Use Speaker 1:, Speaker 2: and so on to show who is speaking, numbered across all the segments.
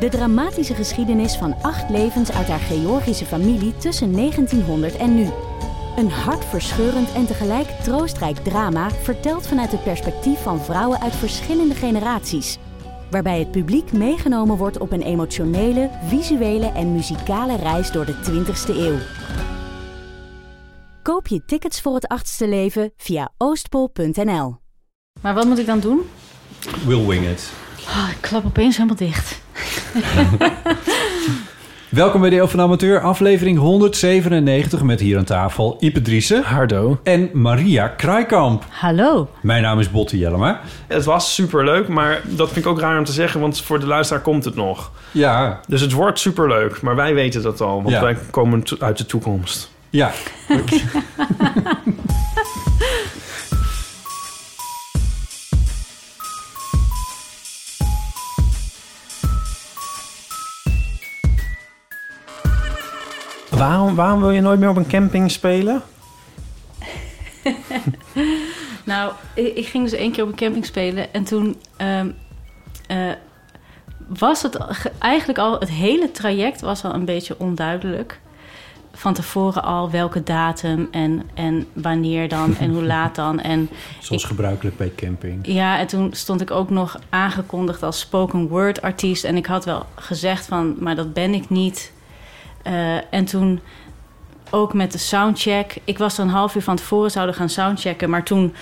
Speaker 1: de dramatische geschiedenis van acht levens uit haar Georgische familie tussen 1900 en nu. Een hartverscheurend en tegelijk troostrijk drama... verteld vanuit het perspectief van vrouwen uit verschillende generaties waarbij het publiek meegenomen wordt op een emotionele, visuele en muzikale reis door de 20ste eeuw. Koop je tickets voor het achtste leven via oostpol.nl.
Speaker 2: Maar wat moet ik dan doen?
Speaker 3: Will wing it.
Speaker 2: Ah, ik klap opeens helemaal dicht.
Speaker 3: Welkom bij Deel van de Amateur, aflevering 197 met hier aan tafel Ipe Driessen
Speaker 4: Hardo.
Speaker 3: en Maria Kraaikamp.
Speaker 2: Hallo.
Speaker 3: Mijn naam is Botte Jellema.
Speaker 4: Het was superleuk, maar dat vind ik ook raar om te zeggen, want voor de luisteraar komt het nog.
Speaker 3: Ja,
Speaker 4: Dus het wordt superleuk, maar wij weten dat al, want
Speaker 3: Ja.
Speaker 4: wij komen to- uit de toekomst.
Speaker 3: ja.
Speaker 4: Waarom, waarom wil je nooit meer op een camping spelen?
Speaker 2: Nou, ik, ik ging dus één keer op een camping spelen en toen ehm, eh, was het al- ge- eigenlijk al, het hele traject was al een beetje onduidelijk. Van tevoren al welke datum en, en wanneer dan en hoe laat dan. En
Speaker 3: Zoals gebruikelijk bij camping.
Speaker 2: Ja, en toen stond ik ook nog aangekondigd als spoken word artiest. En ik had wel gezegd van, maar dat ben ik niet. Eh, en toen ook met de soundcheck. Ik was dan een half uur van tevoren zouden gaan soundchecken. Maar toen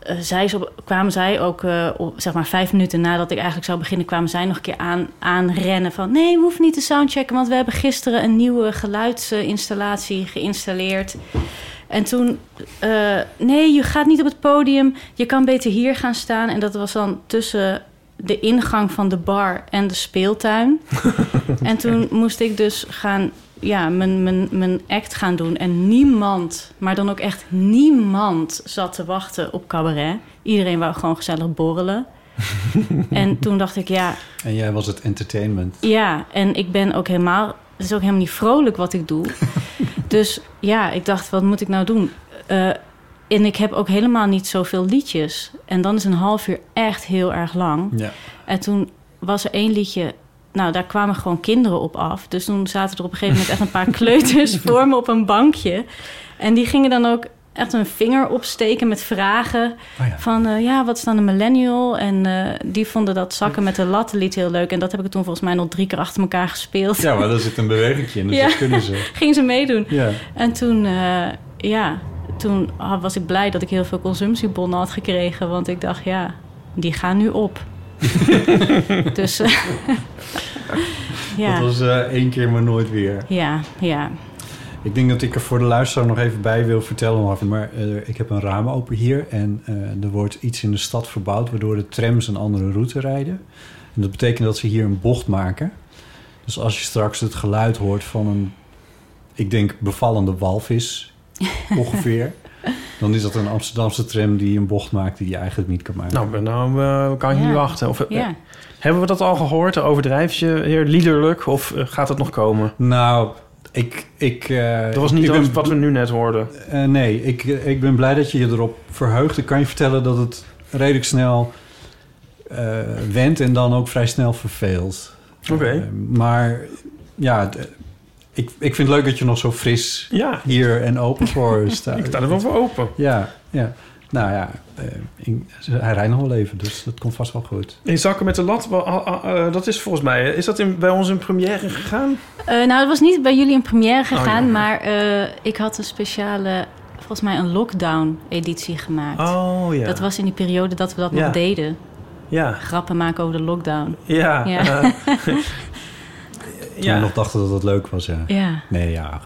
Speaker 2: eh, zij zo, kwamen zij ook, eh, op, zeg maar vijf minuten nadat ik eigenlijk zou beginnen... kwamen zij nog een keer aan, aanrennen van... nee, we hoeven niet te soundchecken, want we hebben gisteren... een nieuwe geluidsinstallatie geïnstalleerd. En toen, eh, nee, je gaat niet op het podium. Je kan beter hier gaan staan. En dat was dan tussen de ingang van de bar en de speeltuin. en toen moest ik dus gaan, ja, mijn, mijn, mijn act gaan doen. En niemand, maar dan ook echt niemand, zat te wachten op cabaret. Iedereen wou gewoon gezellig borrelen. en toen dacht ik, ja,
Speaker 3: En jij was het entertainment.
Speaker 2: ja, en ik ben ook helemaal... Het is ook helemaal niet vrolijk wat ik doe. dus ja, ik dacht, wat moet ik nou doen? Eh, en ik heb ook helemaal niet zoveel liedjes. En dan is een half uur echt heel erg lang.
Speaker 3: Ja.
Speaker 2: En toen was er één liedje... Nou, daar kwamen gewoon kinderen op af. Dus toen zaten er op een gegeven moment echt een paar kleuters voor me op een bankje. En die gingen dan ook echt hun vinger opsteken met vragen.
Speaker 3: Oh ja.
Speaker 2: Van eh, ja, wat is dan een millennial? En eh, die vonden dat zakken met de latten lied heel leuk. En dat heb ik toen volgens mij nog drie keer achter elkaar gespeeld.
Speaker 3: ja, maar daar zit een bewegingje in, dus
Speaker 2: Ja.
Speaker 3: dat kunnen ze.
Speaker 2: Gingen ze meedoen.
Speaker 3: Ja.
Speaker 2: En toen, eh, ja, toen had- was ik blij dat ik heel veel consumptiebonnen had gekregen. Want ik dacht, ja, die gaan nu op. dus eh,
Speaker 3: Dat
Speaker 2: ja,
Speaker 3: was eh, één keer maar nooit weer.
Speaker 2: ja, ja.
Speaker 3: Ik denk dat ik er voor de luisteraar nog even bij wil vertellen, Marvin. Maar eh, ik heb een raam open hier en eh, er wordt iets in de stad verbouwd... waardoor de trams een andere route rijden. En dat betekent dat ze hier een bocht maken. Dus als je straks het geluid hoort van een, ik denk, bevallende walvis ongeveer... dan is dat een Amsterdamse tram die een bocht maakt die je eigenlijk niet kan maken.
Speaker 4: Nou, ben- nou eh, kan ik
Speaker 2: Ja.
Speaker 4: niet wachten. Of, eh,
Speaker 2: ja.
Speaker 4: Hebben we dat al gehoord? Overdrijf je heer liederlijk? Of eh, gaat het nog komen?
Speaker 3: Nou, ik... ik eh,
Speaker 4: Dat was niet
Speaker 3: ik ben-
Speaker 4: wat we nu net hoorden.
Speaker 3: Eh, nee, ik, ik ben blij dat je je erop verheugt. Ik kan je vertellen dat het redelijk snel eh went en dan ook vrij snel verveelt.
Speaker 4: Oké.
Speaker 3: Eh, maar ja, d- ik, ik vind het leuk dat je nog zo fris
Speaker 4: Ja,
Speaker 3: hier en open voor staat.
Speaker 4: ik sta er wel voor open.
Speaker 3: Ja, ja. Nou ja, eh, ik- hij rijdt nog wel even, dus dat komt vast wel goed.
Speaker 4: In zakken met de lat, wa- ah, ah, eh, dat is volgens mij... eh, Is dat in, bij ons in première gegaan?
Speaker 2: Eh, nou, het was niet bij jullie in première gegaan,
Speaker 4: Oh, ja.
Speaker 2: maar eh, ik had een speciale, volgens mij een lockdown-editie gemaakt.
Speaker 4: Oh ja.
Speaker 2: Dat was in die periode dat we dat
Speaker 4: Ja.
Speaker 2: nog deden.
Speaker 4: Ja,
Speaker 2: Grappen maken over de lockdown.
Speaker 4: ja.
Speaker 2: Ja.
Speaker 4: eh,
Speaker 3: Toen we
Speaker 4: ja.
Speaker 3: nog dachten dat dat leuk was, ja.
Speaker 2: Ja.
Speaker 3: Nee, ja.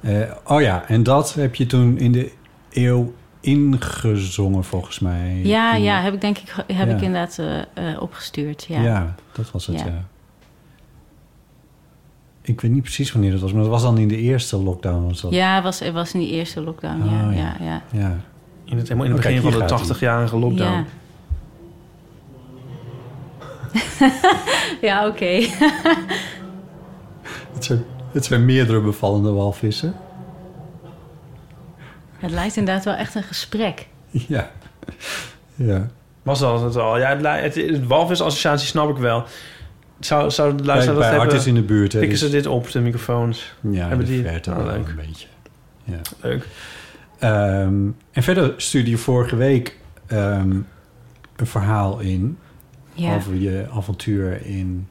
Speaker 3: Eh, oh ja, en dat heb je toen in de eeuw ingezongen, volgens mij.
Speaker 2: Ja,
Speaker 3: In-
Speaker 2: ja, heb ik denk ik, heb
Speaker 3: Ja.
Speaker 2: ik inderdaad eh, eh, opgestuurd. Ja.
Speaker 3: Ja. dat was het, ja.
Speaker 2: Ja.
Speaker 3: ik weet niet precies wanneer dat was, maar dat was dan in de eerste lockdown. Was dat.
Speaker 2: Ja, het was, het was in die eerste lockdown.
Speaker 3: Ah,
Speaker 2: ja, ja, ja.
Speaker 3: Ja.
Speaker 4: In het, helemaal in
Speaker 3: Oh,
Speaker 4: het
Speaker 3: kijk,
Speaker 4: begin
Speaker 3: hier
Speaker 4: van de
Speaker 3: gaat-ie.
Speaker 4: 80-jarige lockdown.
Speaker 2: Ja, ja oké.
Speaker 3: Het, zijn, het zijn meerdere bevallende walvissen.
Speaker 2: Het lijkt inderdaad wel echt een gesprek.
Speaker 3: Ja. ja.
Speaker 4: Was dat het al? Ja, het, li- het, het walvisassociatie snap ik wel. Zou, zou de
Speaker 3: Bij,
Speaker 4: luisteraar dat
Speaker 3: bij Hart
Speaker 4: hebben?
Speaker 3: is in de buurt. Hè,
Speaker 4: Pikken
Speaker 3: dus-
Speaker 4: ze dit op, de microfoons?
Speaker 3: ja,
Speaker 4: hebben
Speaker 3: in de
Speaker 4: die-
Speaker 3: verte
Speaker 4: Oh,
Speaker 3: wel
Speaker 4: leuk.
Speaker 3: een beetje. Ja.
Speaker 4: Leuk.
Speaker 3: Ehm, en verder stuurde je vorige week ehm, een verhaal in
Speaker 2: Ja,
Speaker 3: over je avontuur in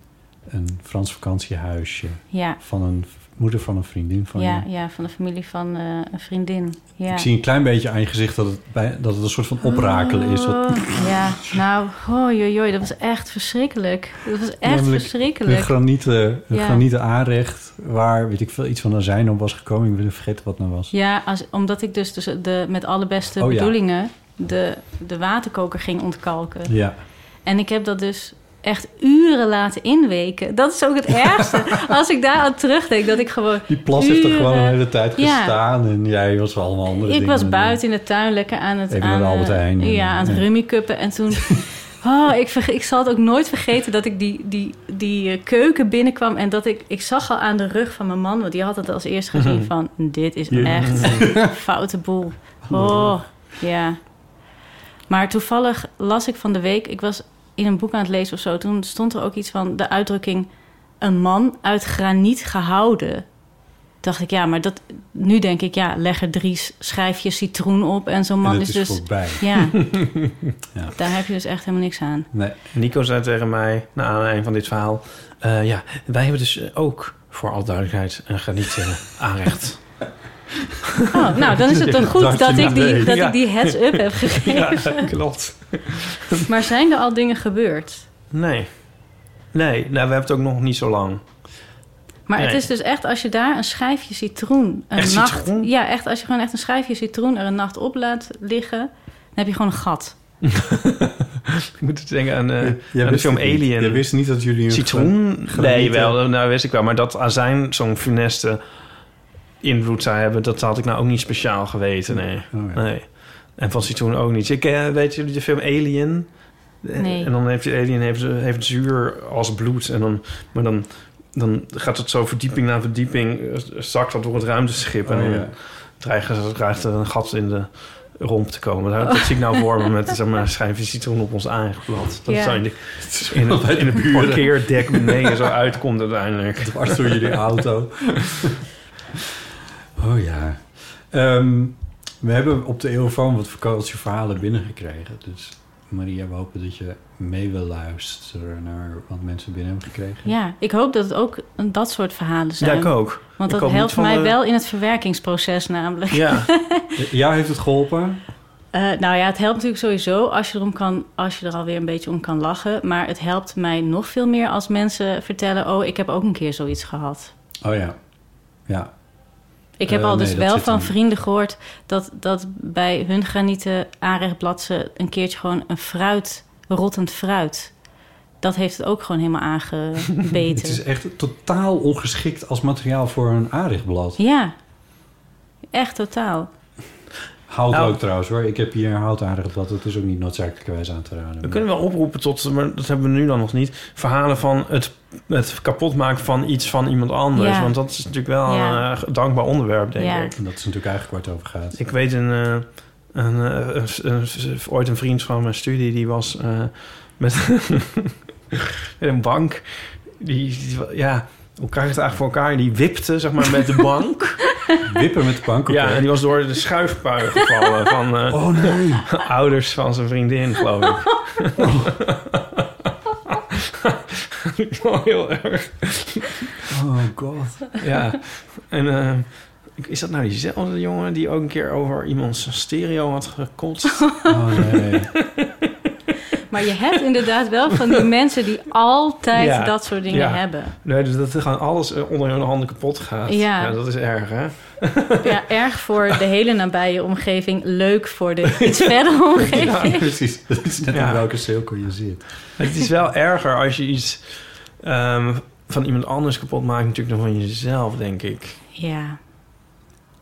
Speaker 3: een Frans vakantiehuisje
Speaker 2: ja,
Speaker 3: van een v- moeder van een vriendin van
Speaker 2: ja,
Speaker 3: je.
Speaker 2: ja, van de familie van eh, een vriendin. Ja.
Speaker 3: Ik zie een klein beetje aan je gezicht dat het, bij, dat het een soort van oprakelen is. Wat,
Speaker 2: Oh, ja, nou, hoi, dat was echt verschrikkelijk. Dat was echt
Speaker 3: Namelijk een
Speaker 2: verschrikkelijk.
Speaker 3: granieten, een
Speaker 2: Ja.
Speaker 3: granieten aanrecht waar, weet ik veel, iets van een zijn op was gekomen. Ik ben vergeten wat nou was.
Speaker 2: Ja, als, omdat ik dus, dus de, met alle beste
Speaker 3: Oh, ja.
Speaker 2: bedoelingen de, de waterkoker ging ontkalken.
Speaker 3: Ja.
Speaker 2: En ik heb dat dus echt uren laten inweken. Dat is ook het ergste. Als ik daar aan terugdenk, dat ik gewoon...
Speaker 3: Die plas heeft er
Speaker 2: uren-
Speaker 3: gewoon de hele tijd
Speaker 2: Ja.
Speaker 3: gestaan. En jij was wel allemaal andere
Speaker 2: Ik
Speaker 3: dingen. aan
Speaker 2: was
Speaker 3: het doen.
Speaker 2: buiten in de tuin lekker aan het...
Speaker 3: Even
Speaker 2: aan,
Speaker 3: naar de Albert
Speaker 2: eh,
Speaker 3: Heijn en-
Speaker 2: Ja, aan het
Speaker 3: ja.
Speaker 2: rummikuppen. En toen... Oh, ik, verge- ik zal het ook nooit vergeten dat ik die, die, die eh, keuken binnenkwam... en dat ik... Ik zag al aan de rug van mijn man... want die had het als eerst gezien van... dit is
Speaker 3: Mhm. Ja.
Speaker 2: echt een foute boel. Oh, ja. Maar toevallig las ik van de week... ik was in een boek aan het lezen of zo... toen stond er ook iets van de uitdrukking... een man uit graniet gehouden dacht ik, ja, maar dat, nu denk ik, ja, leg er drie s- schijfjes citroen op en zo'n
Speaker 3: En
Speaker 2: man
Speaker 3: het
Speaker 2: is,
Speaker 3: is
Speaker 2: dus.
Speaker 3: voorbij.
Speaker 2: Ja.
Speaker 3: Ja.
Speaker 2: daar heb je dus echt helemaal niks aan.
Speaker 3: Nee.
Speaker 4: Nico zei tegen mij, na aanleiding van dit verhaal... eh, ja, wij hebben dus eh, ook, voor alle duidelijkheid, een graniet eh, aanrecht.
Speaker 2: Oh, nou, dan is het toch goed
Speaker 3: Dacht je nou
Speaker 2: dat ik
Speaker 3: maar
Speaker 2: die,
Speaker 3: mee.
Speaker 2: dat
Speaker 4: Ja.
Speaker 2: ik die heads-up heb gegeven.
Speaker 4: klopt.
Speaker 2: Maar zijn er al dingen gebeurd?
Speaker 4: Nee. Nee, nou, we hebben het ook nog niet zo lang.
Speaker 2: Maar het
Speaker 4: Nee.
Speaker 2: is dus echt als je daar een schijfje citroen een
Speaker 4: Echt
Speaker 2: nacht.
Speaker 4: citroen?
Speaker 2: Ja, echt als je gewoon echt een schijfje citroen er een nacht op laat liggen, dan heb je gewoon een gat.
Speaker 4: Ik moet denken aan, eh
Speaker 3: Jij
Speaker 4: aan de
Speaker 3: wist
Speaker 4: film
Speaker 3: het niet.
Speaker 4: Alien.
Speaker 3: Jij wist niet dat jullie... een
Speaker 4: Citroen?
Speaker 3: granieten.
Speaker 4: Nee, wel, nou wist ik wel. Maar dat azijn zo'n funeste invloed zou hebben... dat had ik nou ook niet speciaal geweten, nee.
Speaker 3: Oh, ja.
Speaker 4: nee. En van citroen ook niet. Ik, eh, weet jullie de film Alien? Eh,
Speaker 2: Nee.
Speaker 4: En dan heeft die alien heeft, eh, heeft zuur als bloed. En dan, maar dan, dan gaat het zo verdieping na verdieping... eh, zakt dat door het ruimteschip. en
Speaker 3: Oh,
Speaker 4: dan
Speaker 3: ja.
Speaker 4: dreigen ze- dreigt er een gat in de romp te komen. Dat, dat zie ik nou voor me met zeg maar, een schijfje citroen op ons aangeplant. Dat
Speaker 2: Ja.
Speaker 4: zou in de in het, in het parkeerdek beneden zo uitkomt uiteindelijk.
Speaker 3: Dwars door jullie auto. oh ja. Ehm, we hebben op de Eeuwfoon wat vakantieverhalen binnengekregen. Dus Maria, we hopen dat je mee wil luisteren naar wat mensen binnen hebben gekregen.
Speaker 2: Ja, ik hoop dat het ook een- dat soort verhalen
Speaker 4: Ja,
Speaker 2: zijn.
Speaker 4: ik ook.
Speaker 2: Want dat
Speaker 4: Ik hoop niet
Speaker 2: helpt
Speaker 4: van
Speaker 2: mij
Speaker 4: de-
Speaker 2: wel in het verwerkingsproces namelijk.
Speaker 4: Ja,
Speaker 3: Eh, Jou heeft het geholpen?
Speaker 2: Eh, nou ja, het helpt natuurlijk sowieso als je, erom kan, als je er alweer een beetje om kan lachen. Maar het helpt mij nog veel meer als mensen vertellen... oh, ik heb ook een keer zoiets gehad.
Speaker 3: Oh ja. Ja.
Speaker 2: Ik heb
Speaker 3: Eh,
Speaker 2: al
Speaker 3: nee,
Speaker 2: dus
Speaker 3: dat
Speaker 2: wel
Speaker 3: zit
Speaker 2: van
Speaker 3: hem.
Speaker 2: vrienden gehoord... dat, dat bij hun granieten aanrechtblad ze een keertje gewoon een fruit... rottend fruit. Dat heeft het ook gewoon helemaal
Speaker 3: Het is
Speaker 2: aangebeten.
Speaker 3: echt totaal ongeschikt als materiaal voor een aanrechtblad.
Speaker 2: Ja, echt totaal.
Speaker 3: Hout
Speaker 4: Nou.
Speaker 3: ook trouwens hoor. Ik heb hier een hout aanrechtblad. Dat is ook niet noodzakelijkerwijs aan te raden.
Speaker 4: we kunnen wel oproepen tot, maar dat hebben we nu dan nog niet, verhalen van het, het kapotmaken van iets van iemand anders.
Speaker 2: Ja.
Speaker 4: Want dat is natuurlijk wel
Speaker 2: Ja.
Speaker 4: een eh, dankbaar onderwerp, denk
Speaker 2: Ja.
Speaker 4: ik.
Speaker 3: En dat is natuurlijk eigenlijk waar het over gaat.
Speaker 4: Ik weet een, eh, een, eh, een- een- ooit een vriend van mijn studie, die was eh, met, met een bank. Die, die- ja, hoe krijg je het eigenlijk voor elkaar? Die wipte, zeg maar, met de bank.
Speaker 3: Wippen met de bank.
Speaker 4: Ja,
Speaker 3: oké.
Speaker 4: en die was door de schuifpui gevallen van eh,
Speaker 3: Oh nee.
Speaker 4: ouders van zijn vriendin, geloof ik. Dat is wel heel erg.
Speaker 3: Oh god.
Speaker 4: Ja. En eh, is dat nou diezelfde jongen die ook een keer over iemands stereo had gekotst?
Speaker 3: Oh nee.
Speaker 2: Maar je hebt inderdaad wel van die mensen... die altijd
Speaker 4: Ja,
Speaker 2: dat soort dingen
Speaker 4: ja.
Speaker 2: hebben.
Speaker 4: Nee, dus dat er gewoon alles eh, onder hun handen kapot gaat.
Speaker 2: Ja.
Speaker 4: dat is erg, hè?
Speaker 2: Ja, erg voor de hele nabije omgeving. Leuk voor de iets verder omgeving.
Speaker 3: Ja, precies. Dat is net
Speaker 4: Ja.
Speaker 3: in welke cirkel je zit.
Speaker 4: Het is wel erger als je iets ehm, van iemand anders kapot maakt natuurlijk dan van jezelf, denk ik.
Speaker 2: Ja,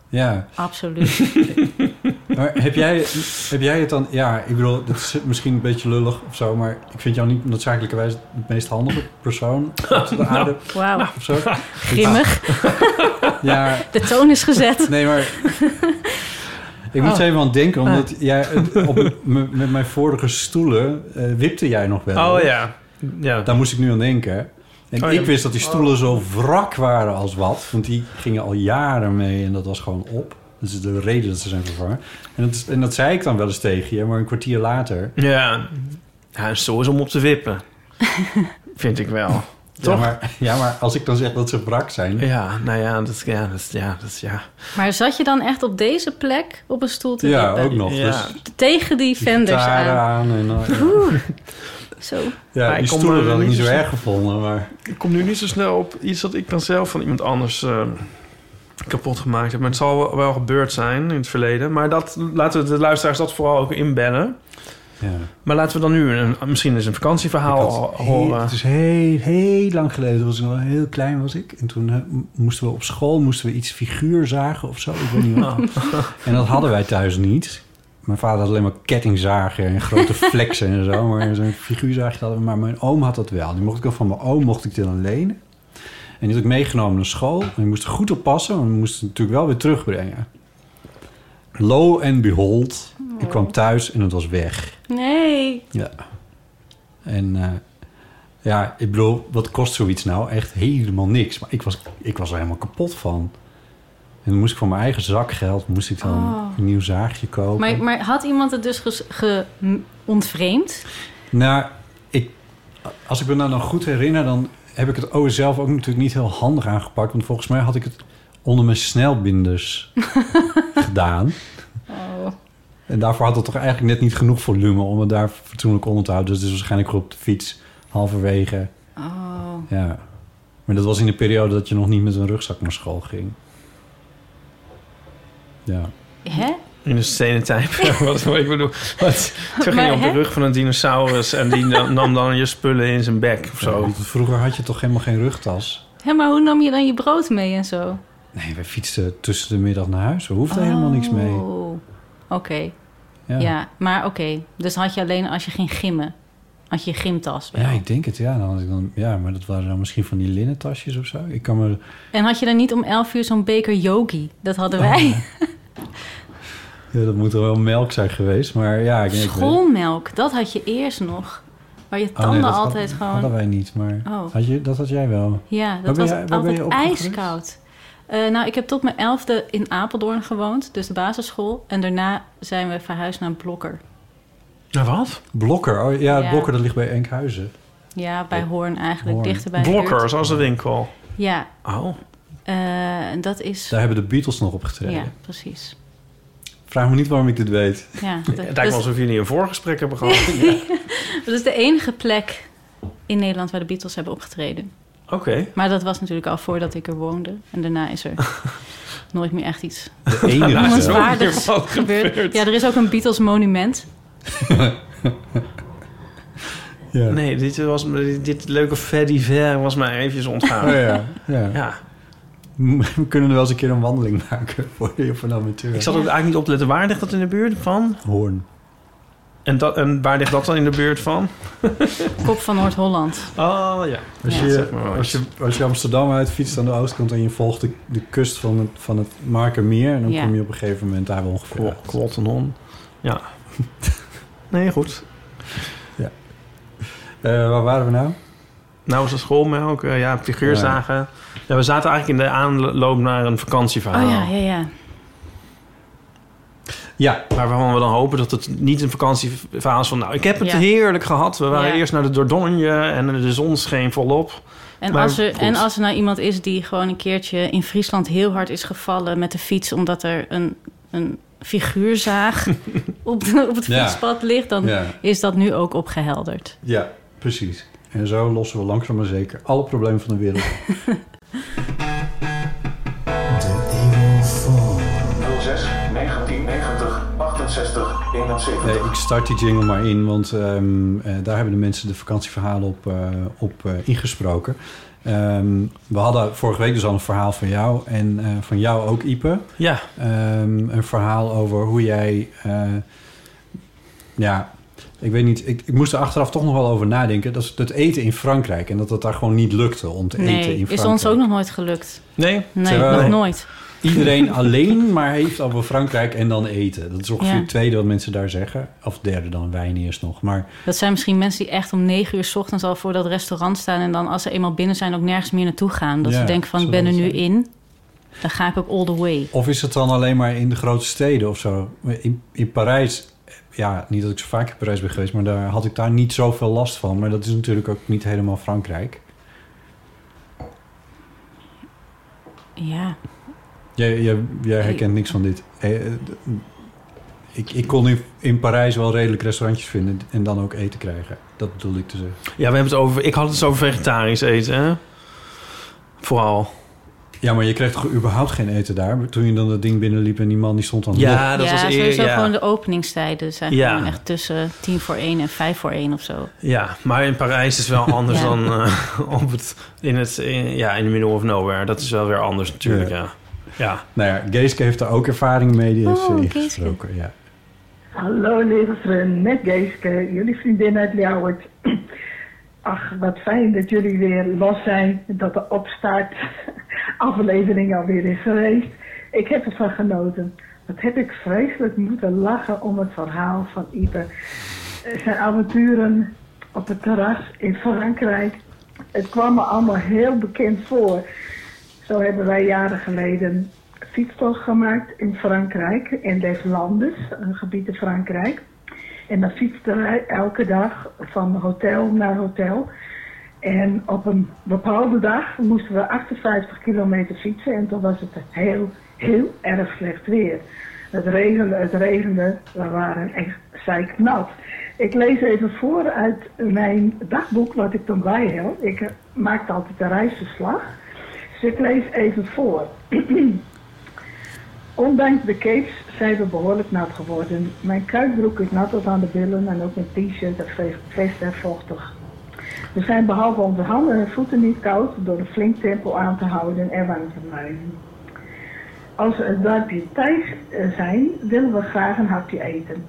Speaker 3: Ja,
Speaker 2: absoluut.
Speaker 3: maar heb jij, heb jij het dan... Ja, ik bedoel, dat is misschien een beetje lullig of zo... maar ik vind jou niet noodzakelijkerwijs de meest handige persoon op de aarde
Speaker 4: Nou.
Speaker 2: Wauw,
Speaker 3: of zo.
Speaker 2: grimmig.
Speaker 3: Ja,
Speaker 2: De toon is gezet.
Speaker 3: Nee, maar... Ik moet
Speaker 4: Oh. Ah.
Speaker 3: er even aan denken, omdat jij eh, op, m- met mijn vorige stoelen eh, wipte jij nog wel.
Speaker 4: Oh ja. ja.
Speaker 3: Daar moest ik nu aan denken. En
Speaker 4: Oh, ja.
Speaker 3: ik wist dat die stoelen zo wrak waren als wat. Want die gingen al jaren mee en dat was gewoon op. Dat is de reden dat ze zijn vervangen. En dat, is- en dat zei ik dan wel eens tegen je, maar een kwartier later...
Speaker 4: Ja. ja, een stoel is om op te wippen. Vind ik wel. Toch?
Speaker 3: Ja maar, ja, maar als ik dan zeg dat ze wrak zijn...
Speaker 4: Ja, nou ja, dat, ja, dat, ja, dat, ja.
Speaker 2: Maar zat je dan echt op deze plek op een stoel te
Speaker 3: Ja,
Speaker 2: wippen?
Speaker 3: ook nog.
Speaker 4: Ja.
Speaker 3: Dus
Speaker 2: Tegen die
Speaker 3: die
Speaker 2: vendors
Speaker 3: gitaren
Speaker 2: aan.
Speaker 3: aan. en, eh,
Speaker 2: Zo.
Speaker 3: ja,
Speaker 4: Maar
Speaker 3: die
Speaker 4: ik kom
Speaker 3: stoelen
Speaker 4: er
Speaker 3: had ik niet zo
Speaker 4: niet zo-
Speaker 3: erg gevonden, maar...
Speaker 4: Ik kom nu niet zo snel op iets dat ik dan zelf van iemand anders eh, kapot gemaakt heb. Maar het zal wel- wel gebeurd zijn in het verleden. Maar dat, laten we de luisteraars dat vooral ook inbellen.
Speaker 3: Ja.
Speaker 4: Maar laten we dan nu een, misschien eens een vakantieverhaal
Speaker 3: Ik had
Speaker 4: ho-
Speaker 3: heel-
Speaker 4: horen.
Speaker 3: Het is heel, heel lang geleden. Toen was ik nog heel klein was ik. En toen eh, m- moesten we op school moesten we iets figuur zagen of zo. Ik weet niet wat. En dat hadden wij thuis niet. Mijn vader had alleen maar kettingzagen en grote flexen en zo. Maar zo'n figuurzaagje hadden we. Maar mijn oom had dat wel. Die mocht ik dan van mijn oom mocht ik die dan lenen. En die had ik meegenomen naar school. En die moest er goed op passen. Maar we moesten het natuurlijk wel weer terugbrengen. Lo and behold. Ik kwam thuis en het was weg.
Speaker 2: Nee.
Speaker 3: Ja. En eh, ja, ik bedoel, wat kost zoiets nou? Echt helemaal niks. Maar ik was, ik was er helemaal kapot van. En dan moest ik voor mijn eigen zakgeld moest ik dan
Speaker 2: Oh.
Speaker 3: een nieuw zaagje kopen.
Speaker 2: Maar, maar had iemand het dus ges- ge- m- ontvreemd?
Speaker 3: Nou, ik, als ik me nou nog goed herinner, dan heb ik het OS zelf ook natuurlijk niet heel handig aangepakt. Want volgens mij had ik het onder mijn snelbinders gedaan.
Speaker 2: Oh.
Speaker 3: En daarvoor had het toch eigenlijk net niet genoeg volume om het daar fatsoenlijk onder te houden. Dus het is waarschijnlijk gewoon op de fiets halverwege
Speaker 2: Oh.
Speaker 3: Ja. Maar dat was in de periode dat je nog niet met een rugzak naar school ging. Ja.
Speaker 2: Hè?
Speaker 4: In de stenen tijd. wat wat ik bedoel. Wat, toen ging
Speaker 2: Maar,
Speaker 4: je op de
Speaker 2: hè?
Speaker 4: rug van een dinosaurus en die nam nam dan je spullen in zijn bek of
Speaker 3: Zo.
Speaker 4: zo.
Speaker 3: want Vroeger had je toch helemaal geen rugtas?
Speaker 2: Hè, maar hoe nam je dan je brood mee en zo?
Speaker 3: Nee, we fietsten tussen de middag naar huis. We hoefden helemaal niks mee.
Speaker 2: Oh. Oké, ja. Maar oké, dus had je alleen als je ging gimmen, had je je gymtas wel.
Speaker 3: Ja, ik denk het, ja. Dan had ik dan, ja, maar dat waren dan misschien van die linnen tasjes of zo. Ik kan me...
Speaker 2: En had je dan niet om 11 uur zo'n beker yogi? Dat hadden
Speaker 3: Oh,
Speaker 2: wij.
Speaker 3: Ja, dat moet er wel melk zijn geweest, maar ja... Ik, ik weet-
Speaker 2: Schoolmelk, dat had je eerst nog. Waar je
Speaker 3: Oh, nee,
Speaker 2: tanden
Speaker 3: dat had-
Speaker 2: altijd gewoon...
Speaker 3: hadden wij niet, maar
Speaker 2: Oh.
Speaker 3: had je, dat had jij wel.
Speaker 2: Ja,
Speaker 3: Waar
Speaker 2: dat
Speaker 3: ben
Speaker 2: was
Speaker 3: jij- waar ben je
Speaker 2: altijd
Speaker 3: opgegroeid?
Speaker 2: ijskoud. Eh, nou, ik heb tot mijn elfde in Apeldoorn gewoond, dus de basisschool. En daarna zijn we verhuisd naar Blokker.
Speaker 4: Nou, wat?
Speaker 3: Blokker, oh, ja,
Speaker 2: Ja.
Speaker 3: Blokker dat ligt bij Enkhuizen.
Speaker 2: Ja, bij Hoorn eigenlijk,
Speaker 3: Oh, Hoorn.
Speaker 2: dichter bij de
Speaker 4: Blokker,
Speaker 2: buurt.
Speaker 4: zoals de winkel.
Speaker 2: Ja,
Speaker 4: Oh.
Speaker 2: eh, en dat is...
Speaker 3: Daar hebben de Beatles nog op getreden.
Speaker 2: Ja, precies.
Speaker 3: Vraag me niet waarom ik dit weet.
Speaker 2: Ja,
Speaker 4: Het
Speaker 2: dat, dus-
Speaker 4: lijkt
Speaker 2: dat,
Speaker 4: wel
Speaker 2: is,
Speaker 4: alsof jullie een voorgesprek hebben gehad.
Speaker 2: dat is de enige plek in Nederland waar de Beatles hebben opgetreden.
Speaker 4: Oké.
Speaker 2: Maar dat was natuurlijk al voordat ik er woonde. En daarna is er nooit meer echt iets
Speaker 3: De enige
Speaker 4: is
Speaker 3: zelf.
Speaker 4: ook
Speaker 2: waar
Speaker 4: weer wat gebeurd.
Speaker 2: gebeurd. Ja, er is ook een Beatles monument.
Speaker 3: Ja.
Speaker 4: Nee, dit, was, dit, dit leuke Freddy Ver was mij eventjes ontgaan.
Speaker 3: Oh ja, ja.
Speaker 4: Ja,
Speaker 3: We kunnen er wel eens een keer een wandeling maken voor heel van amateur.
Speaker 4: ik zat ook eigenlijk niet op te letten. Waar ligt dat in de buurt van?
Speaker 3: Hoorn.
Speaker 4: En, dat, en waar ligt dat dan in de buurt van?
Speaker 2: Kop van Noord-Holland.
Speaker 4: Oh ja.
Speaker 3: Als
Speaker 2: Ja.
Speaker 3: je,
Speaker 4: Zeg maar wel
Speaker 3: als je, als je Amsterdam uitfietst aan de oostkant en je volgt de, de kust van het, van het Markermeer... en dan
Speaker 2: Ja.
Speaker 3: kom je op een gegeven moment daar wel ongeveer
Speaker 4: Klo-
Speaker 3: uit.
Speaker 4: Klottenhon. Ja. Nee, goed.
Speaker 3: Eh, waar waren we nou?
Speaker 4: Nou was de schoolmelk, eh, ja, figuurzagen. Ja. we zaten eigenlijk in de aanloop naar een
Speaker 2: Oh
Speaker 4: vakantieverhaal.
Speaker 2: ja, ja, ja.
Speaker 3: Ja,
Speaker 4: Maar waarvan we dan hopen dat het niet een vakantieverhaal is van... nou, ik heb het
Speaker 2: Ja.
Speaker 4: heerlijk gehad. We waren
Speaker 2: Ja.
Speaker 4: eerst naar de Dordogne en de zon scheen volop.
Speaker 2: En,
Speaker 4: Maar
Speaker 2: als er,
Speaker 4: goed.
Speaker 2: en als er nou iemand is die gewoon een keertje in Friesland heel hard is gevallen met de fiets omdat er een, een figuurzaag op, de- op het
Speaker 3: Ja.
Speaker 2: fietspad ligt, dan
Speaker 3: ja,
Speaker 2: is dat nu ook opgehelderd.
Speaker 3: ja, precies. En zo lossen we langzaam maar zeker alle problemen van de wereld. Nee, Eh, ik start die jingle maar in, want ehm, eh, daar hebben de mensen de vakantieverhalen op, eh, op eh, ingesproken. Ehm, we hadden vorige week dus al een verhaal van jou en eh, van jou ook, Ipe.
Speaker 4: Ja,
Speaker 3: Ehm, een verhaal over hoe jij... eh, ja, ik weet niet. Ik, ik moest er achteraf toch nog wel over nadenken. Dat is het eten in Frankrijk. En dat het daar gewoon niet lukte om te eten in
Speaker 2: Nee,
Speaker 3: Frankrijk.
Speaker 2: is ons ook nog nooit gelukt.
Speaker 4: nee.
Speaker 2: Nee,
Speaker 3: Terwijl-
Speaker 2: nog nooit.
Speaker 3: Iedereen alleen maar heeft over Frankrijk en dan eten. Dat is ongeveer
Speaker 2: Ja.
Speaker 3: het tweede wat mensen daar zeggen. Of derde dan wijn eerst nog. Maar
Speaker 2: Dat zijn misschien mensen die echt om negen uur 's ochtends al voor dat restaurant staan... en dan als ze eenmaal binnen zijn ook nergens meer naartoe gaan. Dat
Speaker 3: Ja,
Speaker 2: ze denken van, ik
Speaker 3: zo
Speaker 2: ben er
Speaker 3: dat
Speaker 2: nu
Speaker 3: zijn.
Speaker 2: in. Dan ga ik ook all the way.
Speaker 3: of is het dan alleen maar in de grote steden of zo? In, in Parijs, ja, niet dat ik zo vaak in Parijs ben geweest, maar daar had ik daar niet zoveel last van. Maar dat is natuurlijk ook niet helemaal Frankrijk.
Speaker 2: Ja,
Speaker 3: Jij, jij, jij herkent niks van dit. Eh, eh, d- Ik, ik kon in, in Parijs wel redelijk restaurantjes vinden en dan ook eten krijgen. Dat bedoelde ik te zeggen.
Speaker 4: Ja, we hebben het over... Ik had het dus over vegetarisch eten, hè? Vooral.
Speaker 3: Ja, maar je kreeg toch überhaupt geen eten daar? Toen je dan dat ding binnenliep en die man die stond aan de deur.
Speaker 4: Ja, dat
Speaker 2: ja
Speaker 4: was
Speaker 2: sowieso
Speaker 4: eerder. Ja.
Speaker 2: gewoon de openingstijden zijn
Speaker 4: Ja.
Speaker 2: gewoon echt tussen tien voor één en vijf voor één of zo.
Speaker 4: Ja, maar in Parijs is wel anders
Speaker 2: Ja.
Speaker 4: dan eh, op het, in het in, ja, in the middle of nowhere. Dat is wel weer anders natuurlijk, ja. Ja,
Speaker 3: Nou ja, Geeske heeft daar ook ervaring mee. Die heeft
Speaker 2: Oh,
Speaker 3: ze
Speaker 2: Geeske.
Speaker 3: ingesproken. Ja.
Speaker 5: Hallo lieve vriend, met Geeske, jullie vriendin uit Ljouwert. Ach, wat fijn dat jullie weer los zijn en dat de opstart aflevering alweer is geweest. Ik heb ervan genoten. Wat heb ik vreselijk moeten lachen om het verhaal van Ipe. Eh, Zijn avonturen op het terras in Frankrijk. Het kwam me allemaal heel bekend voor. Zo hebben wij jaren geleden fietstocht gemaakt in Frankrijk, in Les Landes, een gebied in Frankrijk. En dan fietsten wij elke dag van hotel naar hotel. En op een bepaalde dag moesten we 58 kilometer fietsen en toen was het heel, heel erg slecht weer. Het regende, het regende, we waren echt zeiknat. Ik lees even voor uit mijn dagboek wat ik toen bij heb. Ik eh, maakte altijd een reisverslag. Dus ik lees even voor. Ondanks de capes zijn we behoorlijk nat geworden. Mijn kuitbroek is nat tot aan de billen en ook mijn t-shirt en ve- vest en vochtig. We zijn behalve onze handen en voeten niet koud door een flink tempo aan te houden en warm te blijven. Als we een duimpje tijg eh, zijn, willen we graag een hapje eten.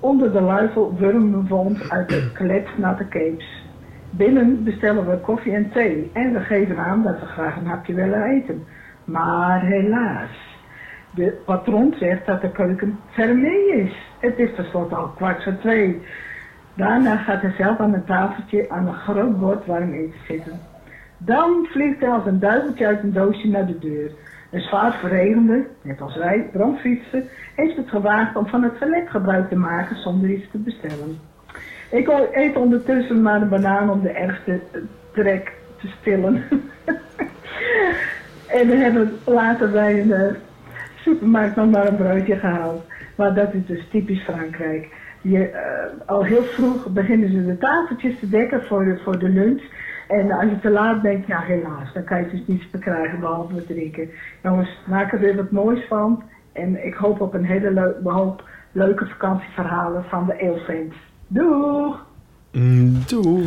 Speaker 5: Onder de luifel wurmen we ons uit de kletsnatte capes. Binnen bestellen we koffie en thee en we geven aan dat we graag een hapje willen eten. Maar helaas, de patroon zegt dat de keuken vermee is. Het is tenslotte al kwart voor twee. Daarna gaat hij zelf aan een tafeltje aan een groot bord warm eten zitten. Dan vliegt hij als een duiveltje uit een doosje naar de deur. Een zwaar verregende, net als wij, brandfietsen, heeft het gewaagd om van het toilet gebruik te maken zonder iets te bestellen. Ik o- eet ondertussen maar een banaan om de ergste eh, trek te stillen. en we hebben later bij een eh, supermarkt nog maar een broodje gehaald. Maar dat is dus typisch Frankrijk. Je, eh, al heel vroeg beginnen ze de tafeltjes te dekken voor de, voor de lunch. En als je te laat bent, ja helaas, dan kan je dus niets bekrijgen behalve wat drinken. Jongens, maak er weer wat moois van. En ik hoop op een hele leu- hoop leuke vakantieverhalen van de Eeuwfans. Doeg!
Speaker 4: Mm, doe.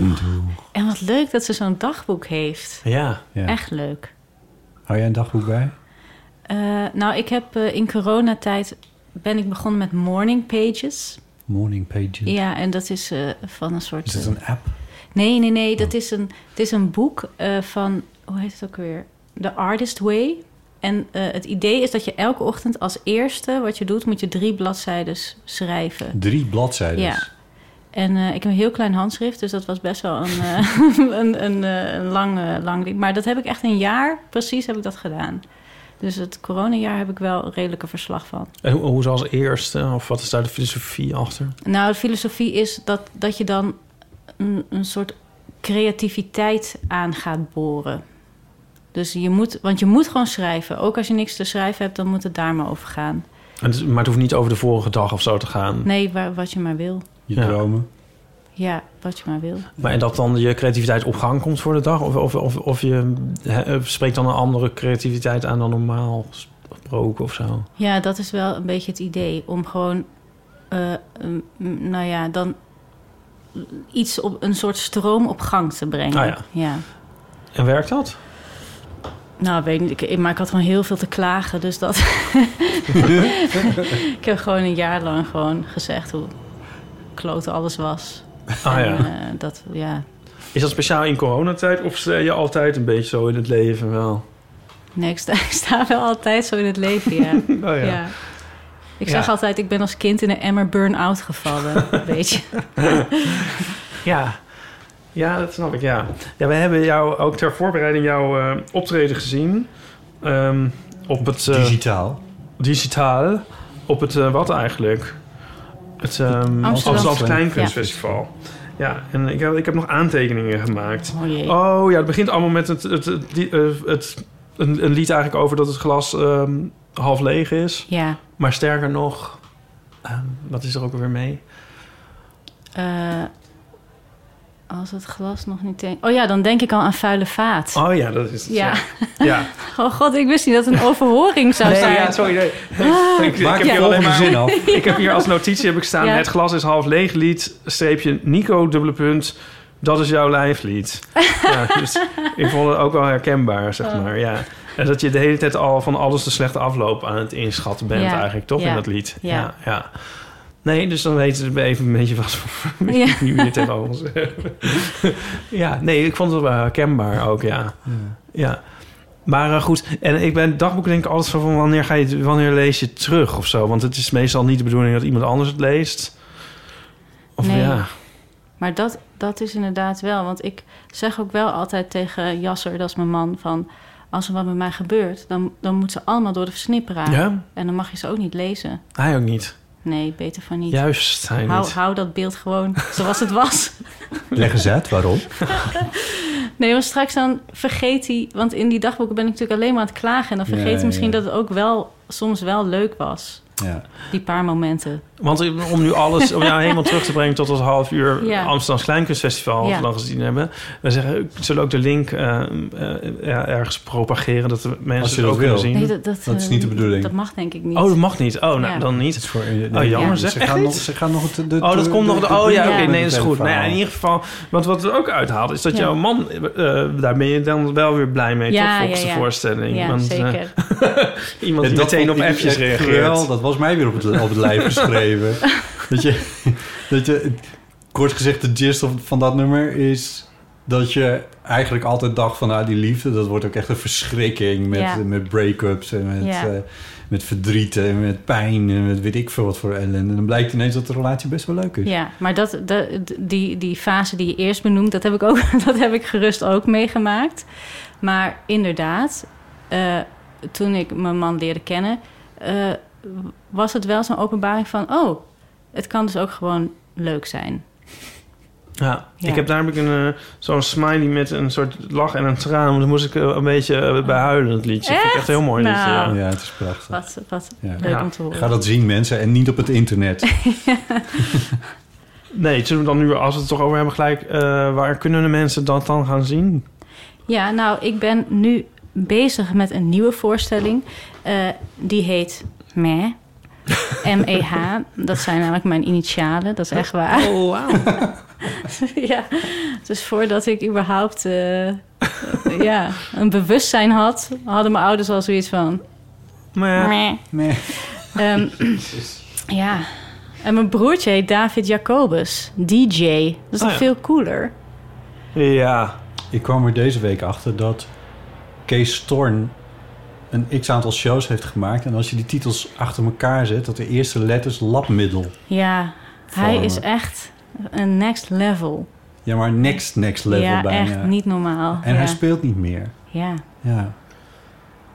Speaker 2: En wat leuk dat ze zo'n dagboek heeft.
Speaker 4: Ja,
Speaker 3: Ja.
Speaker 2: Echt leuk.
Speaker 3: Hou jij een dagboek bij?
Speaker 2: Eh, nou, ik heb eh, in coronatijd ben ik begonnen met morning pages.
Speaker 3: Morning Pages.
Speaker 2: Ja, en dat is eh, van een soort.
Speaker 3: Is dat
Speaker 2: eh,
Speaker 3: een Oh. app?
Speaker 2: Nee, nee, nee. Dat is een, het is een boek eh, van, hoe heet het ook weer? The Artist Way. En eh, het idee is dat je elke ochtend als eerste wat je doet, moet je drie bladzijden schrijven.
Speaker 3: Drie bladzijden.
Speaker 2: Ja. En eh, ik heb een heel klein handschrift, dus dat was best wel een, eh, een, een, eh, een lang, eh, lang ding. Maar dat heb ik echt een jaar, precies heb ik dat gedaan. Dus het coronajaar heb ik wel een redelijke verslag van.
Speaker 4: en hoe, hoe is als eerste? Of wat is daar de filosofie achter?
Speaker 2: Nou, de filosofie is dat, dat je dan een, een soort creativiteit aan gaat boren. Dus je moet, want je moet gewoon schrijven. Ook als je niks te schrijven hebt, dan moet het daar maar over gaan.
Speaker 4: En het is- maar het hoeft niet over de vorige dag of zo te gaan.
Speaker 2: Nee, waar, wat je maar wil.
Speaker 3: Je
Speaker 4: Ja.
Speaker 3: dromen.
Speaker 2: Ja, wat je maar wil.
Speaker 4: Maar en dat dan je creativiteit op gang komt voor de dag? Of, of, of, of je hè, spreekt dan een andere creativiteit aan dan normaal gesproken of zo?
Speaker 2: Ja, dat is wel een beetje het idee. Om gewoon, eh, mm, nou ja, dan iets op een soort stroom op gang te brengen.
Speaker 4: Ah, ja.
Speaker 2: ja.
Speaker 4: En werkt dat?
Speaker 2: Nou, ik weet niet. Ik, maar ik had gewoon heel veel te klagen. Dus dat. ik heb gewoon een jaar lang gewoon gezegd hoe klote alles was.
Speaker 4: Ah
Speaker 2: En,
Speaker 4: ja.
Speaker 2: eh, dat, ja.
Speaker 4: Is dat speciaal in coronatijd of sta je altijd een beetje zo in het leven wel?
Speaker 2: Nee, ik sta, ik sta wel altijd zo in het leven, ja.
Speaker 4: Nou
Speaker 2: ja. Ik zeg
Speaker 4: Ja.
Speaker 2: altijd, ik ben als kind in een emmer burn-out gevallen. Een beetje.
Speaker 4: Ja. Ja, dat snap ik, ja. Ja, we hebben jou ook ter voorbereiding jouw eh, optreden gezien. Ehm, op het eh,
Speaker 3: Digitaal.
Speaker 4: digitaal. Op het eh, wat eigenlijk? Het ehm Amsterdamse
Speaker 3: Amsterdamse
Speaker 4: Kleinkunstfestival. Ja. en ik heb, ik heb nog aantekeningen gemaakt.
Speaker 2: Oh jee.
Speaker 4: Oh ja, het begint allemaal met het, het, het, die- eh, het- een, een lied eigenlijk over dat het glas ehm, half leeg is.
Speaker 2: Ja.
Speaker 4: Maar sterker nog, ehm, wat is er ook alweer mee?
Speaker 2: eh, als het glas nog niet... een- Oh ja, dan denk ik al aan vuile vaat.
Speaker 4: Oh ja, dat is het.
Speaker 2: Ja.
Speaker 4: ja.
Speaker 2: Oh god, ik wist niet dat het een overhoring zou zijn.
Speaker 4: ja, sorry. nee. Ik, ik
Speaker 3: Maak
Speaker 4: heb
Speaker 3: de
Speaker 4: hier alleen
Speaker 3: volgende
Speaker 4: maar...
Speaker 3: zin af.
Speaker 4: Ik heb hier als notitie heb ik staan...
Speaker 2: Ah. Ja.
Speaker 4: Het glas is half leeg lied, streepje Nico, dubbele punt... Dat is jouw lijflied. Ja, dus ik vond het ook wel herkenbaar, zeg maar. Ja. En dat je de hele tijd al van alles de slechte afloop aan het inschatten bent
Speaker 2: Ja.
Speaker 4: eigenlijk, toch?
Speaker 2: Ja.
Speaker 4: In dat lied.
Speaker 2: Ja.
Speaker 4: ja. ja. Nee, dus dan weten we even een beetje wat voor
Speaker 2: Ja.
Speaker 4: ja. nu hier tegenover ons hebben. ja, nee, ik vond het wel herkenbaar ook, ja. Ja. Maar eh, goed, en ik ben dagboeken denk ik altijd zo van wanneer, ga je, het- wanneer lees je het terug of zo? Want het is meestal niet de bedoeling dat iemand anders het leest. Of
Speaker 2: Nee.
Speaker 4: ja.
Speaker 2: Maar dat, dat is inderdaad wel. Want ik zeg ook wel altijd tegen Jasser, dat is mijn man, van... Als er wat met mij gebeurt, dan, dan moet ze allemaal door de versnipperaar.
Speaker 4: Ja?
Speaker 2: En dan mag je ze ook niet lezen.
Speaker 4: Hij ook niet.
Speaker 2: Nee, beter van niet.
Speaker 4: Juist, hij
Speaker 2: Hou,
Speaker 4: niet.
Speaker 2: hou dat beeld gewoon zoals het was.
Speaker 3: Leg eens uit waarom.
Speaker 2: Nee, want straks dan vergeet hij... Want in die dagboeken ben ik natuurlijk alleen maar aan het klagen. En dan vergeet
Speaker 3: Ja,
Speaker 2: hij misschien
Speaker 3: ja.
Speaker 2: dat het ook wel soms wel leuk was.
Speaker 3: Ja.
Speaker 2: Die paar momenten.
Speaker 4: Want om nu alles, om jou helemaal terug te brengen tot het half uur
Speaker 2: Ja.
Speaker 4: Amsterdams Kleinkunstfestival, wat
Speaker 2: Ja.
Speaker 4: we dan gezien hebben. We zeggen, we zullen ook de link eh, eh, ja, ergens propageren, dat de mensen
Speaker 3: Als je
Speaker 4: het ook
Speaker 3: dat
Speaker 4: kunnen
Speaker 3: wil.
Speaker 4: zien.
Speaker 2: Nee, dat, dat,
Speaker 3: Dat is
Speaker 2: eh,
Speaker 3: niet de bedoeling.
Speaker 2: Dat mag denk ik niet.
Speaker 4: Oh, dat mag niet. Oh, nou,
Speaker 2: Ja.
Speaker 4: dan
Speaker 3: Het
Speaker 4: niet.
Speaker 3: is voor, eh,
Speaker 4: Oh, jammer,
Speaker 3: ja.
Speaker 4: zeg.
Speaker 3: Ze
Speaker 4: Echt
Speaker 3: gaan,
Speaker 4: niet?
Speaker 3: nog, ze gaan nog het... de-
Speaker 4: Oh, dat
Speaker 3: de-
Speaker 4: komt nog. Oh ja,
Speaker 2: ja.
Speaker 4: oké, nee, dat is goed. Nou ja,
Speaker 3: telefoon.
Speaker 4: in ieder geval, want wat we ook uithaalt is dat
Speaker 2: Ja.
Speaker 4: jouw man, eh, daar ben je dan wel weer blij mee,
Speaker 2: Ja,
Speaker 4: toch? Volgens
Speaker 2: ja, ja.
Speaker 4: de voorstelling.
Speaker 2: ja,
Speaker 4: Want, eh,
Speaker 2: zeker.
Speaker 4: iemand die
Speaker 3: En dat
Speaker 4: meteen op
Speaker 3: vond ik
Speaker 4: appjes
Speaker 3: echt
Speaker 4: reageert.
Speaker 3: geweldig. dat was mij weer op het, op het lijf geschreven. dat je, dat je, kort gezegd, de gist of- van dat nummer is dat je eigenlijk altijd dacht van, nou, die liefde, dat wordt ook echt een verschrikking met,
Speaker 2: Ja.
Speaker 3: met break-ups en met,
Speaker 2: Ja.
Speaker 3: eh, met verdriet en met pijn en met weet ik veel wat voor ellende. En dan blijkt ineens dat de relatie best wel leuk is.
Speaker 2: Ja, maar dat, dat- die, die fase die je eerst benoemt, dat heb ik, ook, dat heb ik gerust ook meegemaakt. Maar inderdaad, eh, toen ik mijn man leerde kennen, eh, was het wel zo'n openbaring van: oh, het kan dus ook gewoon leuk zijn.
Speaker 4: Ja,
Speaker 2: Ja.
Speaker 4: ik heb daar heb ik een, eh, zo'n smiley met een soort lach en een traan. Daar moest ik eh, een beetje eh, bij huilen, dat liedje. Vind ik echt een heel mooi Dus, eh, liedje.
Speaker 2: Nou.
Speaker 4: ja.
Speaker 3: Ja, het is prachtig.
Speaker 2: Wat, wat
Speaker 3: Ja.
Speaker 2: leuk
Speaker 4: Ja,
Speaker 2: om te horen.
Speaker 3: Ga dat zien, mensen, en niet op het internet.
Speaker 4: Nee, zullen we dan nu, als we het toch over hebben, gelijk... eh, waar kunnen de mensen dat dan gaan zien?
Speaker 2: Ja, nou, ik ben nu bezig met een nieuwe voorstelling. Eh, die heet Meh. M-E-H. Dat zijn namelijk mijn initialen. Dat is echt waar.
Speaker 4: Oh, wauw.
Speaker 2: ja, dus voordat ik überhaupt eh, ja, een bewustzijn had, hadden mijn ouders al zoiets van.
Speaker 4: Maar ja,
Speaker 2: "Meh."
Speaker 3: Nee.
Speaker 2: Ehm, ja. En mijn broertje heet David Jacobus, DJ. Dat is
Speaker 4: Ah,
Speaker 2: nog
Speaker 4: ja.
Speaker 2: veel cooler.
Speaker 4: ja.
Speaker 3: Ik kwam er deze week achter dat Kees Storn een x-aantal shows heeft gemaakt. En als je die titels achter elkaar zet, dat de eerste letters labmiddel.
Speaker 2: Ja, hij
Speaker 3: Vormen.
Speaker 2: is echt een next level.
Speaker 3: Ja, maar next, next level
Speaker 2: ja,
Speaker 3: bijna.
Speaker 2: echt niet normaal.
Speaker 3: En
Speaker 2: ja.
Speaker 3: hij speelt niet meer.
Speaker 2: ja.
Speaker 3: Ja.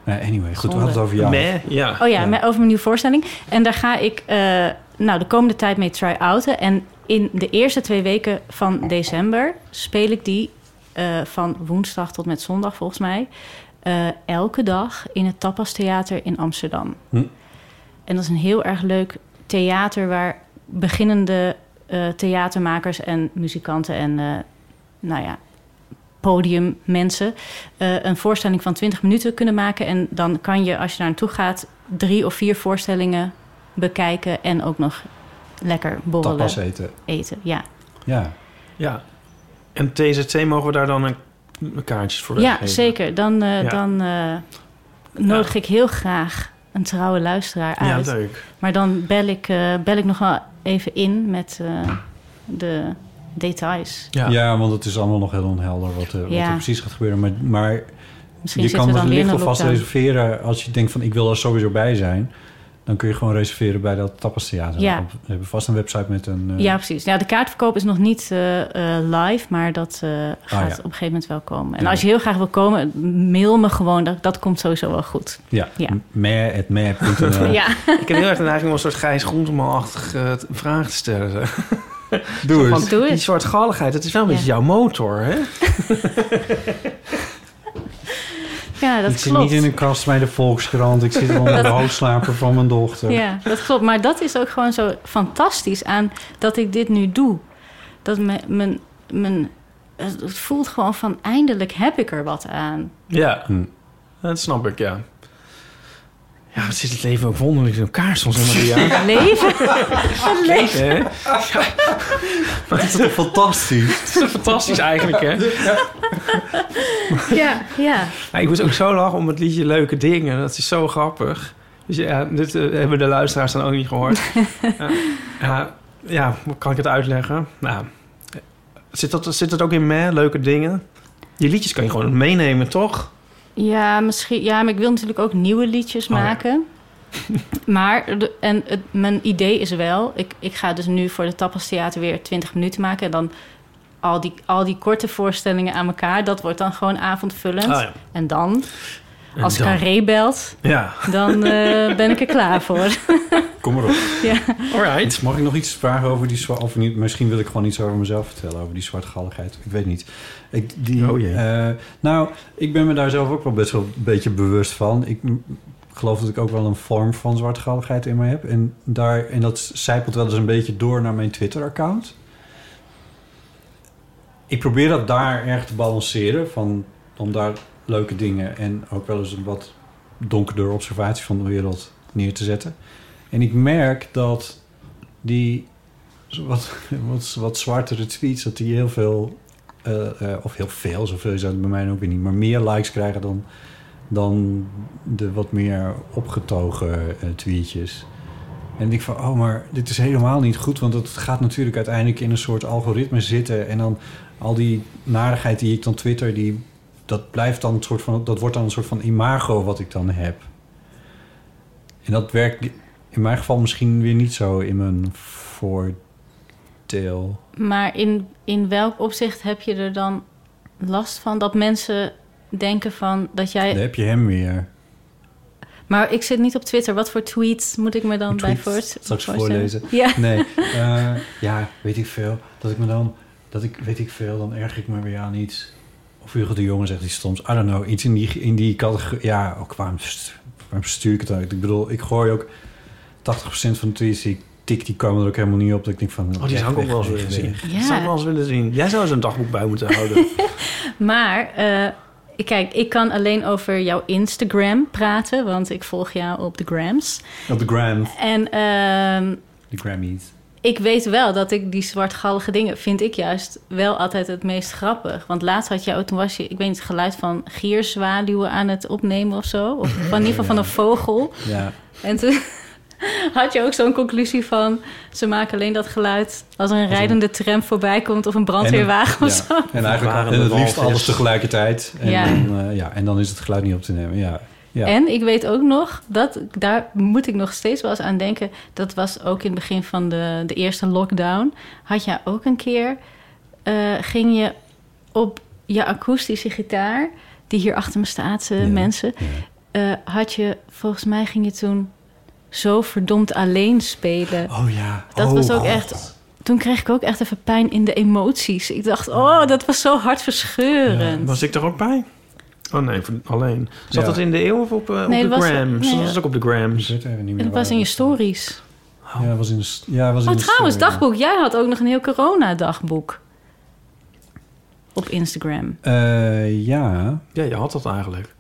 Speaker 3: Nou, anyway, goed, we
Speaker 2: Zonde.
Speaker 3: hadden het over jou.
Speaker 4: Meh, ja.
Speaker 2: Oh ja,
Speaker 3: Ja.
Speaker 2: met- over mijn nieuwe voorstelling. En daar ga ik eh, nou, de komende tijd mee try-outen. En in de eerste twee weken van december speel ik die eh, van woensdag tot met zondag volgens mij. eh, elke dag in het Tapas Theater in Amsterdam.
Speaker 3: Hm.
Speaker 2: En dat is een heel erg leuk theater waar beginnende eh, theatermakers en muzikanten en eh, nou ja, podiummensen eh, een voorstelling van 20 minuten kunnen maken. En dan kan je, als je daar naartoe gaat, drie of vier voorstellingen bekijken en ook nog lekker borrelen
Speaker 3: Tapas eten.
Speaker 2: eten. Ja.
Speaker 3: Ja.
Speaker 4: Ja. En TZT mogen we daar dan een kaartjes voor
Speaker 2: Ja,
Speaker 4: weggeven.
Speaker 2: zeker. Dan, eh,
Speaker 4: Ja.
Speaker 2: dan eh, nodig ik heel graag een trouwe luisteraar
Speaker 4: Ja,
Speaker 2: uit.
Speaker 4: leuk.
Speaker 2: maar dan bel ik, eh, bel ik nog wel even in met eh, de details.
Speaker 4: Ja.
Speaker 3: Ja. want het is allemaal nog heel onhelder wat, eh, wat
Speaker 2: Ja.
Speaker 3: er precies gaat gebeuren. Maar, maar
Speaker 2: Misschien
Speaker 3: je
Speaker 2: zitten we
Speaker 3: kan het
Speaker 2: dan weer in
Speaker 3: licht
Speaker 2: een
Speaker 3: alvast
Speaker 2: lockdown.
Speaker 3: reserveren als je denkt van ik wil er sowieso bij zijn. Dan kun je gewoon reserveren bij dat Tapas Theater.
Speaker 2: Ja.
Speaker 3: We hebben vast een website met een... eh,
Speaker 2: Ja, precies. Ja, de kaartverkoop is nog niet eh, eh, live, maar dat eh, gaat
Speaker 3: Ah, ja.
Speaker 2: op een gegeven moment wel komen. En
Speaker 3: Ja.
Speaker 2: als je heel graag wil komen, mail me gewoon. Dat, dat komt sowieso wel goed.
Speaker 3: ja.
Speaker 2: Ja.
Speaker 3: meh@meh.nl.
Speaker 2: Ja,
Speaker 4: Ik heb heel erg de neiging om een soort Gijs Groenteman-achtige eh, vraag te stellen. zeg.
Speaker 3: Doe
Speaker 4: Van,
Speaker 3: eens.
Speaker 2: Doe
Speaker 4: die
Speaker 2: eens.
Speaker 4: soort galligheid, dat is wel een
Speaker 2: Ja.
Speaker 4: beetje jouw motor, hè?
Speaker 2: ja dat
Speaker 3: ik zit
Speaker 2: klopt.
Speaker 3: niet in een kast bij de Volkskrant. Ik zit onder de hoofdslaper van mijn dochter.
Speaker 2: Ja, dat klopt. Maar dat is ook gewoon zo fantastisch aan dat ik dit nu doe. Dat mijn, mijn, mijn, het voelt gewoon van eindelijk heb ik er wat aan.
Speaker 4: Ja,
Speaker 3: Hm.
Speaker 4: dat snap ik, ja. Ja, wat zit het leven ook wonderlijk in elkaar soms, hè, Maria?
Speaker 2: Leven. Het leven.
Speaker 4: Hè? Ja,
Speaker 3: Dat is toch fantastisch?
Speaker 4: het is fantastisch eigenlijk, hè?
Speaker 2: Ja, ja.
Speaker 4: Ja, ik moest ook zo lachen om het liedje Leuke Dingen. Dat is zo grappig. Dus ja, dit eh, hebben de luisteraars dan ook niet gehoord. ja, ja, ja, hoe kan ik het uitleggen? Nou, eh, zit dat, zit dat ook in me, Leuke Dingen? Die liedjes kan je gewoon meenemen, toch?
Speaker 2: Ja, misschien, ja, maar ik wil natuurlijk ook nieuwe liedjes
Speaker 4: Oh, ja.
Speaker 2: maken. Maar, de- en het, mijn idee is wel... Ik, ik ga dus nu voor de Tapas Theater weer 20 minuten maken... en dan al die, al die korte voorstellingen aan elkaar... dat wordt dan gewoon avondvullend.
Speaker 4: Ah, ja.
Speaker 2: En dan,
Speaker 4: En
Speaker 2: als
Speaker 4: dan-
Speaker 2: Carré belt,
Speaker 4: Ja,
Speaker 2: dan eh, ben ik er klaar voor.
Speaker 3: Kom maar op.
Speaker 4: alright.
Speaker 3: Mag ik nog iets vragen over die zwart... Of niet, misschien wil ik gewoon iets over mezelf vertellen, over die zwartgalligheid. Ik weet niet. Ik, die,
Speaker 4: Oh jee.
Speaker 3: eh, nou, ik ben me daar zelf ook wel best wel een beetje bewust van. Ik m- geloof dat ik ook wel een vorm van zwartgalligheid in me heb. En, daar, en dat zijpelt wel eens een beetje door naar mijn Twitter-account. Ik probeer dat daar erg te balanceren. Van, om daar leuke dingen en ook wel eens een wat donkerder observatie van de wereld neer te zetten. En ik merk dat die wat, wat, wat zwartere tweets, dat die heel veel, eh, eh, of heel veel, zoveel is dat bij mij ook weer niet, maar meer likes krijgen dan, dan de wat meer opgetogen eh, tweetjes. En ik van, oh, maar dit is helemaal niet goed, want het gaat natuurlijk uiteindelijk in een soort algoritme zitten. En dan al die narigheid die ik dan twitter, die, dat blijft dan een soort van, dat wordt dan een soort van imago wat ik dan heb. En dat werkt in mijn geval misschien weer niet zo in mijn voordeel.
Speaker 2: Maar in, in welk opzicht heb je er dan last van... dat mensen denken van dat jij...
Speaker 3: Daar heb je hem weer.
Speaker 2: Maar ik zit niet op Twitter. Wat voor tweets moet ik me dan
Speaker 3: Een
Speaker 2: bij
Speaker 3: tweet
Speaker 2: voort,
Speaker 3: straks
Speaker 2: voorstellen?
Speaker 3: voorlezen.
Speaker 2: Ja.
Speaker 3: Nee, eh, ja, weet ik veel. Dat ik me dan, dat ik, weet ik veel, dan erg ik me weer aan iets. Of Hugo de Jonge zegt iets stoms. I don't know, iets in die, in die categorie. Ja, ook waarom, st- waarom stuur ik het uit? Ik bedoel, ik gooi ook 80% van de tweets die ik tik, die komen er ook helemaal niet op. Dat ik denk van,
Speaker 4: Oh, die zou ik ook wel eens willen zien.
Speaker 2: Ja.
Speaker 4: Dat zou ik wel eens willen zien. Jij zou eens een dagboek bij moeten houden.
Speaker 2: Maar eh, kijk, ik kan alleen over jouw Instagram praten, want ik volg jou op de Grams.
Speaker 3: Op de Gram,
Speaker 2: En ehm,
Speaker 3: de Grammys.
Speaker 2: ik weet wel dat ik die zwartgallige dingen vind ik juist wel altijd het meest grappig. Want laatst had jij ook, toen was je, ik weet niet, het geluid van gierzwaluwen aan het opnemen of zo. Of van in ieder geval van een vogel.
Speaker 3: Ja.
Speaker 2: En toen had je ook zo'n conclusie van... ze maken alleen dat geluid als er een rijdende tram voorbij komt... of een brandweerwagen of
Speaker 3: ja.
Speaker 2: zo.
Speaker 3: En
Speaker 4: Waren
Speaker 3: eigenlijk en
Speaker 4: de
Speaker 3: het liefst
Speaker 4: walvis.
Speaker 3: alles tegelijkertijd. En,
Speaker 2: Ja.
Speaker 3: Dan, eh, ja, en dan is het geluid niet op te nemen. Ja. Ja.
Speaker 2: En ik weet ook nog, dat, daar moet ik nog steeds wel eens aan denken... dat was ook in het begin van de, de eerste lockdown... had jij ook een keer... eh, ging je op je akoestische gitaar... die hier achter me staat, eh,
Speaker 3: Ja.
Speaker 2: mensen...
Speaker 3: Ja.
Speaker 2: eh, had je, volgens mij ging je toen... zo verdomd alleen spelen...
Speaker 3: Oh ja.
Speaker 2: Dat
Speaker 3: Oh,
Speaker 2: was ook
Speaker 3: God.
Speaker 2: echt. Toen kreeg ik ook echt even pijn in de emoties. Ik dacht, oh, dat was zo hartverscheurend.
Speaker 4: Was ik er ook bij? Oh nee, voor- alleen. Zat
Speaker 3: Ja.
Speaker 4: dat in de eeuw of op,
Speaker 2: Nee,
Speaker 4: eh, op de
Speaker 2: dat was-
Speaker 4: Grams?
Speaker 2: nee.
Speaker 4: Dat was ook op de
Speaker 3: Ik
Speaker 4: Grams.
Speaker 3: weet even niet meer
Speaker 2: het was
Speaker 3: waar
Speaker 2: in je
Speaker 3: dat-
Speaker 2: stories.
Speaker 3: Ja, het was in de st- ja, het was in
Speaker 2: Oh,
Speaker 4: Dus,
Speaker 3: de
Speaker 2: trouwens,
Speaker 4: eh,
Speaker 3: story.
Speaker 2: dagboek. Jij had ook nog een heel corona-dagboek. Op Instagram.
Speaker 3: Eh, ja.
Speaker 4: Ja, je had dat eigenlijk.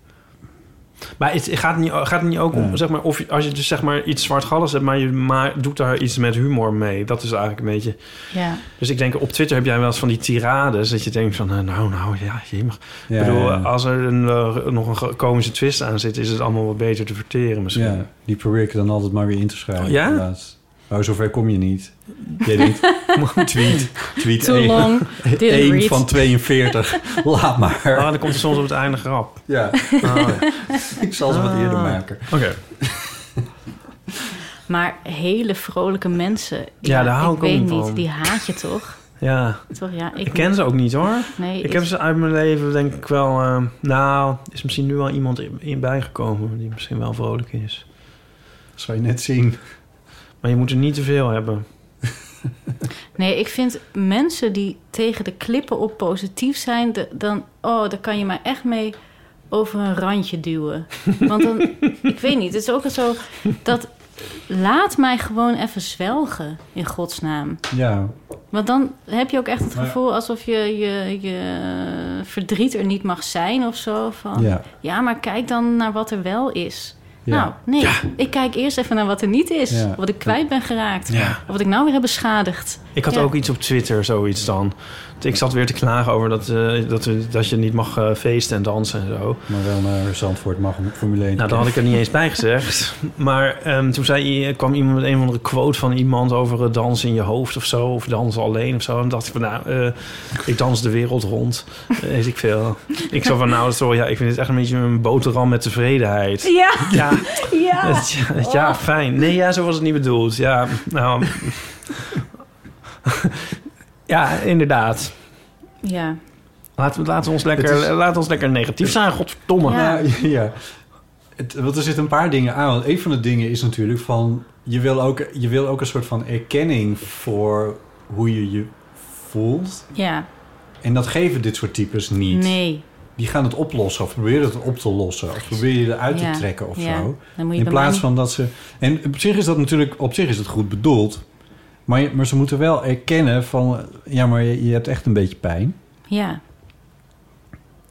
Speaker 4: Maar het gaat, niet, gaat het niet ook om,
Speaker 3: Nee.
Speaker 4: zeg maar, of je, als je dus zeg maar iets zwartgalligs hebt, maar je ma doet daar iets met humor mee. Dat is eigenlijk een beetje.
Speaker 2: Ja.
Speaker 4: Dus ik denk, op Twitter heb jij wel eens van die tirades, dat je denkt van, eh, nou, nou, ja, je mag.
Speaker 3: Ja,
Speaker 4: ik bedoel,
Speaker 3: ja, ja.
Speaker 4: als er een, eh, nog een ge- komische twist aan zit, is het allemaal wat beter te verteren misschien.
Speaker 3: Ja, die probeer ik dan altijd maar weer in te schrijven.
Speaker 4: Ja?
Speaker 3: inderdaad. Maar zover kom je niet. Jij denkt, tweet, tweet
Speaker 2: Too
Speaker 3: 1,
Speaker 2: long, didn't read.
Speaker 3: van 42. Laat
Speaker 4: Ah,
Speaker 3: maar.
Speaker 4: dan komt er soms op het einde grap.
Speaker 3: Ja, ik zal ze wat
Speaker 2: Ah.
Speaker 3: eerder maken.
Speaker 4: Oké.
Speaker 2: Maar hele vrolijke mensen.
Speaker 4: Ja, daar hou ik ook
Speaker 2: weet
Speaker 4: niet
Speaker 2: niet.
Speaker 4: van.
Speaker 2: Die haat je toch?
Speaker 4: Ja,
Speaker 2: toch ja, ik,
Speaker 4: ik ken ze ook niet hoor.
Speaker 2: Nee,
Speaker 4: Ik heb ze uit mijn leven denk ik wel... eh, nou, is misschien nu wel iemand in, in bijgekomen die misschien wel vrolijk is.
Speaker 3: Dat zal je net zien.
Speaker 4: Maar je moet er niet te veel hebben.
Speaker 2: Nee, ik vind mensen die tegen de klippen op positief zijn, de- dan, oh, daar kan je maar echt mee over een randje duwen. Want dan, ik weet niet, het is ook zo dat laat mij gewoon even zwelgen in godsnaam.
Speaker 3: Ja,
Speaker 2: Want dan heb je ook echt het
Speaker 3: Maar-
Speaker 2: gevoel alsof je je, je verdriet er niet mag zijn of zo. Van, ja.
Speaker 3: ja.
Speaker 2: maar kijk dan naar wat er wel is.
Speaker 3: Ja.
Speaker 2: Nou, nee, ik kijk eerst even naar wat er niet is.
Speaker 3: Ja.
Speaker 2: Wat ik kwijt ben geraakt.
Speaker 4: Ja.
Speaker 2: Of wat ik nou weer heb beschadigd.
Speaker 4: Ik had
Speaker 2: Ja.
Speaker 4: ook iets op Twitter, zoiets dan. Ik zat weer te klagen over dat, eh, dat, dat je niet mag eh, feesten en dansen en zo.
Speaker 3: maar wel naar Zandvoort mag om Formule 1
Speaker 4: Nou, daar had ik er niet eens bij gezegd. Maar ehm, toen zei, i- kwam iemand met een of andere quote van iemand over eh, dans in je hoofd of zo. Of dansen alleen of zo. En dacht ik van, nou, eh, ik dans de wereld rond. Eh, weet ik veel. Ik zo van, nou, sorry, ja, ik vind het echt een beetje een boterham met tevredenheid.
Speaker 2: Ja, ja.
Speaker 4: Ja, het- ja,
Speaker 3: Oh.
Speaker 4: ja, fijn. Nee, ja, zo was het niet bedoeld. Ja, nou... ja, inderdaad.
Speaker 2: Ja,
Speaker 4: Laten we, laten we ons lekker,
Speaker 3: Het is-
Speaker 4: laten we ons lekker negatief zijn, godverdomme.
Speaker 2: Ja.
Speaker 3: Nou, ja. Het, want er zitten een paar dingen aan. Want een van de dingen is natuurlijk van... Je wil ook, je wil ook een soort van erkenning voor hoe je je voelt.
Speaker 2: ja.
Speaker 3: En dat geven dit soort types niet.
Speaker 2: Nee.
Speaker 3: Die gaan het oplossen of proberen het op te lossen. Of probeer je eruit
Speaker 2: Ja.
Speaker 3: te trekken of
Speaker 2: ja.
Speaker 3: zo.
Speaker 2: Dan moet je
Speaker 3: In
Speaker 2: bij
Speaker 3: plaats
Speaker 2: mij-
Speaker 3: van dat ze... En op zich is dat natuurlijk... Op zich is het goed bedoeld. Maar, je- maar ze moeten wel erkennen van... Ja, maar je, je hebt echt een beetje pijn.
Speaker 2: Ja.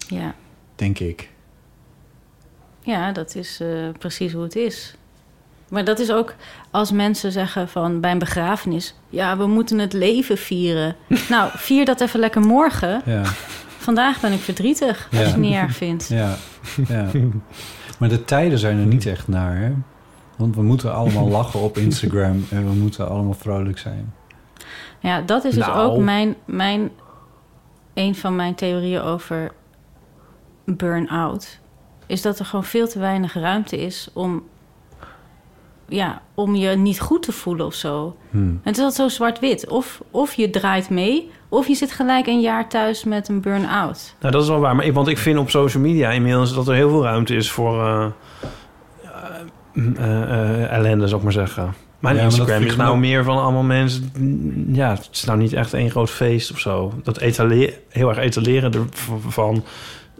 Speaker 2: Ja.
Speaker 3: Denk ik.
Speaker 2: Ja, dat is eh, precies hoe het is. Maar dat is ook als mensen zeggen van bij een begrafenis... ja, we moeten het leven vieren. nou, vier dat even lekker morgen.
Speaker 3: Ja,
Speaker 2: Vandaag ben ik verdrietig, als
Speaker 3: Ja.
Speaker 2: je het niet erg vindt.
Speaker 3: ja, ja. Maar de tijden zijn er niet
Speaker 4: Hmm.
Speaker 3: echt naar, hè? Want we moeten allemaal lachen op Instagram. En we moeten allemaal vrolijk zijn.
Speaker 2: Ja, dat is dus
Speaker 4: Nou.
Speaker 2: ook mijn, mijn, een van mijn theorieën over burn-out. Is dat er gewoon veel te weinig ruimte is om, ja, om je niet goed te voelen of zo.
Speaker 4: Hmm.
Speaker 2: En het is altijd zo zwart-wit. Of, of je draait mee, of je zit gelijk een jaar thuis met een burn-out.
Speaker 4: Nou, dat is wel waar. Maar ik, want ik vind op social media inmiddels dat er heel veel ruimte is voor eh, eh, eh, ellende, zou ik maar zeggen. Mijn
Speaker 3: Ja, maar dat
Speaker 4: Instagram
Speaker 3: vind
Speaker 4: is
Speaker 3: ik
Speaker 4: nou
Speaker 3: ook-
Speaker 4: meer van allemaal mensen... mm, Ja, het is nou niet echt één groot feest of zo. Dat etaleer, heel erg etaleren ervan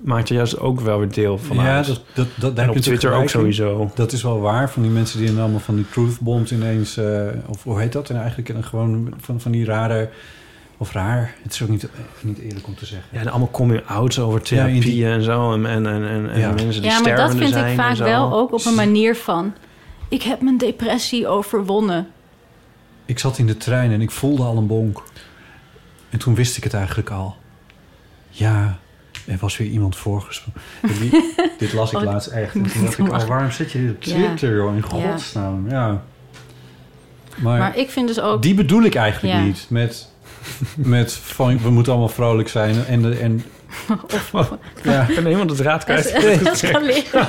Speaker 4: maakt er juist ook wel weer deel van
Speaker 3: ja,
Speaker 4: uit.
Speaker 3: dat, dat, dat, daar
Speaker 4: en
Speaker 3: heb
Speaker 4: op
Speaker 3: je
Speaker 4: Twitter ook
Speaker 3: natuurlijk gelijk in.
Speaker 4: sowieso.
Speaker 3: Dat is wel waar, van die mensen die dan allemaal van die truth bombs ineens... eh, of hoe heet dat? En eigenlijk een- gewoon van, van die rare... Of raar, het is ook niet, eh, niet eerlijk om te zeggen.
Speaker 4: Ja, en allemaal coming-outs over therapieën
Speaker 3: Ja, in die-
Speaker 4: en zo. En, en, en, en, en
Speaker 3: Ja.
Speaker 4: mensen die
Speaker 2: ja, maar dat
Speaker 4: stervende
Speaker 2: vind
Speaker 4: zijn
Speaker 2: ik
Speaker 4: en
Speaker 2: vaak
Speaker 4: zo.
Speaker 2: wel ook op een manier van... ik heb mijn depressie overwonnen.
Speaker 3: Ik zat in de trein en ik voelde al een bonk. En toen wist ik het eigenlijk al. Ja, er was weer iemand voorgesprongen. En die- dit las ik
Speaker 2: Oh,
Speaker 3: laatst echt. En toen dacht ik,
Speaker 2: moet
Speaker 3: oh,
Speaker 2: lachen.
Speaker 3: waarom zet je dit op
Speaker 2: Ja.
Speaker 3: Twitter, joh? In
Speaker 2: Ja.
Speaker 3: godsnaam, ja. Maar,
Speaker 2: Maar ik vind dus ook...
Speaker 3: die bedoel ik eigenlijk
Speaker 2: Ja.
Speaker 3: niet. Met, met van, we moeten allemaal vrolijk zijn. En, de- en ja,
Speaker 4: Ik ben helemaal het raad kwijt.
Speaker 2: escaleren.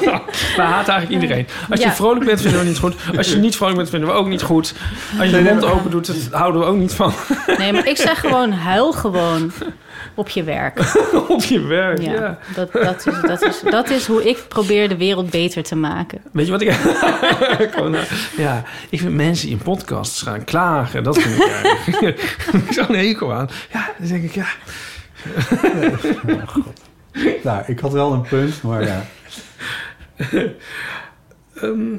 Speaker 4: We haat eigenlijk iedereen. Als je
Speaker 2: Ja.
Speaker 4: vrolijk bent, vinden we niet goed. Als je niet vrolijk bent, vinden we ook niet goed. Als je je mond open doet, dat houden we ook niet van
Speaker 2: Nee, maar ik zeg gewoon huil gewoon op je werk.
Speaker 4: op je werk.
Speaker 2: Ja,
Speaker 4: Ja.
Speaker 2: Dat, dat, is, dat, is, dat is hoe ik probeer de wereld beter te maken.
Speaker 4: Weet je wat ik... Gewoon, eh, ja, ik vind mensen die in podcasts gaan klagen. Dat vind ik eigenlijk. Zo'n hekel aan. Ja, dan denk ik, ja.
Speaker 3: nou, ik had wel een punt, maar ja.
Speaker 4: Ehm.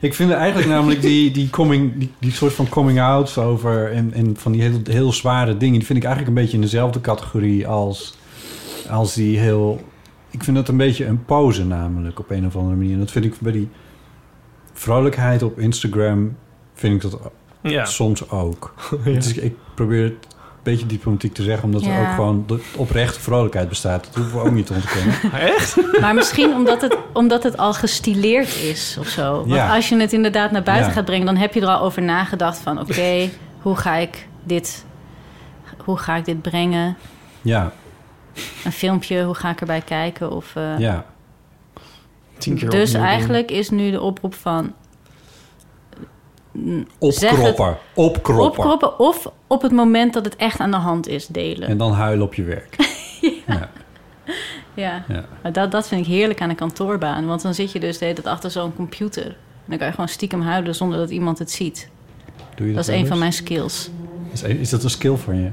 Speaker 3: Ik vind eigenlijk namelijk die, die, coming, die, die soort van coming-outs over... En, en van die heel, heel zware dingen... die vind ik eigenlijk een beetje in dezelfde categorie als, als die heel Ik vind dat een beetje een pauze namelijk op een of andere manier. En dat vind ik bij die vrolijkheid op Instagram vind ik dat
Speaker 4: Ja.
Speaker 3: soms ook.
Speaker 4: Ja.
Speaker 3: Dus ik, ik probeer het een beetje diplomatiek te zeggen, omdat er
Speaker 2: Ja.
Speaker 3: ook gewoon de oprechte vrolijkheid bestaat. Dat hoeven we ook niet te ontkennen.
Speaker 4: Echt?
Speaker 2: Maar misschien omdat het, omdat het al gestileerd is of zo. Want
Speaker 3: Ja.
Speaker 2: als je het inderdaad naar buiten
Speaker 3: Ja.
Speaker 2: gaat brengen, dan heb je er al over nagedacht van oké, hoe ga ik dit. Hoe ga ik dit brengen?
Speaker 3: Ja,
Speaker 2: Een filmpje, hoe ga ik erbij kijken? Of, eh,
Speaker 3: ja.
Speaker 4: Tien keer
Speaker 2: dus
Speaker 4: opnieuw doen.
Speaker 2: eigenlijk is nu de oproep van
Speaker 3: Opkropper. Opkropper.
Speaker 2: opkroppen of op het moment dat het echt aan de hand is delen.
Speaker 3: En dan huilen op je werk. ja.
Speaker 2: Ja,
Speaker 3: Ja.
Speaker 2: Maar dat, dat vind ik heerlijk aan een kantoorbaan. Want dan zit je dus de hele tijd achter zo'n computer. En dan kan je gewoon stiekem huilen zonder dat iemand het ziet.
Speaker 3: Doe je
Speaker 2: Dat is
Speaker 3: wel
Speaker 2: een van
Speaker 3: eens?
Speaker 2: mijn skills.
Speaker 3: Is, is dat een skill van je?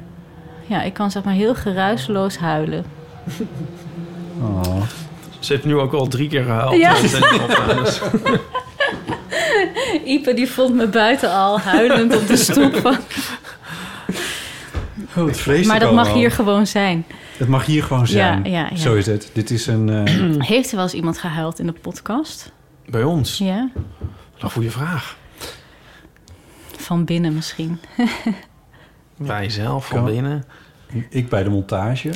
Speaker 2: Ja, ik kan zeg maar heel geruisloos huilen.
Speaker 3: Oh.
Speaker 4: Ze heeft nu ook al drie keer gehaald.
Speaker 2: Ja.
Speaker 4: Dus-
Speaker 2: Ipe die vond me buiten al huilend op de stoep. Van,
Speaker 3: Oh, het vreselijk
Speaker 2: maar dat mag hier gewoon zijn.
Speaker 3: Het mag hier gewoon zijn.
Speaker 2: Ja, ja, ja.
Speaker 3: Zo is het. Dit is een... eh,
Speaker 2: Heeft er wel eens iemand gehuild in de podcast?
Speaker 4: Bij ons?
Speaker 2: Ja,
Speaker 4: Wat Een goede vraag.
Speaker 2: van binnen misschien.
Speaker 4: Wij zelf, van
Speaker 3: Kan.
Speaker 4: binnen.
Speaker 3: ik bij de montage.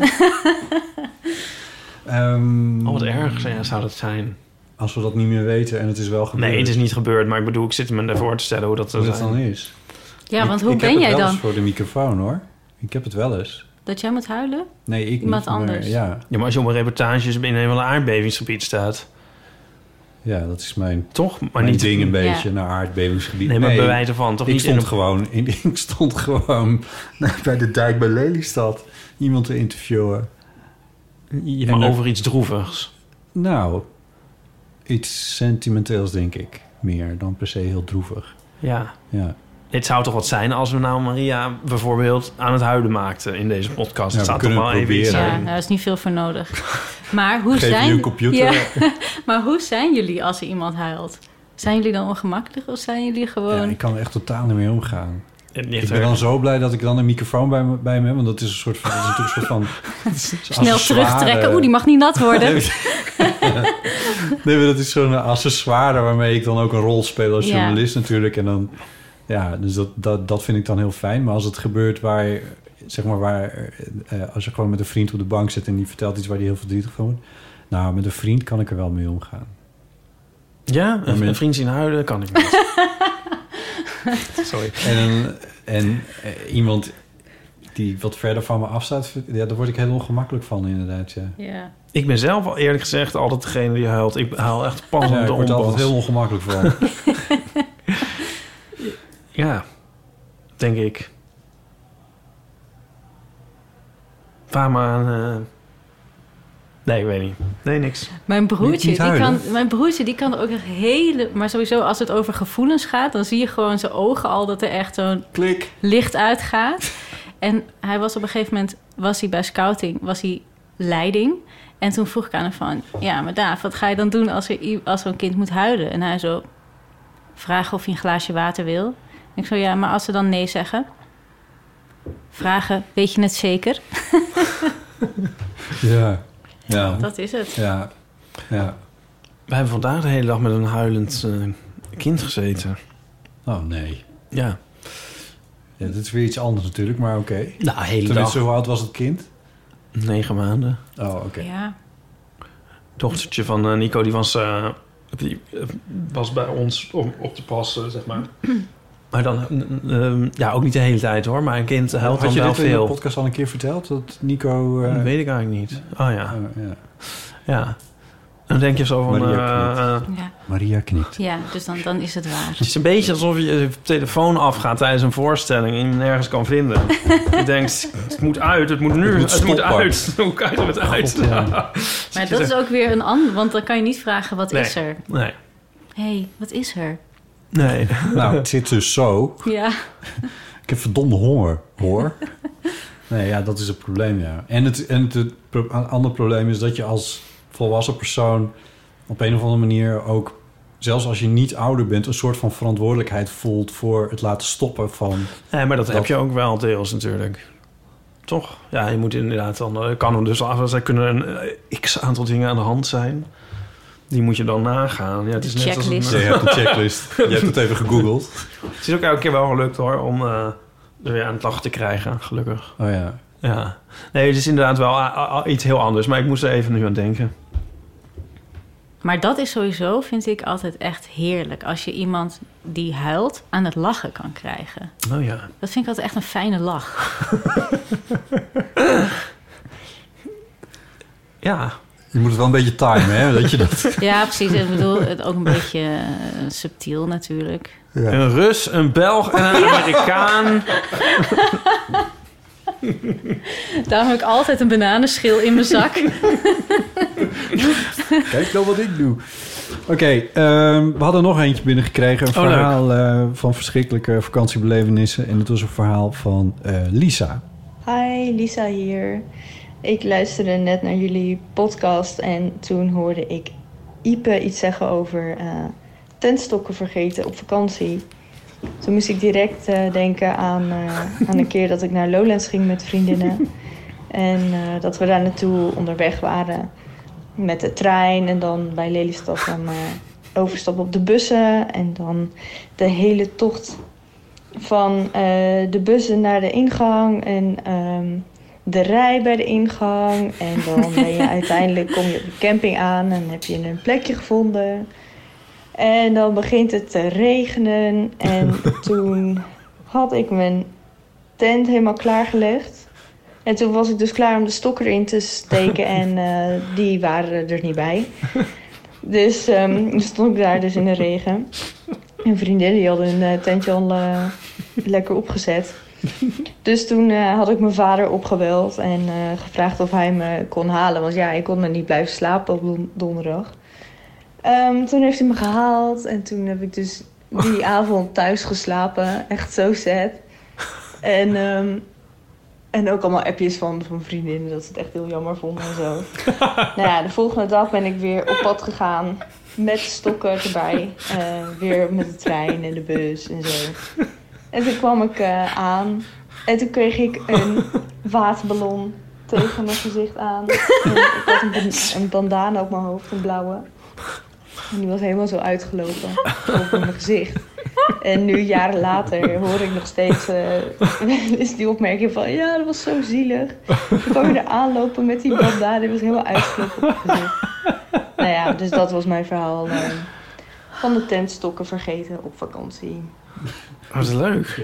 Speaker 3: Ehm,
Speaker 4: Al Oh, wat erg ja, zou dat zijn.
Speaker 3: Als we dat niet meer weten en het is wel gebeurd.
Speaker 4: Nee, het is niet gebeurd. Maar ik bedoel, ik zit me ervoor te stellen hoe dat eh,
Speaker 3: Wat
Speaker 4: zou
Speaker 3: het
Speaker 4: zijn.
Speaker 3: dan is.
Speaker 2: Ja,
Speaker 3: Ik-
Speaker 2: want hoe
Speaker 3: ik
Speaker 2: ben
Speaker 3: heb
Speaker 2: jij
Speaker 3: het wel
Speaker 2: dan?
Speaker 3: eens voor de microfoon hoor. Ik heb het wel eens.
Speaker 2: Dat jij moet huilen?
Speaker 3: Nee, ik
Speaker 2: Iemand
Speaker 3: niet, maar
Speaker 2: anders.
Speaker 3: ja.
Speaker 4: Ja, maar als je op een reportage in een van de aardbevingsgebied staat,
Speaker 3: ja, dat is mijn,
Speaker 4: toch? Maar
Speaker 3: mijn
Speaker 4: niet
Speaker 3: ding een
Speaker 2: Ja.
Speaker 3: beetje naar aardbevingsgebied.
Speaker 4: Nee, maar bij wijze van toch
Speaker 3: ik
Speaker 4: niet in
Speaker 3: stond,
Speaker 4: een
Speaker 3: gewoon in, ik stond gewoon bij de dijk bij Lelystad iemand te interviewen.
Speaker 4: Ja,
Speaker 3: En
Speaker 4: maar
Speaker 3: dan-
Speaker 4: over iets droevigs.
Speaker 3: Nou, iets sentimenteels denk ik meer dan per se heel droevig.
Speaker 4: Ja.
Speaker 3: Ja,
Speaker 4: Het zou toch wat zijn als we nou Maria bijvoorbeeld aan het huiden maakten in deze podcast.
Speaker 3: Ja,
Speaker 4: het
Speaker 3: we
Speaker 4: zou toch
Speaker 3: kunnen
Speaker 4: wel
Speaker 3: het
Speaker 4: even iets
Speaker 3: proberen.
Speaker 2: Ja,
Speaker 4: zijn.
Speaker 2: daar is niet veel voor nodig. Maar hoe
Speaker 3: Geef
Speaker 2: zijn...
Speaker 3: je een computer.
Speaker 2: Ja, maar hoe zijn jullie als er iemand huilt? Zijn jullie dan ongemakkelijk of zijn jullie
Speaker 3: ja
Speaker 2: gewoon...
Speaker 3: ik kan er echt totaal niet mee omgaan.
Speaker 4: Het
Speaker 3: Ik
Speaker 4: ligt
Speaker 3: ben
Speaker 4: er-
Speaker 3: dan zo blij dat ik dan een microfoon bij me, bij me heb, want dat is een soort van, dat is natuurlijk een soort van
Speaker 2: Snel
Speaker 3: accessoire.
Speaker 2: terugtrekken. Oeh, die mag niet nat worden.
Speaker 3: Nee, maar- nee, maar dat is zo'n accessoire waarmee ik dan ook een rol speel als
Speaker 2: Ja.
Speaker 3: journalist natuurlijk. En dan, ja, dus dat, dat, dat vind ik dan heel fijn. Maar als het gebeurt waar, je- zeg maar waar, eh, als je gewoon met een vriend op de bank zit en die vertelt iets waar die heel verdrietig van wordt. Nou, met een vriend kan ik er wel mee omgaan.
Speaker 4: Ja, een,
Speaker 3: Amen.
Speaker 4: een vriend zien huilen kan ik niet. Sorry.
Speaker 3: En, en eh, iemand die wat verder van me afstaat, vind- ja, daar word ik heel ongemakkelijk van inderdaad, ja.
Speaker 2: Ja.
Speaker 4: Ik ben zelf al eerlijk gezegd altijd degene die huilt. Ik huil echt pas
Speaker 3: Ja,
Speaker 4: om
Speaker 3: ik
Speaker 4: de
Speaker 3: word er altijd
Speaker 4: onpas.
Speaker 3: heel ongemakkelijk van.
Speaker 4: Ja, denk ik. Waar maar aan... eh, Nee, ik weet niet. Nee, niks.
Speaker 2: Mijn
Speaker 3: Niet-
Speaker 2: broertje,
Speaker 3: niet
Speaker 2: die kan,
Speaker 3: huilen.
Speaker 2: mijn broertje, die kan ook echt hele... Maar sowieso, als het over gevoelens gaat... dan zie je gewoon zijn ogen al dat er echt zo'n
Speaker 3: Klik.
Speaker 2: licht uitgaat. En hij was op een gegeven moment... was hij bij scouting, was hij leiding. En toen vroeg ik aan hem van... ja, maar Daaf, wat ga je dan doen als, er, i- als zo'n kind moet huilen? En hij zo... vragen of hij een glaasje water wil. En ik zo, ja, maar als ze dan nee zeggen... vragen, weet je het zeker?
Speaker 3: Ja. Ja.
Speaker 2: Dat is het.
Speaker 3: Ja. Ja.
Speaker 4: We hebben vandaag de hele dag met een huilend eh, kind gezeten.
Speaker 3: Oh nee.
Speaker 4: Ja.
Speaker 3: Ja, dat is weer iets anders natuurlijk, maar oké.
Speaker 4: Nou, hele
Speaker 3: Tenminste, hoe oud was het kind?
Speaker 4: Negen maanden.
Speaker 3: Oh, oké.
Speaker 2: Ja.
Speaker 4: Dochtertje van eh, Nico, die was, eh, die, eh, was bij ons om op te passen, zeg maar. Maar dan, eh, eh, ja, ook niet de hele tijd hoor, maar een kind huilt
Speaker 3: Had
Speaker 4: dan
Speaker 3: je
Speaker 4: wel
Speaker 3: dit in de
Speaker 4: veel.
Speaker 3: podcast al een keer verteld? Dat Nico... eh,
Speaker 4: Dat weet ik eigenlijk niet. Oh ja,
Speaker 3: oh, ja.
Speaker 4: ja. Dan denk je zo van...
Speaker 3: Maria
Speaker 4: eh, eh,
Speaker 2: Ja,
Speaker 3: Maria knikt.
Speaker 2: ja dus dan, dan is het waar.
Speaker 4: het is een beetje alsof je je telefoon afgaat tijdens een voorstelling en je hem nergens kan vinden. je denkt, het moet uit, het moet nu,
Speaker 3: Het
Speaker 4: het
Speaker 3: moet
Speaker 4: moet,
Speaker 3: stoppen.
Speaker 4: uit. Hoe krijg je het uit? Dus
Speaker 3: God, ja.
Speaker 2: Maar dat is ook weer een ander, want dan kan je niet vragen wat
Speaker 4: Nee.
Speaker 2: is er.
Speaker 4: Nee,
Speaker 2: Hé, hey, wat is er?
Speaker 4: nee.
Speaker 3: nou, het zit dus zo.
Speaker 2: Ja.
Speaker 3: Ik heb verdomme honger, hoor. nee, ja, dat is het probleem, ja. En het, en het, het pro- een ander probleem is dat je als volwassen persoon... op een of andere manier ook... zelfs als je niet ouder bent... een soort van verantwoordelijkheid voelt... voor het laten stoppen van...
Speaker 4: nee, maar dat,
Speaker 3: Dat-
Speaker 4: heb je ook wel deels natuurlijk. Toch? Ja, je moet inderdaad dan... eh, Kan er dus af... Er kunnen een eh, x-aantal dingen aan de hand zijn. Die moet je dan nagaan. Ja, het,
Speaker 2: De
Speaker 4: is net als een,
Speaker 2: checklist.
Speaker 3: Je hebt een checklist. Je hebt het even gegoogeld.
Speaker 4: het is ook elke keer wel gelukt hoor, om eh, er weer aan het lachen te krijgen, gelukkig.
Speaker 3: Oh ja.
Speaker 4: Ja. Nee, het is inderdaad wel ah, ah, ah, iets heel anders. Maar ik moest er even nu aan denken.
Speaker 2: Maar dat is sowieso, vind ik altijd echt heerlijk. Als je iemand die huilt aan het lachen kan krijgen.
Speaker 4: Nou ja.
Speaker 2: Dat vind ik altijd echt een fijne lach.
Speaker 4: Ja.
Speaker 3: Je moet het wel een beetje timen, hè? Dat je dat...
Speaker 2: Ja, precies. Ik bedoel, het ook een beetje eh, subtiel natuurlijk.
Speaker 4: Een Rus, een Belg en een Amerikaan.
Speaker 2: Daarom heb ik altijd een bananenschil in mijn zak.
Speaker 3: Kijk nou wat ik doe. Oké, ehm, we hadden nog eentje binnengekregen. Een
Speaker 4: Oh, leuk.
Speaker 3: verhaal eh, van verschrikkelijke vakantiebelevenissen. En het was een verhaal van eh, Lisa.
Speaker 6: Hi, Lisa hier. Ik luisterde net naar jullie podcast en toen hoorde ik Ipe iets zeggen over eh, tentstokken vergeten op vakantie. Toen moest ik direct eh, denken aan, eh, aan een keer dat ik naar Lowlands ging met vriendinnen. En eh, dat we daar naartoe onderweg waren met de trein en dan bij Lelystad dan eh, overstappen op de bussen. En dan de hele tocht van eh, de bussen naar de ingang en ehm, de rij bij de ingang. En dan ben je uiteindelijk kom je op de camping aan en heb je een plekje gevonden. En dan begint het te regenen. En toen had ik mijn tent helemaal klaargelegd. En toen was ik dus klaar om de stok erin te steken. En eh, die waren er niet bij. Dus ehm stond ik daar dus in de regen. En vriendinnen die hadden hun eh, tentje al eh, lekker opgezet. Dus toen eh, had ik mijn vader opgebeld en eh, gevraagd of hij me kon halen. Want ja, ik kon me niet blijven slapen op don- donderdag. Ehm, toen heeft hij me gehaald en toen heb ik dus die avond thuis geslapen. Echt zo sad. En, ehm, en ook allemaal appjes van, van vriendinnen dat ze het echt heel jammer vonden en zo. nou ja, de volgende dag ben ik weer op pad gegaan met stokken erbij. eh, weer met de trein en de bus en zo. En toen kwam ik eh, aan. En toen kreeg ik een waterballon tegen mijn gezicht aan. En ik had een, ban- een bandana op mijn hoofd, een blauwe. En die was helemaal zo uitgelopen over mijn gezicht. En nu, jaren later, hoor ik nog steeds eh, wel eens die opmerking van... Ja, dat was zo zielig. Toen kwam je er aanlopen met die bandana. Die was helemaal uitgelopen op mijn gezicht. Nou ja, dus dat was mijn verhaal eh, van de tentstokken vergeten op vakantie.
Speaker 4: Wat leuk.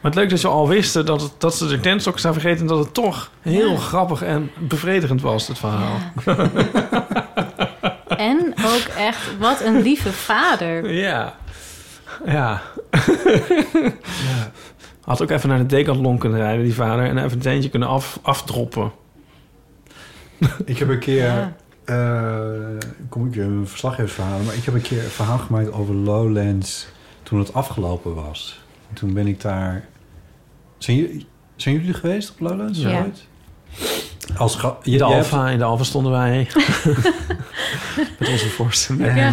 Speaker 4: Maar het leuk dat ze al wisten dat, het- dat ze de tentstokken zijn vergeten... en dat het toch heel grappig en bevredigend was, het verhaal.
Speaker 2: En ook echt, wat een lieve vader.
Speaker 4: Ja. Ja. Had ook even naar de Decathlon kunnen rijden, die vader... en even een tentje kunnen af, afdroppen.
Speaker 3: Ik heb een keer...
Speaker 2: Ja.
Speaker 3: eh, kom ik weer met een verslaggeversverhaal. Maar ik heb een keer een verhaal gemaakt over Lowlands toen het afgelopen was. En toen ben ik daar... Zijn jullie, zijn jullie geweest op Lowlands?
Speaker 2: Ja.
Speaker 3: Ooit? Als ga- je,
Speaker 4: In de
Speaker 3: je hebt-
Speaker 4: Alfa, in de Alfa stonden wij. Met onze voorstelling.
Speaker 3: En,
Speaker 2: Ja.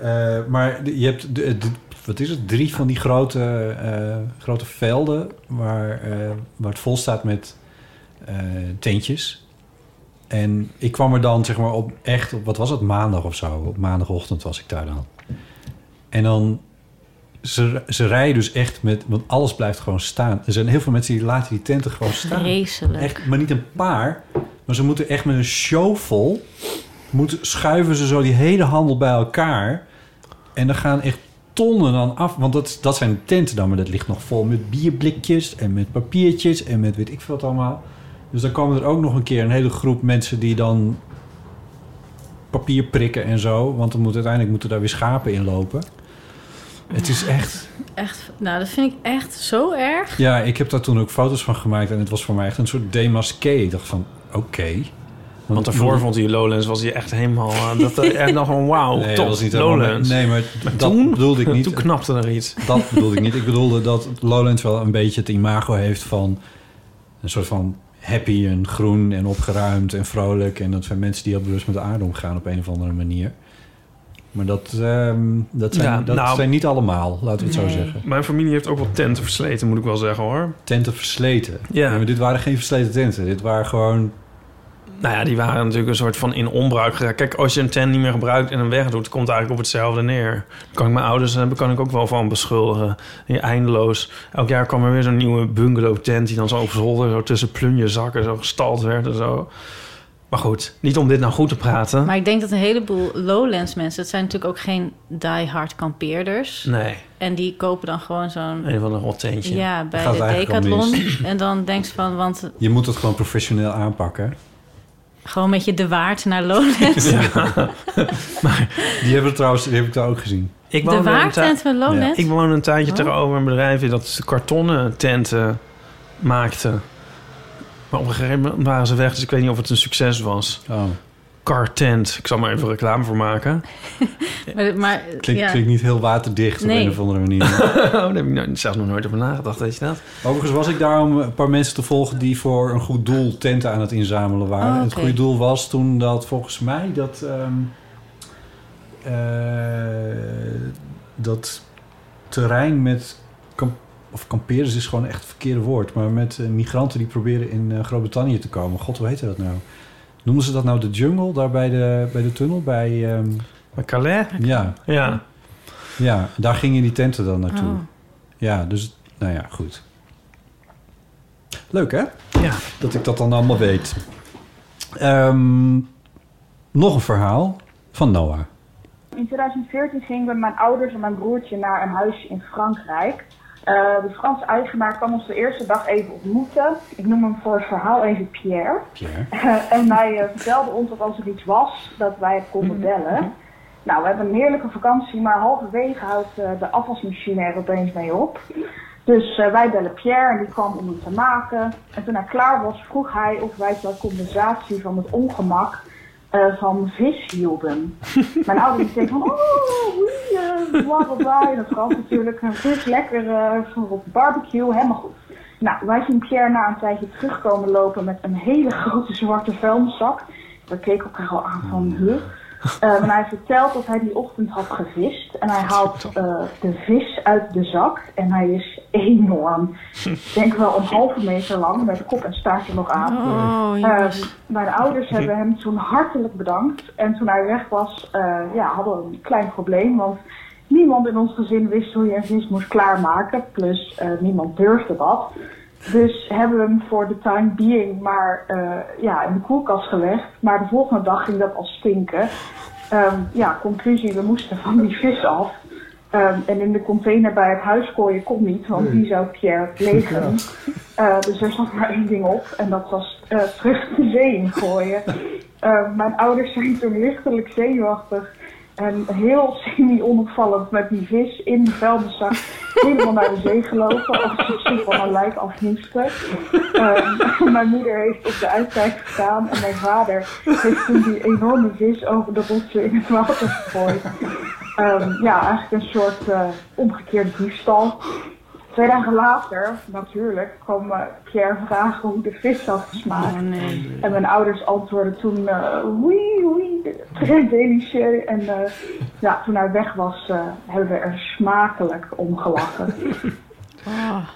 Speaker 3: eh, eh, maar de- je hebt, de- de- wat is het, drie van die grote, eh, grote velden waar, eh, waar het vol staat met eh, tentjes. En ik kwam er dan zeg maar op echt, op, wat was het, maandag of zo? Op maandagochtend was ik daar dan. En dan, ze, ze rijden dus echt met, want alles blijft gewoon staan. Er zijn heel veel mensen die laten die tenten gewoon staan.
Speaker 2: Vreselijk.
Speaker 3: Echt, maar niet een paar. Maar ze moeten echt met een shovel... Moeten, schuiven ze zo die hele handel bij elkaar. En er gaan echt tonnen dan af. Want dat, dat zijn de tenten dan. Maar dat ligt nog vol met bierblikjes en met papiertjes... en met weet ik veel wat allemaal. Dus dan komen er ook nog een keer een hele groep mensen... die dan papier prikken en zo. Want dan moet, uiteindelijk moeten daar weer schapen in lopen. Het is echt...
Speaker 2: Echt, nou, dat vind ik echt zo erg.
Speaker 3: Ja, ik heb daar toen ook foto's van gemaakt en het was voor mij echt een soort demasqué. Ik dacht van, oké.
Speaker 4: Want daarvoor vond hij Lowlands was hij echt helemaal... eh, dat, en dan gewoon wauw,
Speaker 3: nee,
Speaker 4: top,
Speaker 3: dat was niet helemaal-
Speaker 4: Lowlands.
Speaker 3: Nee, maar, dat
Speaker 4: toen-
Speaker 3: bedoelde ik
Speaker 4: Toen
Speaker 3: niet.
Speaker 4: knapte er iets.
Speaker 3: Dat bedoelde ik niet. Ik bedoelde dat Lowlands wel een beetje het imago heeft van een soort van happy en groen en opgeruimd en vrolijk. En dat zijn mensen die heel bewust met de aarde omgaan op een of andere manier. Maar dat, ehm, dat, zijn,
Speaker 4: Ja,
Speaker 3: dat
Speaker 4: nou-
Speaker 3: zijn niet allemaal, laten we het
Speaker 2: Nee.
Speaker 3: zo zeggen.
Speaker 4: Mijn familie heeft ook wel tenten versleten, moet ik wel zeggen hoor.
Speaker 3: Tenten versleten.
Speaker 4: Ja.
Speaker 3: maar dit waren geen versleten tenten. Dit waren gewoon...
Speaker 4: Nou ja, die waren natuurlijk een soort van in onbruik geraakt. Kijk, als je een tent niet meer gebruikt en hem wegdoet, komt het eigenlijk op hetzelfde neer. Daar kan ik mijn ouders hebben, kan ik ook wel van beschuldigen. Die eindeloos. Elk jaar kwam er weer zo'n nieuwe bungalow tent die dan zo op zolder, zo tussen plunjezakken zo gestald werd en zo. Maar goed, niet om dit nou goed te praten.
Speaker 2: Maar ik denk dat een heleboel lowlands mensen... het zijn natuurlijk ook geen die-hard kampeerders.
Speaker 4: Nee,
Speaker 2: En die kopen dan gewoon zo'n...
Speaker 4: een van een rot tentje.
Speaker 2: Ja, bij
Speaker 3: Gaat
Speaker 2: de
Speaker 3: eigenlijk al
Speaker 2: Decathlon. En dan denk je van, want
Speaker 3: Je moet het gewoon professioneel aanpakken.
Speaker 2: gewoon met je de waard naar Lowlands.
Speaker 3: Die hebben we trouwens, die heb ik daar ook gezien.
Speaker 4: Ik
Speaker 2: de
Speaker 4: woonde een,
Speaker 2: waardtent
Speaker 4: ta-
Speaker 2: van Lowlands?
Speaker 4: ik woonde een tijdje
Speaker 2: Oh.
Speaker 4: tegenover een bedrijf dat kartonnen tenten maakte. Maar op een gegeven moment waren ze weg, dus ik weet niet of het een succes was.
Speaker 3: Oh,
Speaker 4: Cartent. Ik zal maar even reclame voor maken.
Speaker 2: Maar, maar,
Speaker 3: klinkt,
Speaker 2: ja.
Speaker 3: klinkt niet heel waterdicht op
Speaker 2: Nee.
Speaker 3: een of andere manier.
Speaker 4: Oh, daar heb ik nou- zelfs nog nooit over nagedacht, weet je dat?
Speaker 3: Overigens was ik daar om een paar mensen te volgen die voor een goed doel tenten aan het inzamelen waren.
Speaker 2: Oh, oké.
Speaker 3: Het goede doel was toen dat volgens mij dat. ehm, eh, dat terrein met. kam- of kampeerders is gewoon echt het verkeerde woord. Maar met eh, migranten die proberen in eh, Groot-Brittannië te komen. God, hoe heette dat nou? Noemen ze dat nou de jungle daar bij de, bij de tunnel? Bij, ehm,
Speaker 4: Maar Calais?
Speaker 3: ja,
Speaker 4: Ja.
Speaker 3: ja, daar gingen die tenten dan naartoe.
Speaker 2: Oh.
Speaker 3: Ja, dus nou ja, goed. Leuk hè?
Speaker 4: Ja.
Speaker 3: Dat ik dat dan allemaal weet. Ehm, nog een verhaal van Noah.
Speaker 5: In 2014 gingen we met mijn ouders en mijn broertje naar een huisje in Frankrijk. Eh, de Franse eigenaar kwam ons de eerste dag even ontmoeten. Ik noem hem voor het verhaal even Pierre.
Speaker 3: Pierre.
Speaker 5: Eh, en hij eh, vertelde ons dat als er iets was, dat wij het konden bellen. Nou, we hebben een heerlijke vakantie, maar halverwege houdt eh, de afwasmachine er opeens mee op. Dus eh, wij bellen Pierre en die kwam om hem te maken. En toen hij klaar was, vroeg hij of wij ter compensatie van het ongemak eh, van vis hielden. Mijn ouders denken van, oh, oui, eh, bla bla bla. En dat was natuurlijk een vis lekker eh, voor op barbecue, helemaal goed. Nou, wij zien Pierre na een tijdje terugkomen lopen met een hele grote zwarte vuilniszak. We keken elkaar al aan van, huh? Eh, maar hij vertelt dat hij die ochtend had gevist. En hij haalt eh, de vis uit de zak. En hij is enorm. Ik denk wel een halve meter lang, met kop en staartje nog aan.
Speaker 2: Oh,
Speaker 5: Eh,
Speaker 2: jongens.
Speaker 5: mijn ouders hebben hem toen hartelijk bedankt. En toen hij weg was, eh, ja, hadden we een klein probleem. Want niemand in ons gezin wist hoe je een vis moest klaarmaken. Plus eh, niemand durfde dat. Dus hebben we hem voor de time being maar eh, ja, in de koelkast gelegd. Maar de volgende dag ging dat al stinken. Ehm, ja, conclusie, we moesten van die vis af. Ehm, en in de container bij het huis gooien kon niet, want die zou Pierre plegen. Eh, dus er zat maar één ding op en dat was eh, terug de zee in gooien. Eh, mijn ouders zijn toen lichtelijk zenuwachtig en heel semi-onopvallend met die vis in de vuilniszak helemaal naar de zee gelopen alsof ze van een lijk afmoesten. Ehm, mijn moeder heeft op de uitkijk gestaan en mijn vader heeft toen die enorme vis over de rotsen in het water gegooid. Ehm, ja, eigenlijk een soort eh omgekeerde diefstal. Twee dagen later, natuurlijk, kwam eh, Pierre vragen hoe de vis had gesmaakt.
Speaker 2: Oh, nee.
Speaker 5: En mijn ouders antwoordden toen, eh oui, oui, très délicieux. En eh, ja, toen hij weg was, eh, hebben we er smakelijk om gelachen.
Speaker 2: Oh.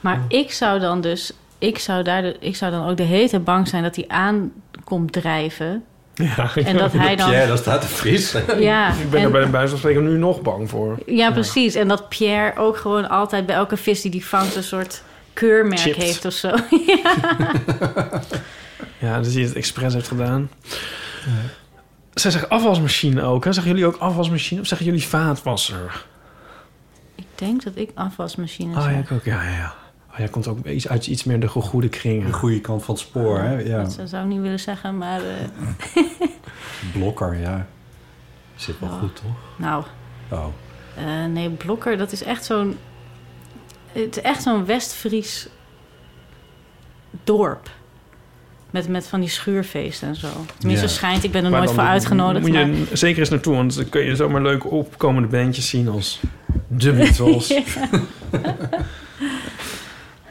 Speaker 2: Maar ik zou dan dus... Ik zou, daar de- ik zou dan ook de hete bang zijn dat hij aan komt drijven.
Speaker 4: ja.
Speaker 2: En dat hij dan...
Speaker 3: Pierre, daar staat de vis.
Speaker 2: Ja,
Speaker 4: Ik ben
Speaker 2: en-
Speaker 4: er bij de buis van spreken nu nog bang voor.
Speaker 2: Ja, precies. En dat Pierre ook gewoon altijd bij elke vis die die vangt een soort keurmerk
Speaker 4: Chipped.
Speaker 2: heeft of zo.
Speaker 4: Ja, dus die het expres heeft gedaan. Zij zeggen afwasmachine ook. Hè? Zeggen jullie ook afwasmachine of zeggen jullie vaatwasser?
Speaker 2: ik denk dat ik afwasmachine
Speaker 4: Oh ja,
Speaker 2: zeg.
Speaker 4: ik ook. Ja, ja, ja. Oh, jij komt ook iets uit iets meer de gegoede
Speaker 3: De
Speaker 4: kringen.
Speaker 3: goede kant van het spoor, hè? Ja.
Speaker 2: Dat zou- zou ik niet willen zeggen, maar eh,
Speaker 3: Blokker, ja. Zit wel goed, toch?
Speaker 2: nou,
Speaker 3: Oh.
Speaker 2: eh, nee, blokker, dat is echt zo'n, het is echt zo'n West-Fries dorp. Met, met van die schuurfeesten en zo. Tenminste,
Speaker 3: Ja.
Speaker 2: schijnt, ik ben er
Speaker 4: Maar
Speaker 2: nooit
Speaker 4: dan
Speaker 2: voor uitgenodigd.
Speaker 4: Moet je
Speaker 2: maar-
Speaker 4: er zeker eens naartoe, want dan kun je zomaar leuke opkomende bandjes zien als The Beatles.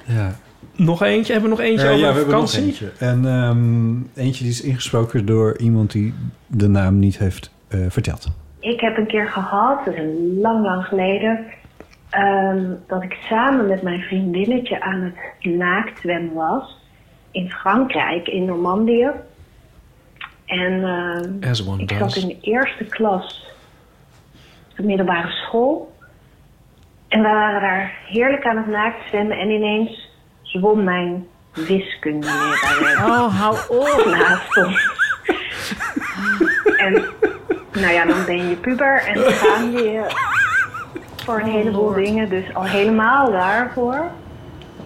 Speaker 3: Ja.
Speaker 4: Nog eentje? Hebben we nog eentje
Speaker 3: Eh,
Speaker 4: over
Speaker 3: ja, we hebben nog
Speaker 4: vakantie?
Speaker 3: eentje. En ehm, eentje die is ingesproken door iemand die de naam niet heeft eh, verteld.
Speaker 5: Ik heb een keer gehad, dat is lang, lang geleden, ehm, dat ik samen met mijn vriendinnetje aan het naaktzwemmen was. In Frankrijk, in Normandië. En ehm,
Speaker 4: As one
Speaker 5: ik
Speaker 4: does.
Speaker 5: zat in de eerste klas op de middelbare school. En we waren daar heerlijk aan het naaktzwemmen. En ineens zwom mijn wiskundeleraar weg
Speaker 2: Oh, hou op.
Speaker 5: naast ons. En nou ja, dan ben je puber en dan gaan je je voor een heleboel dingen. Dus al helemaal daarvoor.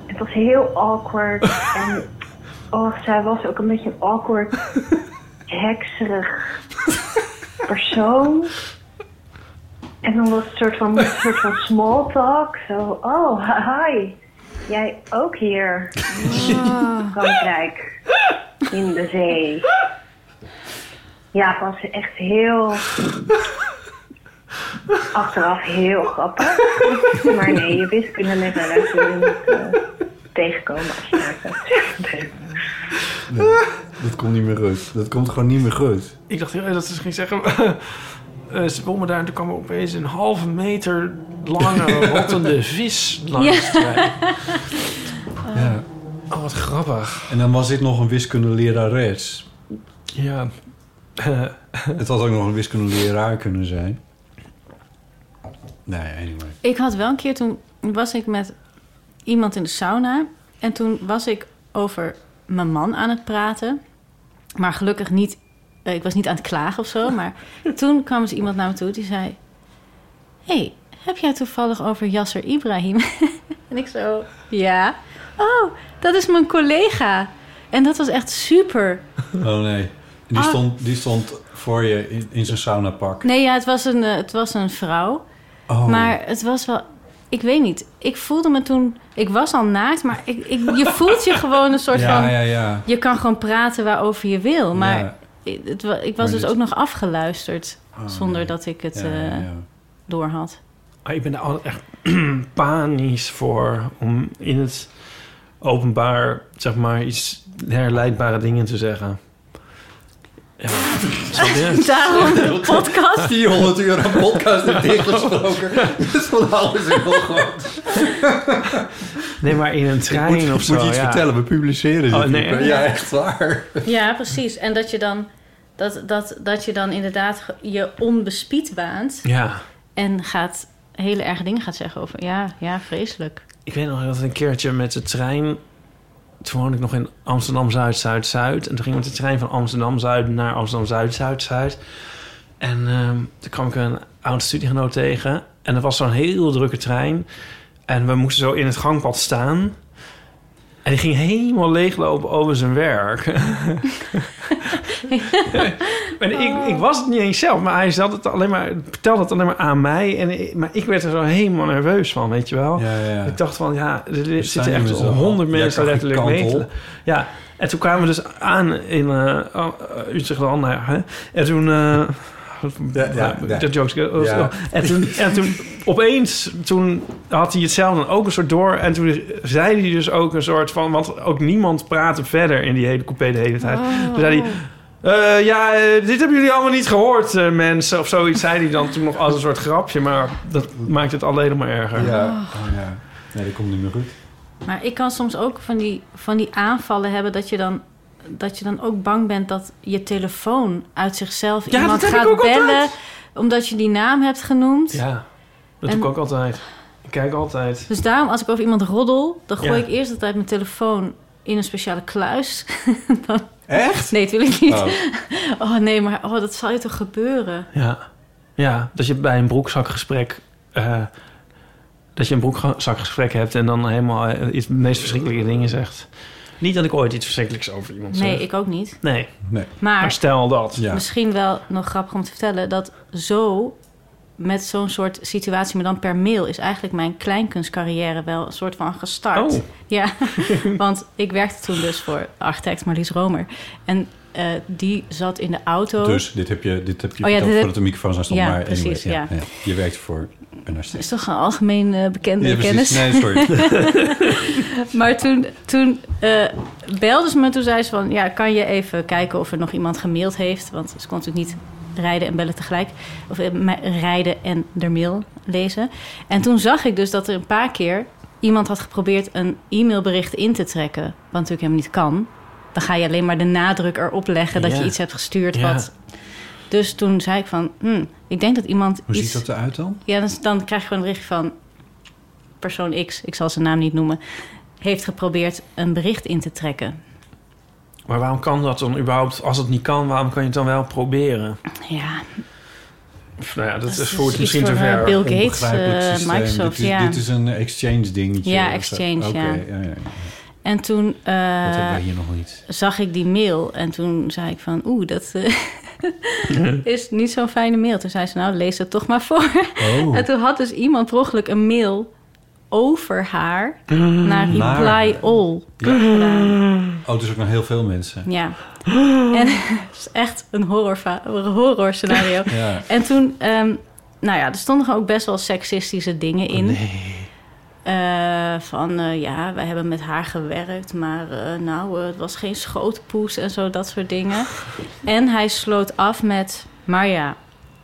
Speaker 5: Het was heel awkward. En oh, zij was ook een beetje een awkward, hekserig persoon. En dan was het een soort van, een soort van small talk. Zo, oh, hi. Jij ook hier in Frankrijk. In de zee. Ja, het was echt heel... Achteraf heel grappig. Maar nee, je wiskunde met een les wil je niet eh, tegenkomen als je naar bent.
Speaker 3: Dat komt niet meer goed. Dat komt gewoon niet meer goed.
Speaker 4: Ik dacht, ja, dat ze ging zeggen... eh, ze won me daar en toen kwam er opeens een halve meter lange rottende vis langs. mij.
Speaker 3: Ja.
Speaker 4: Oh, wat grappig.
Speaker 3: En dan was dit nog een wiskundelerares.
Speaker 4: Ja. Eh,
Speaker 3: Het had ook nog een wiskundeleraar kunnen zijn. Nee, anyway.
Speaker 2: Ik had wel een keer, toen was ik met iemand in de sauna. En toen was ik over mijn man aan het praten. Maar gelukkig niet, eh, ik was niet aan het klagen of zo. Maar toen kwam dus iemand naar me toe die zei... Hé, hey, heb jij toevallig over Yasser Ibrahim? en ik zo, ja. Oh, dat is mijn collega. En dat was echt super.
Speaker 3: Oh nee. Die,
Speaker 2: Ah.
Speaker 3: stond, die stond voor je in, in zijn saunapak.
Speaker 2: Nee, ja, het was een, eh, het was een vrouw.
Speaker 3: Oh.
Speaker 2: Maar het was wel... Ik weet niet. Ik voelde me toen... Ik was al naakt, maar ik, ik, je voelt je gewoon een soort
Speaker 3: ja,
Speaker 2: van...
Speaker 3: ja, ja.
Speaker 2: Je kan gewoon praten waarover je wil. Maar
Speaker 3: Ja.
Speaker 2: ik, het wa- ik was
Speaker 3: Maar
Speaker 2: dus
Speaker 3: dit-
Speaker 2: ook nog afgeluisterd.
Speaker 3: Oh,
Speaker 2: zonder
Speaker 3: nee.
Speaker 2: dat ik het
Speaker 3: Ja,
Speaker 2: eh
Speaker 3: ja, ja.
Speaker 2: door had.
Speaker 4: ah, ik ben er altijd echt panisch voor om in het openbaar, zeg maar, iets herleidbare dingen te zeggen. Ja, snap je?
Speaker 2: Daarom de podcast.
Speaker 3: 400 uur aan podcast in dichtgesproken. Dus van alles in wel goed.
Speaker 4: Nee, maar in een trein of zo. ja.
Speaker 3: we publiceren
Speaker 4: Oh, nee.
Speaker 3: niet. Ja, echt waar.
Speaker 2: Ja, precies. En dat je dan... Dat, dat, dat je dan inderdaad ge- je onbespied waant.
Speaker 4: Ja.
Speaker 2: En gaat hele erge dingen gaat zeggen over... Ja, ja, vreselijk.
Speaker 4: Ik weet nog dat een keertje met de trein. Toen woonde ik nog in Amsterdam Zuid, Zuid, Zuid. En toen ging ik met de trein van Amsterdam Zuid naar Amsterdam Zuid, Zuid, Zuid. En ehm, toen kwam ik een oud studiegenoot tegen. En dat was zo'n heel drukke trein. En we moesten zo in het gangpad staan. En die ging helemaal leeglopen over zijn werk. en ik, ik was het niet eens zelf, maar hij zat het alleen maar, vertelde het alleen maar aan mij. En, ik- maar ik werd er zo helemaal nerveus van, weet je wel.
Speaker 3: Ja, ja.
Speaker 4: Ik dacht van, ja, Oh. er
Speaker 3: staan
Speaker 4: zitten
Speaker 3: hier
Speaker 4: echt
Speaker 3: met z'n
Speaker 4: honderd
Speaker 3: allen.
Speaker 4: mensen
Speaker 3: Jij kan geen
Speaker 4: letterlijk mee.
Speaker 3: kant
Speaker 4: te-
Speaker 3: op.
Speaker 4: Ja, en toen kwamen we dus aan in eh oh, eh, Utrecht dan. nou ja, hè. En toen... eh,
Speaker 3: Ja, ja, ja.
Speaker 4: Dat jokes. eh,
Speaker 3: Ja.
Speaker 4: En, toen, en toen opeens, toen had hij het zelf dan ook een soort door. En toen zei hij dus ook een soort van... Want ook niemand praatte verder in die hele coupé de hele tijd. Toen zei hij... eh, ja, eh, dit hebben jullie allemaal niet gehoord, eh, mensen. Of zoiets zei hij dan toen nog als een soort grapje. Maar dat maakt het alleen nog maar erger.
Speaker 3: Ja. Oh, ja. Nee, dat komt niet meer goed.
Speaker 2: Maar ik kan soms ook van die, van die aanvallen hebben dat je dan. Dat je dan ook bang bent dat je telefoon uit zichzelf
Speaker 4: Ja,
Speaker 2: iemand
Speaker 4: dat heb
Speaker 2: gaat
Speaker 4: ik ook
Speaker 2: bellen.
Speaker 4: altijd.
Speaker 2: Omdat je die naam hebt genoemd.
Speaker 4: Ja, dat
Speaker 2: En-
Speaker 4: doe ik ook altijd. Ik kijk altijd.
Speaker 2: Dus daarom, als ik over iemand roddel, dan gooi
Speaker 4: Ja.
Speaker 2: ik eerst altijd mijn telefoon in een speciale kluis.
Speaker 3: Echt?
Speaker 2: Nee, dat wil ik niet.
Speaker 3: Oh.
Speaker 2: Oh, nee, maar oh, dat zal je toch gebeuren?
Speaker 4: Ja, ja dat je bij een broekzakgesprek... eh, dat je een broekzakgesprek hebt en dan helemaal eh, iets de meest verschrikkelijke dingen zegt. Niet dat ik ooit iets verschrikkelijks over iemand zeg.
Speaker 2: Nee, ik ook niet.
Speaker 4: Nee, maar
Speaker 2: Maar
Speaker 4: stel dat.
Speaker 3: Ja.
Speaker 2: misschien wel nog grappig om te vertellen dat zo met zo'n soort situatie, maar dan per mail, is eigenlijk mijn kleinkunstcarrière wel een soort van gestart.
Speaker 4: Oh.
Speaker 2: Ja, want ik werkte toen dus voor architect Marlies Romer. En eh, die zat in de auto.
Speaker 3: Dus dit heb je, dit heb je
Speaker 2: Oh ja,
Speaker 3: verteld
Speaker 2: dit heb-
Speaker 3: voordat de microfoon aan stond.
Speaker 2: Ja,
Speaker 3: maar
Speaker 2: precies,
Speaker 3: anyway,
Speaker 2: ja.
Speaker 3: Je werkt voor een narcist.
Speaker 2: is toch een algemeen eh, bekende
Speaker 3: Ja,
Speaker 2: kennis.
Speaker 3: precies. Nee, sorry.
Speaker 2: Maar toen, toen eh belde ze me, toen zei ze van... ja, kan je even kijken of er nog iemand gemaild heeft? Want ze kon natuurlijk niet rijden en bellen tegelijk. Of eh, me- rijden en de mail lezen. En toen zag ik dus dat er een paar keer iemand had geprobeerd een e-mailbericht in te trekken. Wat natuurlijk helemaal niet kan. Dan ga je alleen maar de nadruk erop leggen dat
Speaker 4: Ja.
Speaker 2: je iets hebt gestuurd.
Speaker 4: Ja.
Speaker 2: Wat... Dus toen zei ik van, hm, ik denk dat iemand
Speaker 3: Hoe
Speaker 2: iets...
Speaker 3: ziet dat eruit dan?
Speaker 2: Ja, dus dan krijg je gewoon een berichtje van persoon X, ik zal zijn naam niet noemen, heeft geprobeerd een bericht in te trekken.
Speaker 4: Maar waarom kan dat dan überhaupt? Als het niet kan, waarom kan je het dan wel proberen?
Speaker 2: Ja,
Speaker 4: Of, nou ja, dat,
Speaker 2: Dat
Speaker 4: is
Speaker 2: is
Speaker 4: voor het
Speaker 2: iets
Speaker 4: misschien te
Speaker 2: voor, eh,
Speaker 4: ver.
Speaker 2: Bill Gates,
Speaker 3: Onbegrijpelijk
Speaker 2: eh,
Speaker 3: systeem.
Speaker 2: Microsoft,
Speaker 3: dit is,
Speaker 2: ja.
Speaker 3: Dit is een exchange dingetje.
Speaker 2: Ja,
Speaker 3: of zo.
Speaker 2: exchange,
Speaker 3: Oké,
Speaker 2: ja.
Speaker 3: ja, ja.
Speaker 2: en toen eh,
Speaker 3: Dat hebben wij hier nog niet.
Speaker 2: zag ik die mail en toen zei ik van, oeh, dat eh, is niet zo'n fijne mail. Toen zei ze, nou, lees het toch maar voor.
Speaker 3: Oh,
Speaker 2: En toen had dus iemand per ongeluk een mail over haar naar
Speaker 3: naar-
Speaker 2: Reply All
Speaker 3: Ja.
Speaker 2: gedaan.
Speaker 3: oh dus ook nog heel veel mensen.
Speaker 2: Ja. En het is echt een horror, horror scenario.
Speaker 3: Ja.
Speaker 2: En toen, ehm, nou ja, er stonden gewoon ook best wel seksistische dingen in. Eh, van eh, ja, wij hebben met haar gewerkt, maar eh, nou, eh, het was geen schootpoes en zo, dat soort dingen. en hij sloot af met: Maar ja,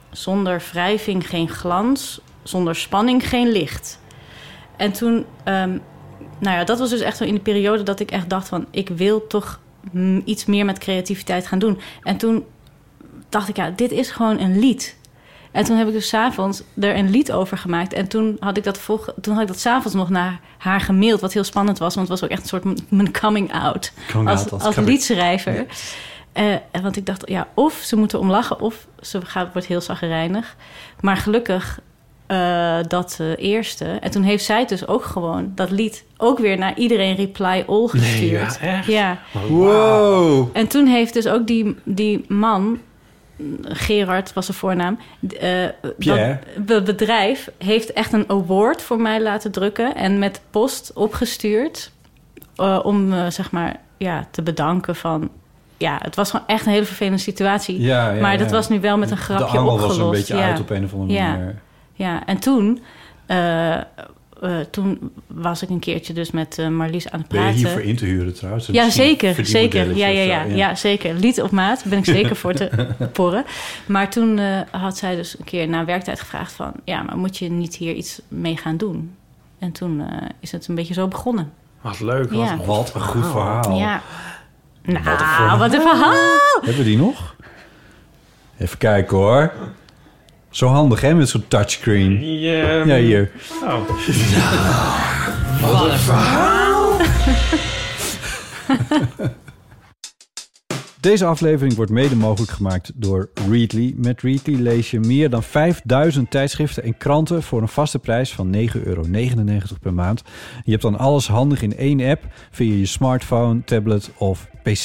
Speaker 2: zonder wrijving geen glans, zonder spanning geen licht. En toen, ehm, nou ja, dat was dus echt zo in de periode dat ik echt dacht: van ik wil toch mm, iets meer met creativiteit gaan doen. En toen dacht ik, ja, dit is gewoon een lied. En toen heb ik dus 's avonds er een lied over gemaakt. En toen had ik dat, volg- toen had ik dat 's avonds nog naar haar gemaild. Wat heel spannend was, want het was ook echt een soort m- mijn coming out.
Speaker 3: Coming
Speaker 2: als
Speaker 3: out als
Speaker 2: als
Speaker 3: cover.
Speaker 2: liedschrijver. Eh, en want ik dacht, ja, of ze moeten om lachen... of ze gaat, wordt heel zagrijnig. Maar gelukkig eh, dat eh, eerste. En toen heeft zij het dus ook gewoon dat lied... ook weer naar iedereen reply all gestuurd.
Speaker 4: Nee, ja, echt?
Speaker 2: Ja.
Speaker 7: Wow.
Speaker 2: En toen heeft dus ook die, die man, Gerard was zijn voornaam, d- eh,
Speaker 3: Pierre.
Speaker 2: dat be- bedrijf heeft echt een award voor mij laten drukken en met post opgestuurd eh, om eh, zeg maar ja, te bedanken van. Ja, het was gewoon echt een hele vervelende situatie.
Speaker 3: Ja, ja,
Speaker 2: maar dat
Speaker 3: ja.
Speaker 2: was nu wel met een grapje
Speaker 3: De angel
Speaker 2: opgelost.
Speaker 3: was er een beetje
Speaker 2: ja.
Speaker 3: uit op een of andere
Speaker 2: Ja.
Speaker 3: manier.
Speaker 2: Ja, en toen, eh, eh, toen was ik een keertje dus met eh, Marlies aan het
Speaker 3: Ben je
Speaker 2: praten.
Speaker 3: hiervoor in te huren trouwens?
Speaker 2: Ja,
Speaker 3: Misschien
Speaker 2: zeker.
Speaker 3: verdienmodelletje
Speaker 2: zeker. Ja, ja,
Speaker 3: of zo,
Speaker 2: ja, ja. zeker. Lied op maat ben ik zeker voor te porren. Maar toen eh, had zij dus een keer na werktijd gevraagd van... ja, maar moet je niet hier iets mee gaan doen? En toen eh, is het een beetje zo begonnen.
Speaker 4: Wat leuk. Wat
Speaker 2: Ja. Oh,
Speaker 3: Wat een goed verhaal.
Speaker 2: Ja. Nou, wat een verhaal!
Speaker 3: Hebben we die nog? Even kijken hoor. Zo handig hè, met zo'n touchscreen.
Speaker 4: Ja,
Speaker 3: Ja, hier.
Speaker 4: nou,
Speaker 3: Deze aflevering wordt mede mogelijk gemaakt door Readly. Met Readly lees je meer dan 5000 tijdschriften en kranten voor een vaste prijs van 9,99 euro per maand. Je hebt dan alles handig in één app via je smartphone, tablet of pc.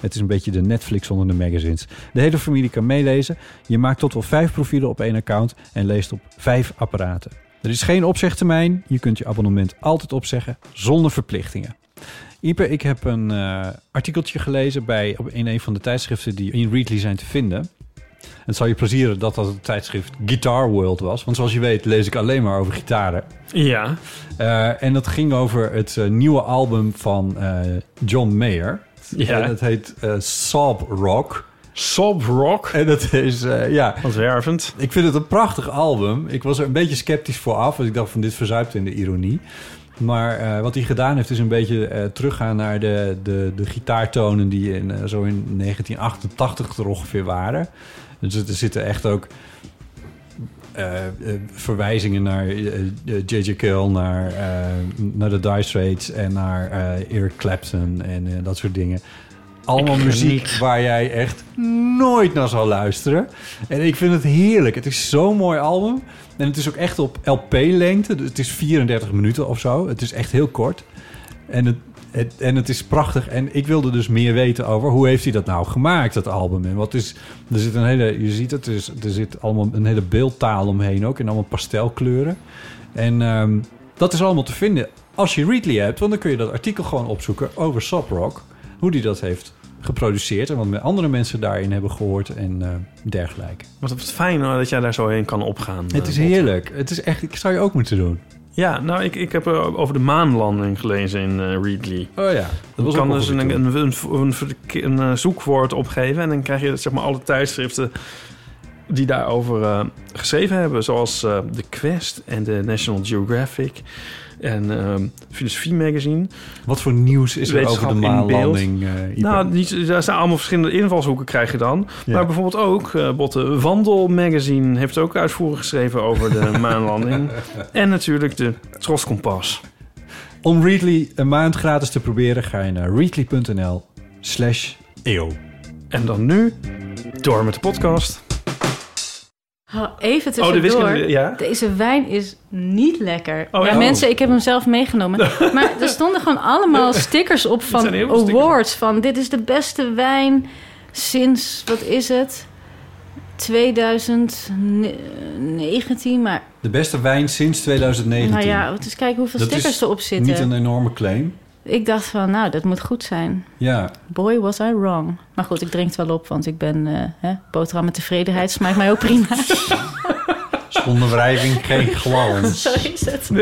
Speaker 3: Het is een beetje de Netflix onder de magazines. De hele familie kan meelezen. Je maakt tot wel vijf profielen op één account en leest op vijf apparaten. Er is geen opzegtermijn. Je kunt je abonnement altijd opzeggen zonder verplichtingen. Ipe, ik heb een eh, artikeltje gelezen bij, op- in een van de tijdschriften die in Readly zijn te vinden. En het zal je plezieren dat dat het tijdschrift Guitar World was. Want zoals je weet lees ik alleen maar over gitaren.
Speaker 4: ja.
Speaker 3: Eh, en dat ging over het eh, nieuwe album van eh, John Mayer.
Speaker 4: Ja.
Speaker 3: En dat heet eh Sob Rock.
Speaker 4: Sob rock.
Speaker 3: En dat is, eh, ja,
Speaker 4: Wat wervend.
Speaker 3: ik vind het een prachtig album. Ik was er een beetje sceptisch voor af. Want ik dacht van dit verzuipt in de ironie. Maar eh, wat hij gedaan heeft is een beetje eh, teruggaan naar de, de, de gitaartonen die in, eh, zo in 1988 er ongeveer waren. Dus er zitten echt ook eh, eh, verwijzingen naar eh, eh, J.J. Cale, naar, eh, naar de Dire Straits en naar eh, Eric Clapton en eh, dat soort dingen. Allemaal muziek waar jij echt nooit naar zal luisteren. En ik vind het heerlijk. Het is zo'n mooi album. En het is ook echt op LP-lengte. Dus Het is 34 minuten of zo. Het is echt heel kort. En het, het- en het is prachtig. En ik wilde dus meer weten over hoe heeft hij dat nou gemaakt, dat album. En wat is... Er zit een hele... Je ziet het, er, is- er zit allemaal een hele beeldtaal omheen ook. En allemaal pastelkleuren. En ehm, dat is allemaal te vinden als je Readly hebt. Want dan kun je dat artikel gewoon opzoeken over Soprock. Hoe die dat heeft geproduceerd. En wat andere mensen daarin hebben gehoord en eh, dergelijke.
Speaker 4: Wat wat fijn hoor, dat jij daar zo heen kan opgaan.
Speaker 3: Het
Speaker 4: eh,
Speaker 3: is
Speaker 4: Bob.
Speaker 3: heerlijk. Het is echt, ik zou je ook moeten doen.
Speaker 4: Ja, nou, ik, ik heb eh, over de maanlanding gelezen in eh, Readly.
Speaker 3: Oh ja, dat
Speaker 4: Je
Speaker 3: was
Speaker 4: kan
Speaker 3: ook
Speaker 4: dus
Speaker 3: wel
Speaker 4: een,
Speaker 3: goed,
Speaker 4: een, een, een, verke- een, eh, zoekwoord opgeven en dan krijg je zeg maar alle tijdschriften die daarover eh, geschreven hebben, zoals eh, The Quest en de National Geographic en ehm, Filosofie Magazine.
Speaker 3: Wat voor nieuws is er over
Speaker 4: Wetenschap
Speaker 3: de
Speaker 4: in
Speaker 3: maanlanding? eh, Ipe?
Speaker 4: Nou, niet, daar staan allemaal verschillende invalshoeken, krijg je dan.
Speaker 3: Ja.
Speaker 4: Maar bijvoorbeeld ook, eh, Botte, Wandel Magazine heeft ook uitvoerig geschreven over de maanlanding. En natuurlijk de Troskompas.
Speaker 3: Om Readly een maand gratis te proberen, ga je naar readly.nl slash eeuw.
Speaker 4: En dan nu, door met de podcast.
Speaker 2: Oh, even
Speaker 4: Oh, de
Speaker 2: tussendoor.
Speaker 4: wiskunde, ja.
Speaker 2: Deze wijn is niet lekker.
Speaker 4: Oh,
Speaker 2: ja,
Speaker 4: ja.
Speaker 2: mensen, ik heb hem zelf meegenomen. Maar er stonden gewoon allemaal stickers op van
Speaker 4: zijn heel veel
Speaker 2: awards.
Speaker 4: stickers.
Speaker 2: Van dit is de beste wijn sinds, wat is het? 2019. Maar
Speaker 3: De beste wijn sinds 2019.
Speaker 2: nou ja, eens kijken hoeveel
Speaker 3: Dat
Speaker 2: stickers
Speaker 3: is
Speaker 2: erop
Speaker 3: Niet
Speaker 2: zitten.
Speaker 3: een enorme claim.
Speaker 2: Ik dacht van, nou, dat moet goed zijn.
Speaker 3: Ja,
Speaker 2: Boy, was I wrong. Maar goed, ik drink het wel op, want ik ben eh hè, boterham met tevredenheid. Smaakt mij ook prima.
Speaker 3: zonder wrijving geen glans.
Speaker 2: Zo is het.
Speaker 4: eh,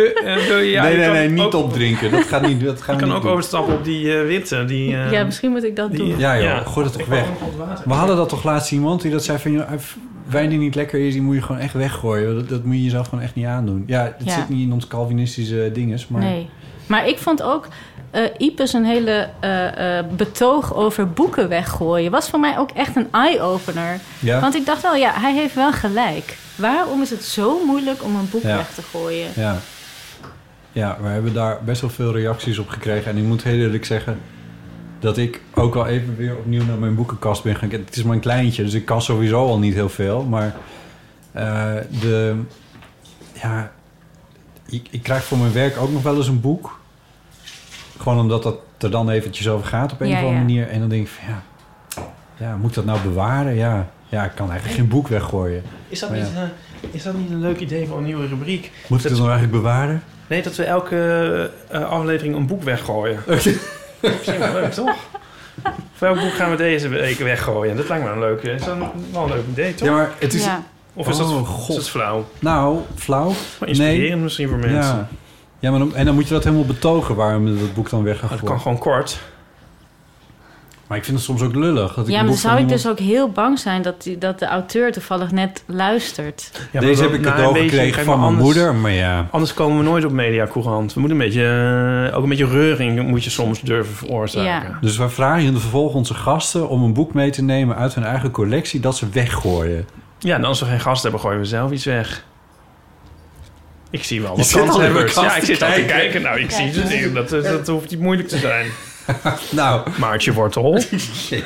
Speaker 3: nee, nee, nee, niet opdrinken. Dat gaat niet. Dat gaan
Speaker 4: Je
Speaker 3: we
Speaker 4: kan
Speaker 3: niet
Speaker 4: ook
Speaker 3: doen.
Speaker 4: overstappen op die eh, witte. Die, eh,
Speaker 2: Ja, misschien moet ik dat
Speaker 4: die-
Speaker 2: doen.
Speaker 3: Ja joh,
Speaker 4: Ja.
Speaker 3: gooi dat toch weg. We hadden dat toch laatst iemand die dat zei van... joh, wijn die niet lekker is, die moet je gewoon echt weggooien. Dat, dat moet je jezelf gewoon echt niet aandoen. Ja, het
Speaker 2: Ja.
Speaker 3: zit niet in ons Calvinistische dinges, maar...
Speaker 2: Nee. Maar ik vond ook eh Ipes een hele eh, eh, betoog over boeken weggooien. Was voor mij ook echt een eye-opener.
Speaker 3: Ja,
Speaker 2: Want ik dacht wel, ja, hij heeft wel gelijk. Waarom is het zo moeilijk om een boek
Speaker 3: Ja.
Speaker 2: weg te gooien?
Speaker 3: ja. ja, we hebben daar best wel veel reacties op gekregen. En ik moet heel eerlijk zeggen dat ik ook wel even weer opnieuw naar mijn boekenkast ben gaan kijken. Het is maar een kleintje, dus ik kan sowieso al niet heel veel. Maar eh, de... Ja, ik, ik krijg voor mijn werk ook nog wel eens een boek. Gewoon omdat dat er dan eventjes over gaat op een
Speaker 2: Ja,
Speaker 3: of andere
Speaker 2: ja.
Speaker 3: manier. En dan denk ik van ja, ja, moet ik dat nou bewaren? Ja, ja, ik kan eigenlijk geen boek weggooien.
Speaker 4: Is dat,
Speaker 3: Maar
Speaker 4: niet, eh, is dat niet een leuk idee voor een nieuwe rubriek?
Speaker 3: Moet ik dat nou eigenlijk bewaren?
Speaker 4: Nee, dat we elke eh, aflevering een boek weggooien. Misschien wel leuk, toch? Welk boek gaan we deze week weggooien? Dat lijkt me een leuk, eh, is dat een- wel een leuk idee, toch?
Speaker 3: Ja, maar het is...
Speaker 2: Ja.
Speaker 4: Of is dat,
Speaker 3: Oh,
Speaker 4: is
Speaker 3: god.
Speaker 4: dat flauw?
Speaker 3: Nou, flauw.
Speaker 4: Maar inspirerend misschien voor mensen.
Speaker 3: Ja. ja, maar dan, en dan moet je dat helemaal betogen waarom je dat boek dan weg gaat
Speaker 4: Maar dat
Speaker 3: gooien.
Speaker 4: kan gewoon kort.
Speaker 3: Maar ik vind het soms ook lullig. Dat
Speaker 2: Ja,
Speaker 3: ik een
Speaker 2: maar dan
Speaker 3: boek
Speaker 2: zou
Speaker 3: van
Speaker 2: ik dus
Speaker 3: iemand-
Speaker 2: ook heel bang zijn dat, die, dat de auteur toevallig net luistert.
Speaker 4: Ja,
Speaker 3: Deze
Speaker 4: maar
Speaker 3: heb ik
Speaker 4: na een
Speaker 3: cadeau
Speaker 4: beetje-
Speaker 3: gekregen
Speaker 4: kijk,
Speaker 3: van
Speaker 4: maar
Speaker 3: mijn
Speaker 4: anders-
Speaker 3: moeder, maar ja.
Speaker 4: Anders komen we nooit op mediacourant. We moeten een beetje, eh, ook een beetje reuring moet je soms durven veroorzaken.
Speaker 2: Ja.
Speaker 3: Dus wij vragen in de vervolg onze gasten om een boek mee te nemen uit hun eigen collectie dat ze weggooien.
Speaker 4: Ja, en als we geen gast hebben, gooien we zelf iets weg. Ik zie wel wat
Speaker 3: zit al in de
Speaker 4: kanshebbers.
Speaker 3: kast
Speaker 4: Ja, ik
Speaker 3: te
Speaker 4: zit al te
Speaker 3: kijken.
Speaker 4: kijken. Nou, ik zie ze dingen. Dat, dat, dat hoeft niet moeilijk te zijn.
Speaker 3: Nou,
Speaker 4: Maartje Wortel. Nee,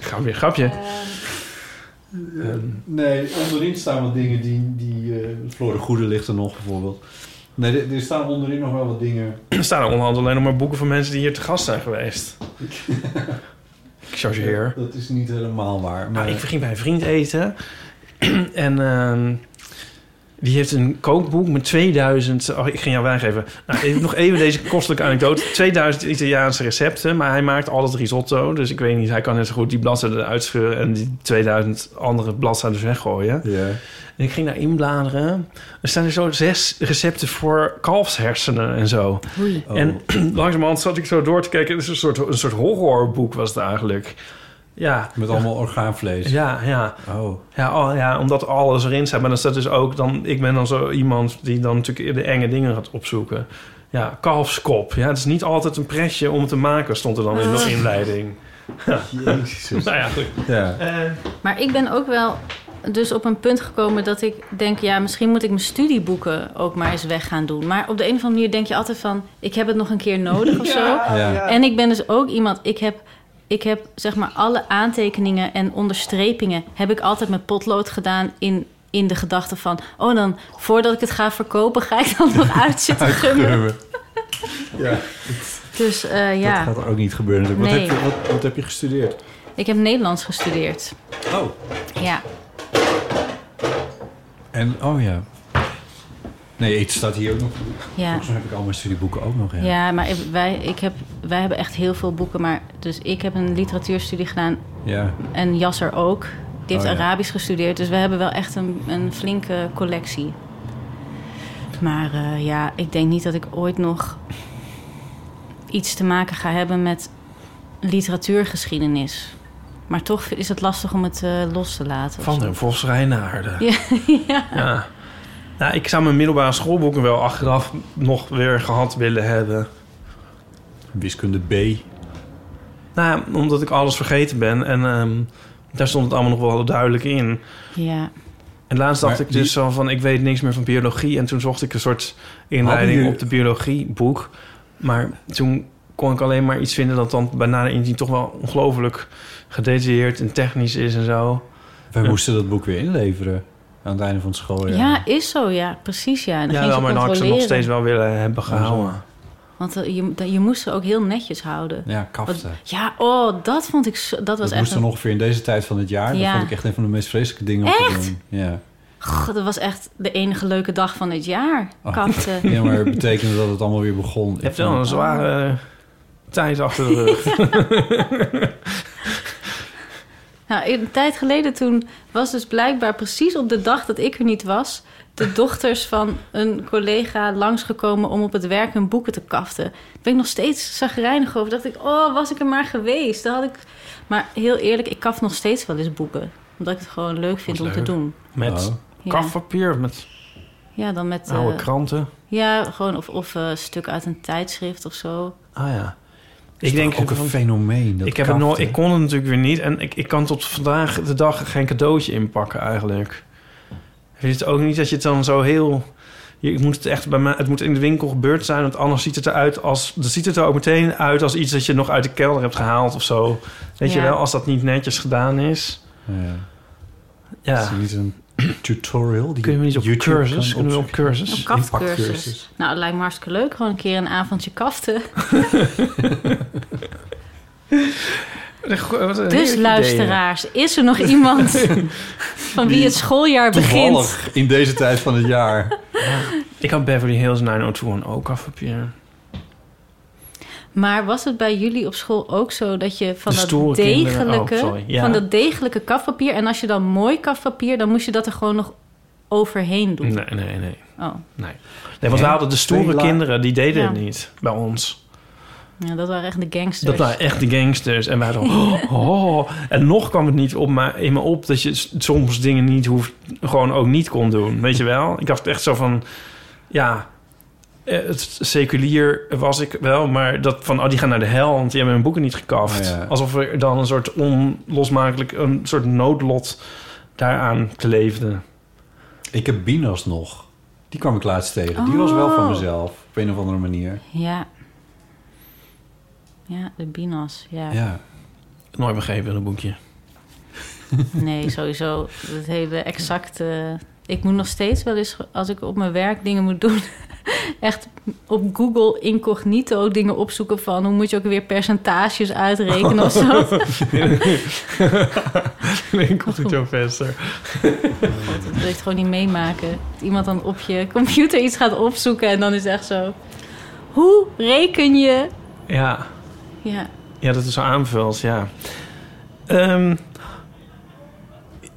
Speaker 4: ga weer grapje.
Speaker 3: eh, nee, onderin staan wat dingen die... die Floor de Goede ligt er nog bijvoorbeeld. Nee, er, staan onderin nog wel wat dingen.
Speaker 4: Er staan onderhand alleen nog maar boeken van mensen die hier te gast zijn geweest. Ik chargeer.
Speaker 3: Dat is niet helemaal waar. Maar
Speaker 4: Nou, ik ging bij een vriend eten. en ehm, die heeft een kookboek met 2000... Oh, ik ging jou weggeven. Nou, even, nog even deze kostelijke anekdote. 2000 Italiaanse recepten, maar hij maakt altijd risotto. Dus ik weet niet, hij kan net zo goed die bladzijden eruit scheuren... en die 2000 andere bladzijden weggooien.
Speaker 3: Ja.
Speaker 4: En ik ging daar inbladeren. Er staan er zo zes recepten voor kalfshersenen en zo.
Speaker 2: Oei.
Speaker 3: Oh.
Speaker 4: En langzamerhand zat ik zo door te kijken. Het is een soort, een soort horrorboek was het eigenlijk. Ja,
Speaker 3: Met allemaal orgaanvlees.
Speaker 4: ja, ja.
Speaker 3: Oh.
Speaker 4: Ja, oh, ja, omdat alles erin staat. Maar dan staat dus ook... Dan, ik ben dan zo iemand die dan natuurlijk de enge dingen gaat opzoeken. Ja, kalfskop. Ja, het is niet altijd een pretje om te maken, stond er dan in de inleiding.
Speaker 3: Jezus.
Speaker 4: Nou ja, goed.
Speaker 3: Ja.
Speaker 4: Eh,
Speaker 2: Maar ik ben ook wel dus op een punt gekomen dat ik denk... ja, misschien moet ik mijn studieboeken ook maar eens weg gaan doen. Maar op de een of andere manier denk je altijd van... ik heb het nog een keer nodig of zo.
Speaker 3: Ja.
Speaker 2: En ik ben dus ook iemand, ik heb, ik heb zeg maar alle aantekeningen en onderstrepingen heb ik altijd met potlood gedaan in, in de gedachte van, oh dan voordat ik het ga verkopen ga ik dan nog uit zitten gummen.
Speaker 3: Gummen. Ja,
Speaker 2: Dus eh, ja,
Speaker 3: dat gaat er ook niet gebeuren. natuurlijk.
Speaker 2: Nee.
Speaker 3: Wat, heb je, wat, wat heb je gestudeerd?
Speaker 2: ik heb Nederlands gestudeerd.
Speaker 3: Oh.
Speaker 2: Ja,
Speaker 3: En, oh ja. Nee, het staat hier ook nog.
Speaker 2: ja.
Speaker 3: Volgens mij heb ik al mijn studieboeken ook nog. Ja.
Speaker 2: Ja, maar ik- wij, ik heb, wij hebben echt heel veel boeken. Maar, dus ik heb een literatuurstudie gedaan
Speaker 3: Ja.
Speaker 2: en Jasser ook. Die heeft
Speaker 3: Oh, ja.
Speaker 2: Arabisch gestudeerd. Dus we hebben wel echt een, een flinke collectie. Maar eh, ja, ik denk niet dat ik ooit nog iets te maken ga hebben met literatuurgeschiedenis. Maar toch is het lastig om het eh, los te laten. of
Speaker 4: Van
Speaker 2: zo.
Speaker 4: den Vos Reinaarden.
Speaker 2: Ja, ja.
Speaker 4: Ja. Nou, ik zou mijn middelbare schoolboeken wel achteraf nog weer gehad willen hebben.
Speaker 3: Wiskunde B.
Speaker 4: Nou, omdat ik alles vergeten ben. En ehm, daar stond het allemaal nog wel duidelijk in.
Speaker 2: ja.
Speaker 4: En laatst dacht
Speaker 3: Maar
Speaker 4: ik dus
Speaker 3: die-
Speaker 4: zo van... ik weet niks meer van biologie. En toen zocht ik een soort inleiding
Speaker 3: Hadden jullie-
Speaker 4: op de biologieboek. Maar toen kon ik alleen maar iets vinden... dat dan bij nader inzien toch wel ongelooflijk gedetailleerd en technisch is en zo.
Speaker 3: Wij moesten dat boek weer inleveren aan het einde van het schooljaar.
Speaker 2: ja, is zo, ja, precies. Ja, en dan
Speaker 4: Oh, Ja,
Speaker 2: ging
Speaker 4: wel,
Speaker 2: ze
Speaker 4: maar dan had ik ze nog
Speaker 2: controleren.
Speaker 4: steeds wel willen hebben gehouden.
Speaker 2: Want eh, je, dan- je moest ze ook heel netjes houden.
Speaker 3: ja
Speaker 2: Want-
Speaker 3: kaften.
Speaker 2: ja, oh, dat vond ik zo, dat was
Speaker 3: Dat
Speaker 2: echt
Speaker 3: moest dan
Speaker 2: een-
Speaker 3: ongeveer in deze tijd van het jaar.
Speaker 2: Ja.
Speaker 3: Dat vond ik echt een van de meest vreselijke dingen om te doen. Ja.
Speaker 2: Goh, dat was echt de enige leuke dag van dit jaar.
Speaker 3: Oh.
Speaker 2: Kapte.
Speaker 3: ja, maar het betekende dat het allemaal weer begon.
Speaker 4: Je hebt wel een zware eh, tijd achter de rug.
Speaker 2: Nou, een tijd geleden toen was dus blijkbaar precies op de dag dat ik er niet was... de dochters van een collega langsgekomen om op het werk hun boeken te kaften. Daar ben ik nog steeds zagrijnig over. dacht ik, oh, was ik er maar geweest. Dan had ik... Maar heel eerlijk, ik kaft nog steeds wel eens boeken. Omdat ik het gewoon leuk vind om
Speaker 4: Wat
Speaker 2: te
Speaker 4: leuk.
Speaker 2: doen.
Speaker 4: Met
Speaker 3: Oh.
Speaker 2: Ja,
Speaker 4: kafpapier, met
Speaker 2: ja dan met... eh,
Speaker 4: oude kranten.
Speaker 2: ja, gewoon of, of eh, een stuk uit een tijdschrift of zo.
Speaker 4: Ah ja.
Speaker 3: Ik
Speaker 4: Ik denk
Speaker 3: ook een
Speaker 4: van-
Speaker 3: fenomeen. Dat
Speaker 4: ik, heb het nooit,
Speaker 3: kaften.
Speaker 4: ik kon het natuurlijk weer niet. En ik, ik kan tot vandaag de dag geen cadeautje inpakken eigenlijk. Vind je het ook niet dat je het dan zo heel... Je, het moet het, echt bij mij, het moet in de winkel gebeurd zijn, want anders ziet het eruit als... Dan ziet het er ook meteen uit als iets dat je nog uit de kelder hebt gehaald of zo. Weet je
Speaker 2: Ja.
Speaker 4: wel, als dat niet netjes gedaan is.
Speaker 3: Ja. Is
Speaker 4: Ja.
Speaker 3: er niet een tutorial? Die
Speaker 4: Kunnen we niet op
Speaker 3: YouTube
Speaker 4: cursus?
Speaker 3: kan
Speaker 4: Kunnen we op
Speaker 3: opzoeken?
Speaker 4: cursus?
Speaker 2: Een kaftcursus.
Speaker 3: Impactcursus.
Speaker 2: Nou, het lijkt me hartstikke leuk. Gewoon een keer een avondje kaften. Dus luisteraars, is er nog iemand van wie
Speaker 3: Die
Speaker 2: het schooljaar begint?
Speaker 3: Toevallig in deze tijd van het jaar.
Speaker 4: Ik had Beverly Hills 90210 ook afpapier.
Speaker 2: Maar was het bij jullie op school ook zo dat je van
Speaker 4: De stoere
Speaker 2: dat
Speaker 4: kinderen-
Speaker 2: degelijke,
Speaker 4: oh, sorry, ja.
Speaker 2: van dat degelijke kafpapier en als je dan mooi kafpapier, dan moest je dat er gewoon nog overheen doen?
Speaker 4: Nee, nee, nee.
Speaker 2: Oh,
Speaker 4: Nee, want we hadden de stoere
Speaker 3: Twee la-
Speaker 4: kinderen, die deden
Speaker 2: Ja.
Speaker 4: het niet bij ons.
Speaker 2: ja, dat waren echt de gangsters.
Speaker 4: Dat waren echt de gangsters. En wij hadden oh, oh. En nog kwam het niet op me, in me op dat je s- soms dingen niet hoeft, gewoon ook niet kon doen. Weet je wel? Ik dacht echt zo van, ja, eh, het seculier was ik wel, maar dat van, oh, die gaan naar de hel, want die hebben hun boeken niet gekaft.
Speaker 3: Ja.
Speaker 4: Alsof er dan een soort onlosmakelijk, een soort noodlot daaraan kleefde.
Speaker 3: Ik heb Binas nog. Die kwam ik laatst tegen. Die was wel van
Speaker 2: Oh.
Speaker 3: mezelf. Op een of andere manier.
Speaker 2: Ja. Ja, de binas. Ja.
Speaker 3: Ja.
Speaker 4: Nooit begrepen in een boekje.
Speaker 2: Nee, sowieso. Dat hele exacte... Ik moet nog steeds wel eens, als ik op mijn werk dingen moet doen... echt op Google incognito dingen opzoeken van... hoe moet je ook weer percentages uitrekenen of zo.
Speaker 4: Nee, Cognito Vester.
Speaker 2: Dat wil je het gewoon niet meemaken. Dat iemand dan op je computer iets gaat opzoeken en dan is het echt zo... Hoe reken je...
Speaker 4: Ja,
Speaker 2: Ja,
Speaker 4: ja, dat is zo aanvult, ja. Ehm,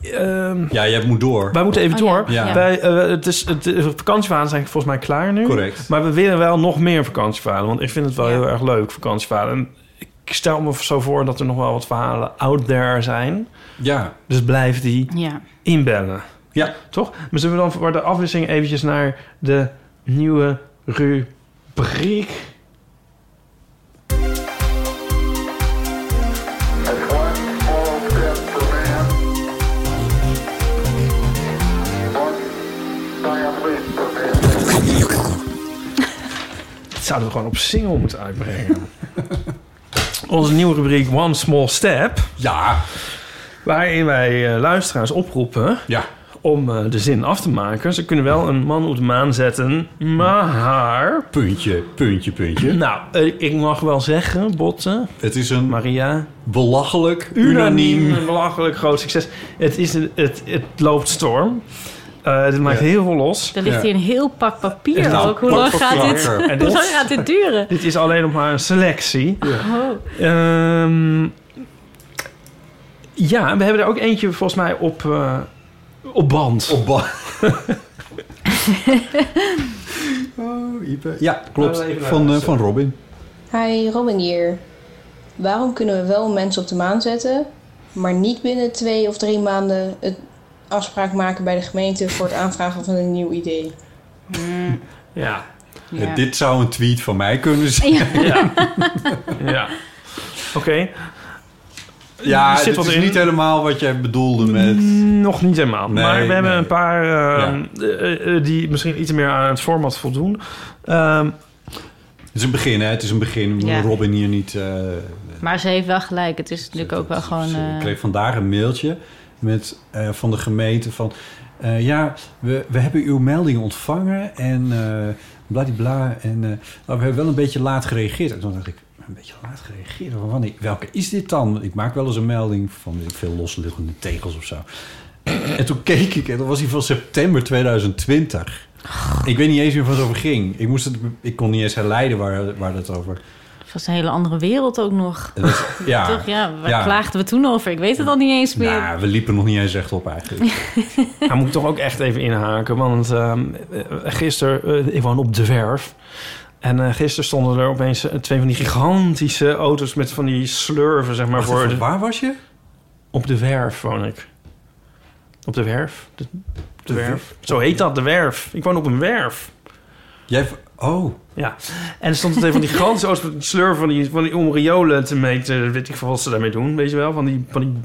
Speaker 4: ehm,
Speaker 3: Ja, jij moet door.
Speaker 4: wij moeten even
Speaker 2: Oh, ja.
Speaker 4: door.
Speaker 3: Ja.
Speaker 4: Wij, eh, het is, het, de vakantieverhalen zijn volgens mij klaar nu.
Speaker 3: Correct.
Speaker 4: Maar we willen wel nog meer vakantieverhalen. Want ik vind het wel
Speaker 2: Ja.
Speaker 4: heel erg leuk, vakantieverhalen. En ik stel me zo voor dat er nog wel wat verhalen out there zijn.
Speaker 3: Ja.
Speaker 4: Dus blijf die
Speaker 2: ja.
Speaker 4: inbellen.
Speaker 3: Ja.
Speaker 4: Toch? Maar zullen we dan voor de afwisseling eventjes naar de nieuwe rubriek... Dat zouden we gewoon op single moeten uitbrengen. Onze nieuwe rubriek One Small Step,
Speaker 3: Ja.
Speaker 4: waarin wij eh, luisteraars oproepen
Speaker 3: Ja.
Speaker 4: om eh, de zin af te maken. Ze kunnen wel een man op de maan zetten, maar...
Speaker 3: Puntje, puntje, puntje.
Speaker 4: Nou, eh, ik mag wel zeggen, Botte,
Speaker 3: Het is een
Speaker 4: Maria,
Speaker 3: belachelijk,
Speaker 4: unaniem,
Speaker 3: unaniem...
Speaker 4: een belachelijk groot succes. Het, is een, het, het loopt storm. Eh het maakt
Speaker 3: Ja.
Speaker 4: heel veel los.
Speaker 2: Er ligt
Speaker 3: Ja.
Speaker 2: hier een heel pak papier
Speaker 3: Nou,
Speaker 2: ook. Hoe
Speaker 3: pak
Speaker 2: lang
Speaker 3: voor
Speaker 2: gaat dit,
Speaker 3: klakker.
Speaker 4: En
Speaker 2: hoe lang
Speaker 4: dit,
Speaker 2: gaat dit duren?
Speaker 4: dit is alleen nog maar een selectie.
Speaker 2: Oh.
Speaker 4: Ehm, ja, we hebben er ook eentje volgens mij op, eh, op band.
Speaker 3: Op ba- oh, Ipe. Ja, klopt.
Speaker 4: Laten we Nou, even naar
Speaker 3: Van, eh,
Speaker 4: luisteren.
Speaker 3: van Robin.
Speaker 8: Hi, Robin hier. Waarom kunnen we wel mensen op de maan zetten, Maar niet binnen twee of drie maanden het afspraak maken bij de gemeente voor het aanvragen van een nieuw idee.
Speaker 4: Ja.
Speaker 3: Ja, dit zou een tweet van mij kunnen zijn.
Speaker 8: Ja.
Speaker 4: Ja. ja. Oké.
Speaker 3: Ja,
Speaker 4: Er zit
Speaker 3: dit
Speaker 4: wat
Speaker 3: is
Speaker 4: in.
Speaker 3: niet helemaal wat jij bedoelde met...
Speaker 4: Nog niet helemaal.
Speaker 3: Nee,
Speaker 4: maar we hebben
Speaker 3: nee.
Speaker 4: een paar eh, eh, eh, die misschien iets meer aan het format voldoen. Ehm,
Speaker 3: Het is een begin, hè? Het is een begin. Ik bedoel,
Speaker 2: Ja.
Speaker 3: Robin hier niet... eh,
Speaker 2: Maar ze heeft wel gelijk. Het is natuurlijk ook wel gewoon...
Speaker 3: Dus, eh,
Speaker 2: eh,
Speaker 3: Ik kreeg vandaag een mailtje met, eh, van de gemeente van... eh, ja, we, we hebben uw melding ontvangen en eh bladibla. En eh, maar we hebben wel een beetje laat gereageerd. En toen dacht ik, een beetje laat gereageerd? Van Wanneer, welke is dit dan? Want Ik maak wel eens een melding van weet ik veel losliggende tegels of zo. En toen keek ik en dat was die van september 2020. Ik weet niet eens meer waar het over ging. Ik, moest het, ik kon niet eens herleiden waar, waar dat over...
Speaker 2: Het was een hele andere wereld ook nog.
Speaker 3: Dat is- ja.
Speaker 4: Ah,
Speaker 2: Toch? Ja, waar
Speaker 3: Ja.
Speaker 2: klaagden we toen over? Ik weet het al niet eens meer.
Speaker 3: Nou, we liepen nog niet eens recht op eigenlijk.
Speaker 4: Daar moet ik toch ook echt even inhaken. Want ehm, eh, gisteren, eh, ik woon op de werf. En eh gisteren stonden er opeens eh, twee van die gigantische auto's met van die slurven, zeg maar.
Speaker 3: Wacht
Speaker 4: Voor
Speaker 3: even,
Speaker 4: de-
Speaker 3: Waar was je?
Speaker 4: op de werf woon ik. Op de werf? De, de
Speaker 3: De
Speaker 4: werf? Zo heet dat, de werf. Ik woon op een werf.
Speaker 3: Jij, oh,
Speaker 4: Ja, en er stond twee van die gigantische auto's met die slurven van die, van die om riolen te meten. Weet ik veel wat ze daarmee doen, weet je wel? Van die, van die,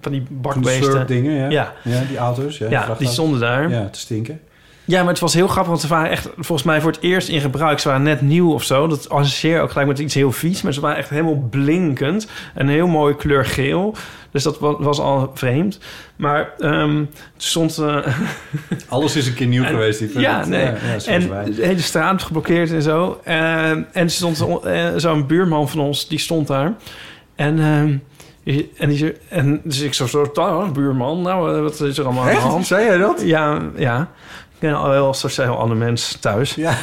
Speaker 4: van die
Speaker 3: van de
Speaker 4: bakbeesten.
Speaker 3: slurpdingen, ja.
Speaker 4: Ja.
Speaker 3: Ja, die auto's. Ja,
Speaker 4: Ja, die
Speaker 3: vrachtauto's.
Speaker 4: stonden daar.
Speaker 3: Ja, te stinken.
Speaker 4: Ja, maar het was heel grappig, want ze waren echt volgens mij voor het eerst in gebruik. Ze waren net nieuw of zo. Dat associeer ik ook gelijk met iets heel vies. Maar ze waren echt helemaal blinkend. En een heel mooie kleur geel. Dus dat wa- was al vreemd. Maar ehm, het stond... eh,
Speaker 3: Alles is een keer nieuw
Speaker 4: En-
Speaker 3: geweest. Die
Speaker 4: ja, nee.
Speaker 3: ja, zoals
Speaker 4: en
Speaker 3: wij.
Speaker 4: de hele straat geblokkeerd en zo. Eh, en er stond eh, zo'n buurman van ons, die stond daar. En, ehm, die- en, die, zei- en dus ik zo, zo "Ah, buurman, nou, eh, wat is er allemaal aan de hand?
Speaker 3: Zei jij dat?
Speaker 4: Ja, ja. Ik ben al heel sociaal ander mens thuis.
Speaker 3: Ja.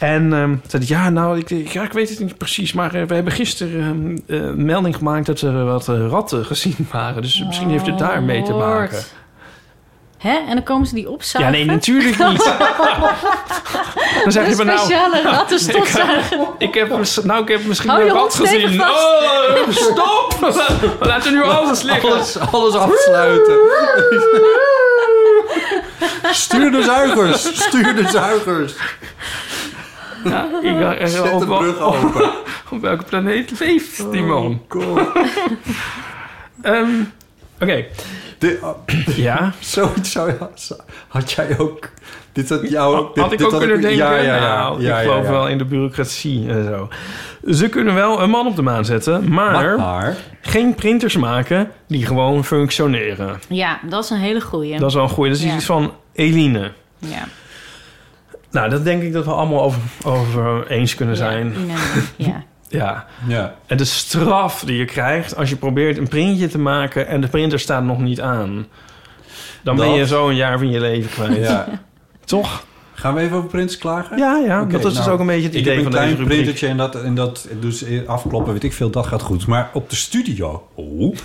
Speaker 4: En ehm zei hij, ja, nou, ik, ik- ja, ik weet het niet precies, maar eh, we hebben gisteren ehm, eh, een melding gemaakt dat er wat eh, ratten gezien waren. Dus misschien heeft het daar mee te
Speaker 2: Oh,
Speaker 4: maken.
Speaker 2: Lord. Hè? En dan komen ze die
Speaker 4: Ja,
Speaker 2: opzuigen?
Speaker 4: nee, natuurlijk niet. Dan zeg je
Speaker 2: Een
Speaker 4: van nou,
Speaker 2: speciale rattenstofzuiger.
Speaker 4: ik heb, mis- nou, ik heb misschien
Speaker 2: Hou
Speaker 4: een
Speaker 2: je
Speaker 4: rat
Speaker 2: hond stevig
Speaker 4: gezien.
Speaker 2: vast.
Speaker 4: Oh, stop! We laten nu alles liggen.
Speaker 3: Alles, alles afsluiten. Stuur de zuigers. Stuur de zuigers.
Speaker 4: Ja, ik dacht echt,
Speaker 3: Zet de
Speaker 4: op,
Speaker 3: brug
Speaker 4: op-
Speaker 3: open.
Speaker 4: op welke planeet leeft die man? Ehm, Oké,
Speaker 3: De, oh,
Speaker 4: ja.
Speaker 3: zoiets zou je... zo- Had jij ook... Dit had jou ook... dit-
Speaker 4: Oh, Had ik
Speaker 3: dit
Speaker 4: ook kunnen denken,
Speaker 3: Ja, ja, ja.
Speaker 4: nou,
Speaker 3: ja,
Speaker 4: ik
Speaker 3: ja,
Speaker 4: geloof
Speaker 3: ja.
Speaker 4: wel in de bureaucratie en zo. Ze kunnen wel een man op de maan zetten, maar,
Speaker 3: Maar...
Speaker 4: geen printers maken die gewoon functioneren.
Speaker 2: Ja, dat is een hele goeie.
Speaker 4: Dat is wel een goeie. Dat is
Speaker 2: Ja.
Speaker 4: iets van Eline.
Speaker 2: Ja.
Speaker 4: Nou, dat denk ik dat we allemaal over, over eens kunnen zijn.
Speaker 2: Ja, unaniem, ja.
Speaker 4: Ja.
Speaker 3: Ja.
Speaker 4: En de straf die je krijgt als je probeert een printje te maken en de printer staat nog niet aan. Dan ben
Speaker 3: Dat-
Speaker 4: je zo een jaar van je leven kwijt.
Speaker 3: ja.
Speaker 4: Toch?
Speaker 3: Gaan we even over Prins klagen?
Speaker 4: Ja, ja.
Speaker 3: Oké,
Speaker 4: dat is
Speaker 3: nou,
Speaker 4: dus ook een beetje het
Speaker 3: ik heb
Speaker 4: idee van
Speaker 3: een
Speaker 4: deze
Speaker 3: klein
Speaker 4: rubriek.
Speaker 3: printertje en dat, en dat dus afkloppen, weet ik veel, dat gaat goed. Maar op de studio oh,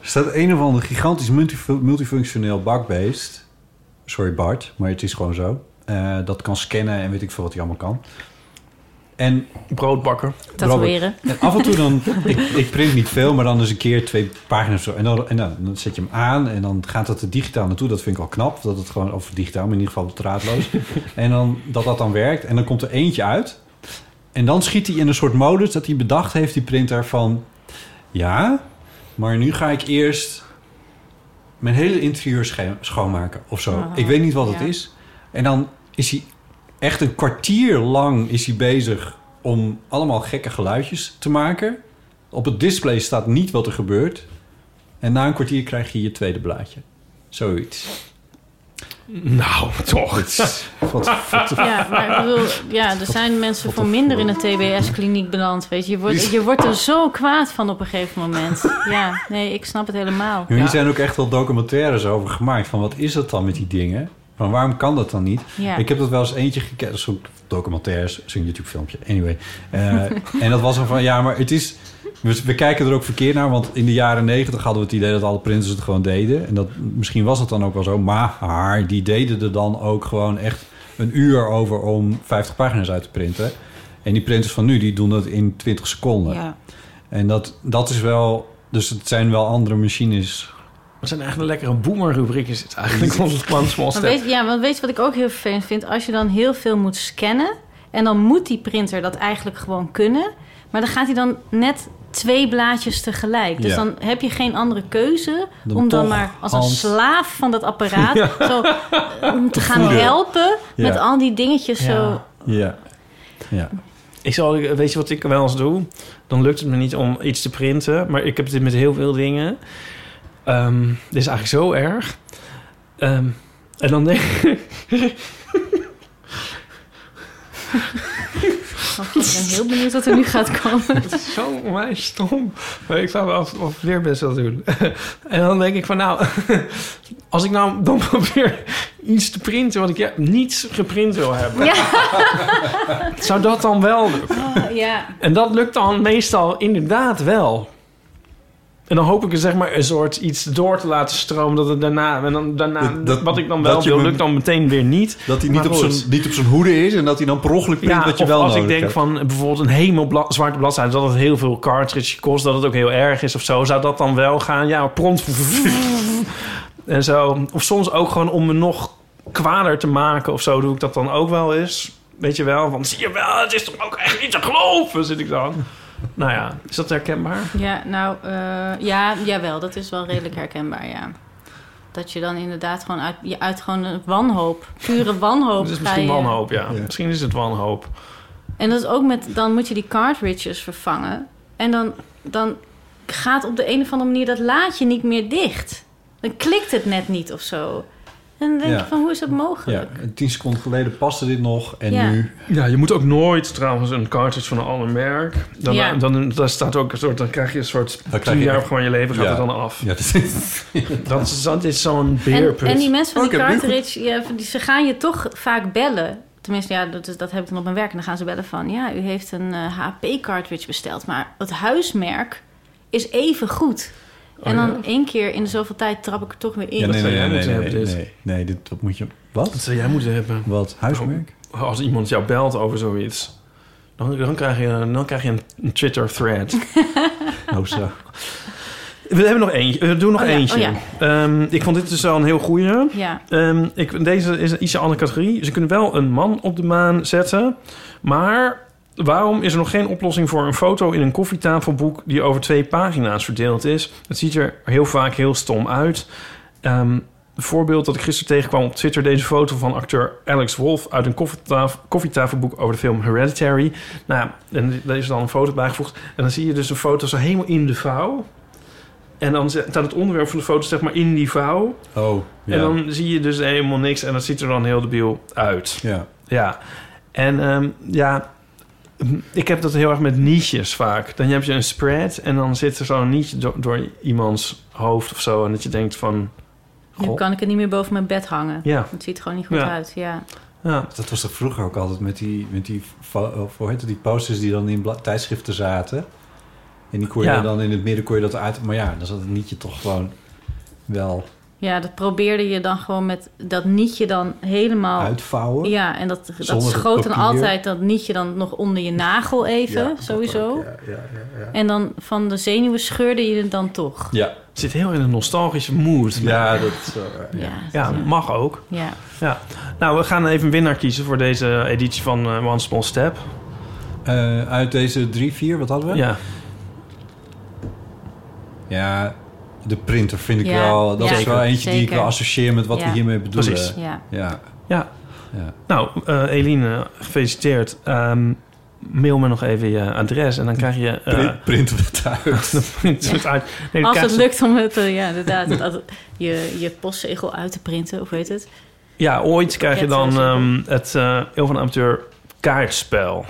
Speaker 3: staat een of ander gigantisch multi- multifunctioneel bakbeest. Sorry Bart, maar het is gewoon zo. Eh, dat kan scannen en weet ik veel wat hij allemaal kan. En
Speaker 4: Broodbakker.
Speaker 2: Tatoeëren.
Speaker 3: en af en toe dan, ik, ik print niet veel, maar dan eens een keer twee pagina's of zo. En dan, en dan, dan zet je hem aan en dan gaat dat er digitaal naartoe. Dat vind ik al knap, dat het gewoon, of digitaal, maar in ieder geval draadloos. En dan dat dat dan werkt en dan komt er eentje uit. En dan schiet hij in een soort modus dat hij bedacht heeft, die printer, van... Ja, maar nu ga ik eerst mijn hele interieur scho- schoonmaken of zo.
Speaker 2: Ah,
Speaker 3: ik weet niet wat
Speaker 2: ja.
Speaker 3: het is. En dan is hij echt een kwartier lang is hij bezig om allemaal gekke geluidjes te maken. Op het display staat niet wat er gebeurt. En na een kwartier krijg je je tweede blaadje. Zoiets.
Speaker 4: Nou, toch.
Speaker 3: Wat, wat-
Speaker 2: Ja, maar ik bedoel, ja, er zijn mensen voor minder in de TBS-kliniek beland, weet je. Je wordt, je wordt er zo kwaad van op een gegeven moment. Ja, nee, ik snap het helemaal.
Speaker 3: Jullie zijn ook echt wel documentaires over gemaakt. Van wat is dat dan met die dingen? Van waarom kan dat dan niet?
Speaker 2: Ja.
Speaker 3: Ik heb dat wel eens eentje gekeken. Zo'n documentaires, zo'n YouTube filmpje. Anyway. Eh, en dat was dan van, ja, maar het is... We, we kijken er ook verkeerd naar, want in de jaren negentig hadden we het idee dat alle printers het gewoon deden. En dat, misschien was dat dan ook wel zo, maar die deden er dan ook gewoon echt een uur over om 50 pagina's uit te printen. En die printers van nu, die doen dat in 20 seconden.
Speaker 2: Ja.
Speaker 3: En dat, dat is wel. Dus het zijn wel andere machines.
Speaker 4: Het zijn eigenlijk een lekkere boomer-rubriek is het eigenlijk. Onze plan small
Speaker 2: Maar
Speaker 4: step.
Speaker 2: weet, ja, want weet je wat ik ook heel vervelend vind? Als je dan heel veel moet scannen... en dan moet die printer dat eigenlijk gewoon kunnen... maar dan gaat hij dan net twee blaadjes tegelijk. Dus
Speaker 3: Ja.
Speaker 2: dan heb je geen andere keuze...
Speaker 3: Dan
Speaker 2: om dan
Speaker 3: toch
Speaker 2: maar als een
Speaker 3: hand.
Speaker 2: slaaf van dat apparaat... zo, eh, om te gaan
Speaker 3: voeden.
Speaker 2: helpen
Speaker 3: Ja.
Speaker 2: met al die dingetjes
Speaker 4: Ja.
Speaker 2: zo...
Speaker 3: Ja. ja.
Speaker 4: Ik zal, weet je wat ik wel eens doe? Dan lukt het me niet om iets te printen. Maar ik heb dit met heel veel dingen. Ehm, dit is eigenlijk zo erg. Ehm, en dan denk ik...
Speaker 2: Oh, ik ben heel benieuwd wat er nu gaat komen.
Speaker 4: Het is zo onwijs stom. Maar ik zou wel als, als leermes dat doen. en dan denk ik van nou... Als ik nou dan probeer iets te printen... wat ik ja, niet geprint wil hebben... zou dat dan wel lukken?
Speaker 2: Oh, ja.
Speaker 4: En dat lukt dan meestal inderdaad wel. En dan hoop ik er zeg maar een soort iets door te laten stromen... dat het daarna... En dan, daarna
Speaker 9: Dat- dat-
Speaker 4: wat ik dan wel
Speaker 9: dat je
Speaker 4: wil,
Speaker 9: me-
Speaker 4: lukt dan meteen weer niet.
Speaker 9: Dat hij
Speaker 4: Maar
Speaker 9: niet op,
Speaker 4: goed.
Speaker 9: zijn, niet op zijn hoede is en dat hij dan per ongeluk print wat je
Speaker 4: of
Speaker 9: wel
Speaker 4: als ik
Speaker 9: nodig
Speaker 4: denk
Speaker 9: hebt.
Speaker 4: van eh, bijvoorbeeld een hemelbla- zwarte bladzijde... dat het heel veel cartridge kost, dat het ook heel erg is of zo... zou dat dan wel gaan? Ja, prompt. en zo. Of soms ook gewoon om me nog kwader te maken of zo... doe ik dat dan ook wel eens. Weet je wel? Want zie je wel, het is toch ook echt niet te geloven, zit ik dan. Nou ja, is dat herkenbaar?
Speaker 2: Ja, nou, eh, ja, jawel, dat is wel redelijk herkenbaar, ja. Dat je dan inderdaad gewoon uit, je uit gewoon een wanhoop, pure wanhoop
Speaker 4: Het is
Speaker 2: ga
Speaker 4: misschien
Speaker 2: je-
Speaker 4: wanhoop, ja. Misschien is het wanhoop.
Speaker 2: En dat is ook met, dan moet je die cartridges vervangen. En dan, dan gaat op de een of andere manier dat laadje niet meer dicht. Dan klikt het net niet of zo. En dan denk
Speaker 3: Ja.
Speaker 2: je van, hoe is dat mogelijk?
Speaker 3: ja. En Tien seconden geleden paste dit nog en
Speaker 2: Ja.
Speaker 3: nu...
Speaker 4: Ja, je moet ook nooit trouwens een cartridge van een ander merk. Dan,
Speaker 2: Ja.
Speaker 4: dan, daar staat ook een soort, dan krijg je een soort...
Speaker 3: Dan
Speaker 4: Tien
Speaker 3: krijg je
Speaker 4: jaar
Speaker 3: echt-
Speaker 4: gewoon je leven gaat
Speaker 3: Ja.
Speaker 4: het dan af.
Speaker 3: Ja, dat is...
Speaker 4: Dat is, dat is zo'n
Speaker 2: En,
Speaker 4: beerput.
Speaker 2: en die mensen van die
Speaker 9: Oh, ik heb nu
Speaker 2: cartridge, ja, van die- ze gaan je toch vaak bellen. Tenminste, ja, dat, is- dat heb ik dan op mijn werk. En dan gaan ze bellen van... ja, u heeft een eh, HP cartridge besteld... maar het huismerk is even goed.
Speaker 4: Oh,
Speaker 2: en dan
Speaker 4: ja.
Speaker 2: één keer in de zoveel tijd trap ik er toch weer in.
Speaker 3: Ja, nee,
Speaker 4: zou
Speaker 3: nee,
Speaker 4: jij
Speaker 3: nee, nee, nee,
Speaker 4: moeten hebben,
Speaker 3: nee,
Speaker 4: dit?
Speaker 3: nee, dit, dat moet je...
Speaker 4: Dat
Speaker 3: Wat?
Speaker 4: zou jij moeten hebben.
Speaker 3: Wat? Huismerk?
Speaker 4: Als iemand jou belt over zoiets... Dan, dan krijg je, dan krijg je een, een Twitter-thread.
Speaker 3: Oh, zo.
Speaker 4: We hebben nog eentje. We doen nog
Speaker 2: Oh ja,
Speaker 4: eentje.
Speaker 2: oh
Speaker 4: Ehm, ik vond dit dus wel een heel goeie.
Speaker 2: Ja,
Speaker 4: Ehm, ik, deze is een ietsje andere categorie. Ze kunnen wel een man op de maan zetten. Maar waarom is er nog geen oplossing voor een foto in een koffietafelboek... die over twee pagina's verdeeld is? Het ziet er heel vaak heel stom uit. Ehm, een voorbeeld dat ik gisteren tegenkwam op Twitter... deze foto van acteur Alex Wolf uit een koffietaf- koffietafelboek... over de film Hereditary. Nou, en daar is dan een foto bijgevoegd. En dan zie je dus een foto zo helemaal in de vouw. En dan zet- staat het onderwerp van de foto zeg maar in die vouw.
Speaker 3: Oh, ja.
Speaker 4: En dan zie je dus helemaal niks en dat ziet er dan heel debiel uit.
Speaker 3: Ja.
Speaker 4: Ja. En ehm, ja, m, ik heb dat heel erg met niches vaak. Dan heb je een spread en dan zit er zo'n niche do- door iemands hoofd of zo. En dat je denkt van,
Speaker 2: nu
Speaker 4: Goh.
Speaker 2: kan ik het niet meer boven mijn bed hangen.
Speaker 4: ja,
Speaker 2: Het ziet er gewoon niet goed
Speaker 4: Ja.
Speaker 2: uit, ja.
Speaker 4: ja.
Speaker 3: Dat was toch vroeger ook altijd met die, met die, fo- of hoe heet het, die posters die dan in bla- tijdschriften zaten. En die kon je
Speaker 4: Ja.
Speaker 3: dan in het midden kon je dat uit. Maar ja, dan zat het nietje toch gewoon wel
Speaker 2: Ja, dat probeerde je dan gewoon met dat nietje dan helemaal...
Speaker 3: uitvouwen.
Speaker 2: Ja, en dat, dat
Speaker 3: Zonder het
Speaker 2: schoot dan
Speaker 3: papier.
Speaker 2: altijd dat nietje dan nog onder je nagel even, sowieso. En dan van de zenuwen scheurde je het dan toch.
Speaker 3: Ja,
Speaker 4: Het zit heel in een nostalgische mood.
Speaker 3: ja dat is, eh, ja.
Speaker 2: Ja,
Speaker 4: Ja,
Speaker 2: ja.
Speaker 4: mag ook.
Speaker 2: ja.
Speaker 4: Ja. Nou, we gaan even een winnaar kiezen voor deze editie van eh, One Small Step.
Speaker 3: Eh, uit deze drie, vier, wat hadden we?
Speaker 4: Ja,
Speaker 3: Ja, de printer vind ik
Speaker 2: Ja,
Speaker 3: wel. Dat is
Speaker 2: zeker,
Speaker 3: wel eentje die ik
Speaker 2: zeker.
Speaker 3: wel associeer met wat
Speaker 2: Ja.
Speaker 3: we hiermee bedoelen.
Speaker 4: Precies.
Speaker 2: ja.
Speaker 3: Ja,
Speaker 4: ja.
Speaker 3: ja.
Speaker 4: Nou, eh Eline, gefeliciteerd. Ehm, mail me nog even je adres en dan krijg je... eh,
Speaker 3: Print, printen we het uit.
Speaker 4: Dan print je het uit. Nee, dan
Speaker 2: Als
Speaker 4: krijg
Speaker 2: het
Speaker 4: je-
Speaker 2: lukt om het, eh, ja, inderdaad, dat- je, je postzegel uit te printen, of weet het?
Speaker 4: Ja, ooit krijg je dan ehm, het eh Heel van de Amateur kaartspel.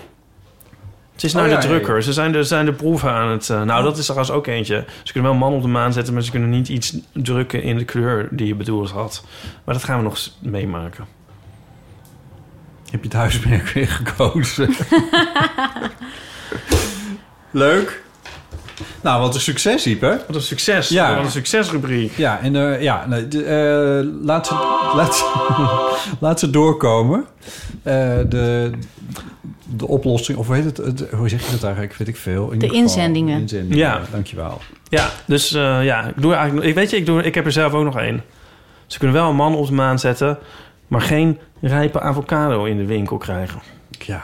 Speaker 4: Het is naar
Speaker 3: Oh, ja,
Speaker 4: de
Speaker 3: ja,
Speaker 4: drukker.
Speaker 3: ja.
Speaker 4: Ze zijn de, zijn de proeven aan het... eh, nou, dat is trouwens ook eentje. Ze kunnen wel een man op de maan zetten... maar ze kunnen niet iets drukken in de kleur die je bedoeld had. Maar dat gaan we nog eens meemaken.
Speaker 3: Heb je het huismerk weer gekozen? Leuk. Nou, wat een succes, Ieper.
Speaker 4: Wat een succes.
Speaker 3: Ja.
Speaker 4: Wat een succesrubriek.
Speaker 3: Ja, en eh, ja, nee, de, eh, laat, ze, laat, ze- laat ze doorkomen. Eh, de, de oplossing, of hoe, heet het, het- hoe zeg je dat eigenlijk? Weet ik veel. In ieder geval,
Speaker 2: inzendingen.
Speaker 3: inzendingen.
Speaker 4: Ja.
Speaker 3: Ja, dankjewel.
Speaker 4: Ja, dus eh, ja, ik doe er eigenlijk. Ik weet je, ik, doe, ik heb er zelf ook nog één. Ze kunnen wel een man op de maan zetten, maar geen rijpe avocado in de winkel krijgen.
Speaker 3: Ja.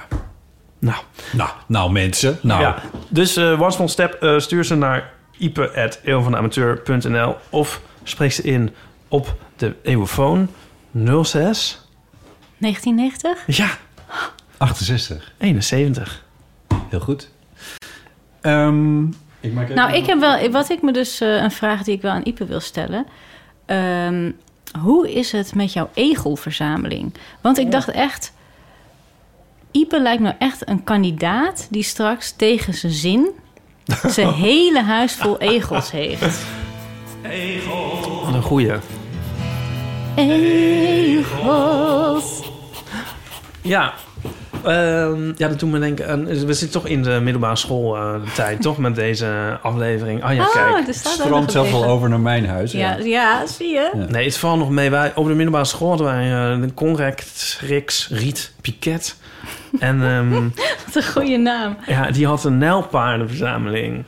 Speaker 4: Nou.
Speaker 3: Nou, nou mensen. Nou.
Speaker 4: Ja, dus eh One Small Step, eh, stuur ze naar ipe.eeuwvanamateur.nl of spreek ze in op de eeuwfoon 06
Speaker 2: 1990?
Speaker 4: Ja.
Speaker 3: 68.
Speaker 4: 71.
Speaker 3: Heel goed. Ehm, ik maak even
Speaker 2: Nou, ik heb wel, wat ik me dus, eh, een vraag die ik wel aan Ipe wil stellen. Ehm, hoe is het met jouw egelverzameling? Want ik dacht echt, Ipe lijkt me echt een kandidaat die straks tegen zijn zin zijn hele huis vol egels heeft.
Speaker 4: Wat een goeie.
Speaker 2: Egels.
Speaker 4: Ja. Ehm, ja, dat doet me denken. aan- we zitten toch in de middelbare schooltijd, toch? Met deze aflevering. Ah ja,
Speaker 2: Oh,
Speaker 4: kijk.
Speaker 2: er staat ook nog een
Speaker 3: zelf wel
Speaker 2: egel.
Speaker 3: over naar mijn huis.
Speaker 2: Ja, ja, zie je?
Speaker 3: Ja.
Speaker 4: Nee, het valt nog mee. Wij, op de middelbare school hadden wij eh, de Conrect, Rix, Riet, Piket. En ehm,
Speaker 2: Wat een goede naam.
Speaker 4: ja, die had een nijlpaardenverzameling.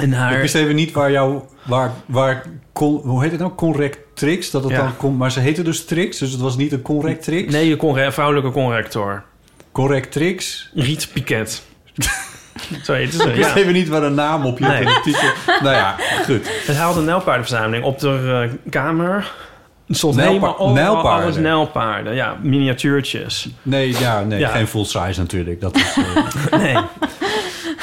Speaker 4: En haar...
Speaker 3: Ik wist even niet waar jouw... Waar, waar, con- hoe heet het nou? Correctrix? Dat het
Speaker 4: Ja.
Speaker 3: dan komt, maar ze heette dus Trix, dus het was niet een Correctrix.
Speaker 4: Nee, je conre- vrouwelijke conrector.
Speaker 3: Correctrix.
Speaker 4: Riet Piket. Zo heet ze.
Speaker 3: Ik wist
Speaker 4: Ja.
Speaker 3: even niet waar een naam op je
Speaker 4: Nee.
Speaker 3: nee. titel. Nou ja, goed.
Speaker 4: Het haalde een nijlpaardenverzameling op de eh, kamer. Er stond
Speaker 3: Nijlpa-
Speaker 4: helemaal overal
Speaker 3: nijlpaarden.
Speaker 4: alles nijlpaarden. Ja, miniatuurtjes.
Speaker 3: Nee, ja, nee
Speaker 4: Ja.
Speaker 3: geen full size natuurlijk. Dat is, eh,
Speaker 4: Nee.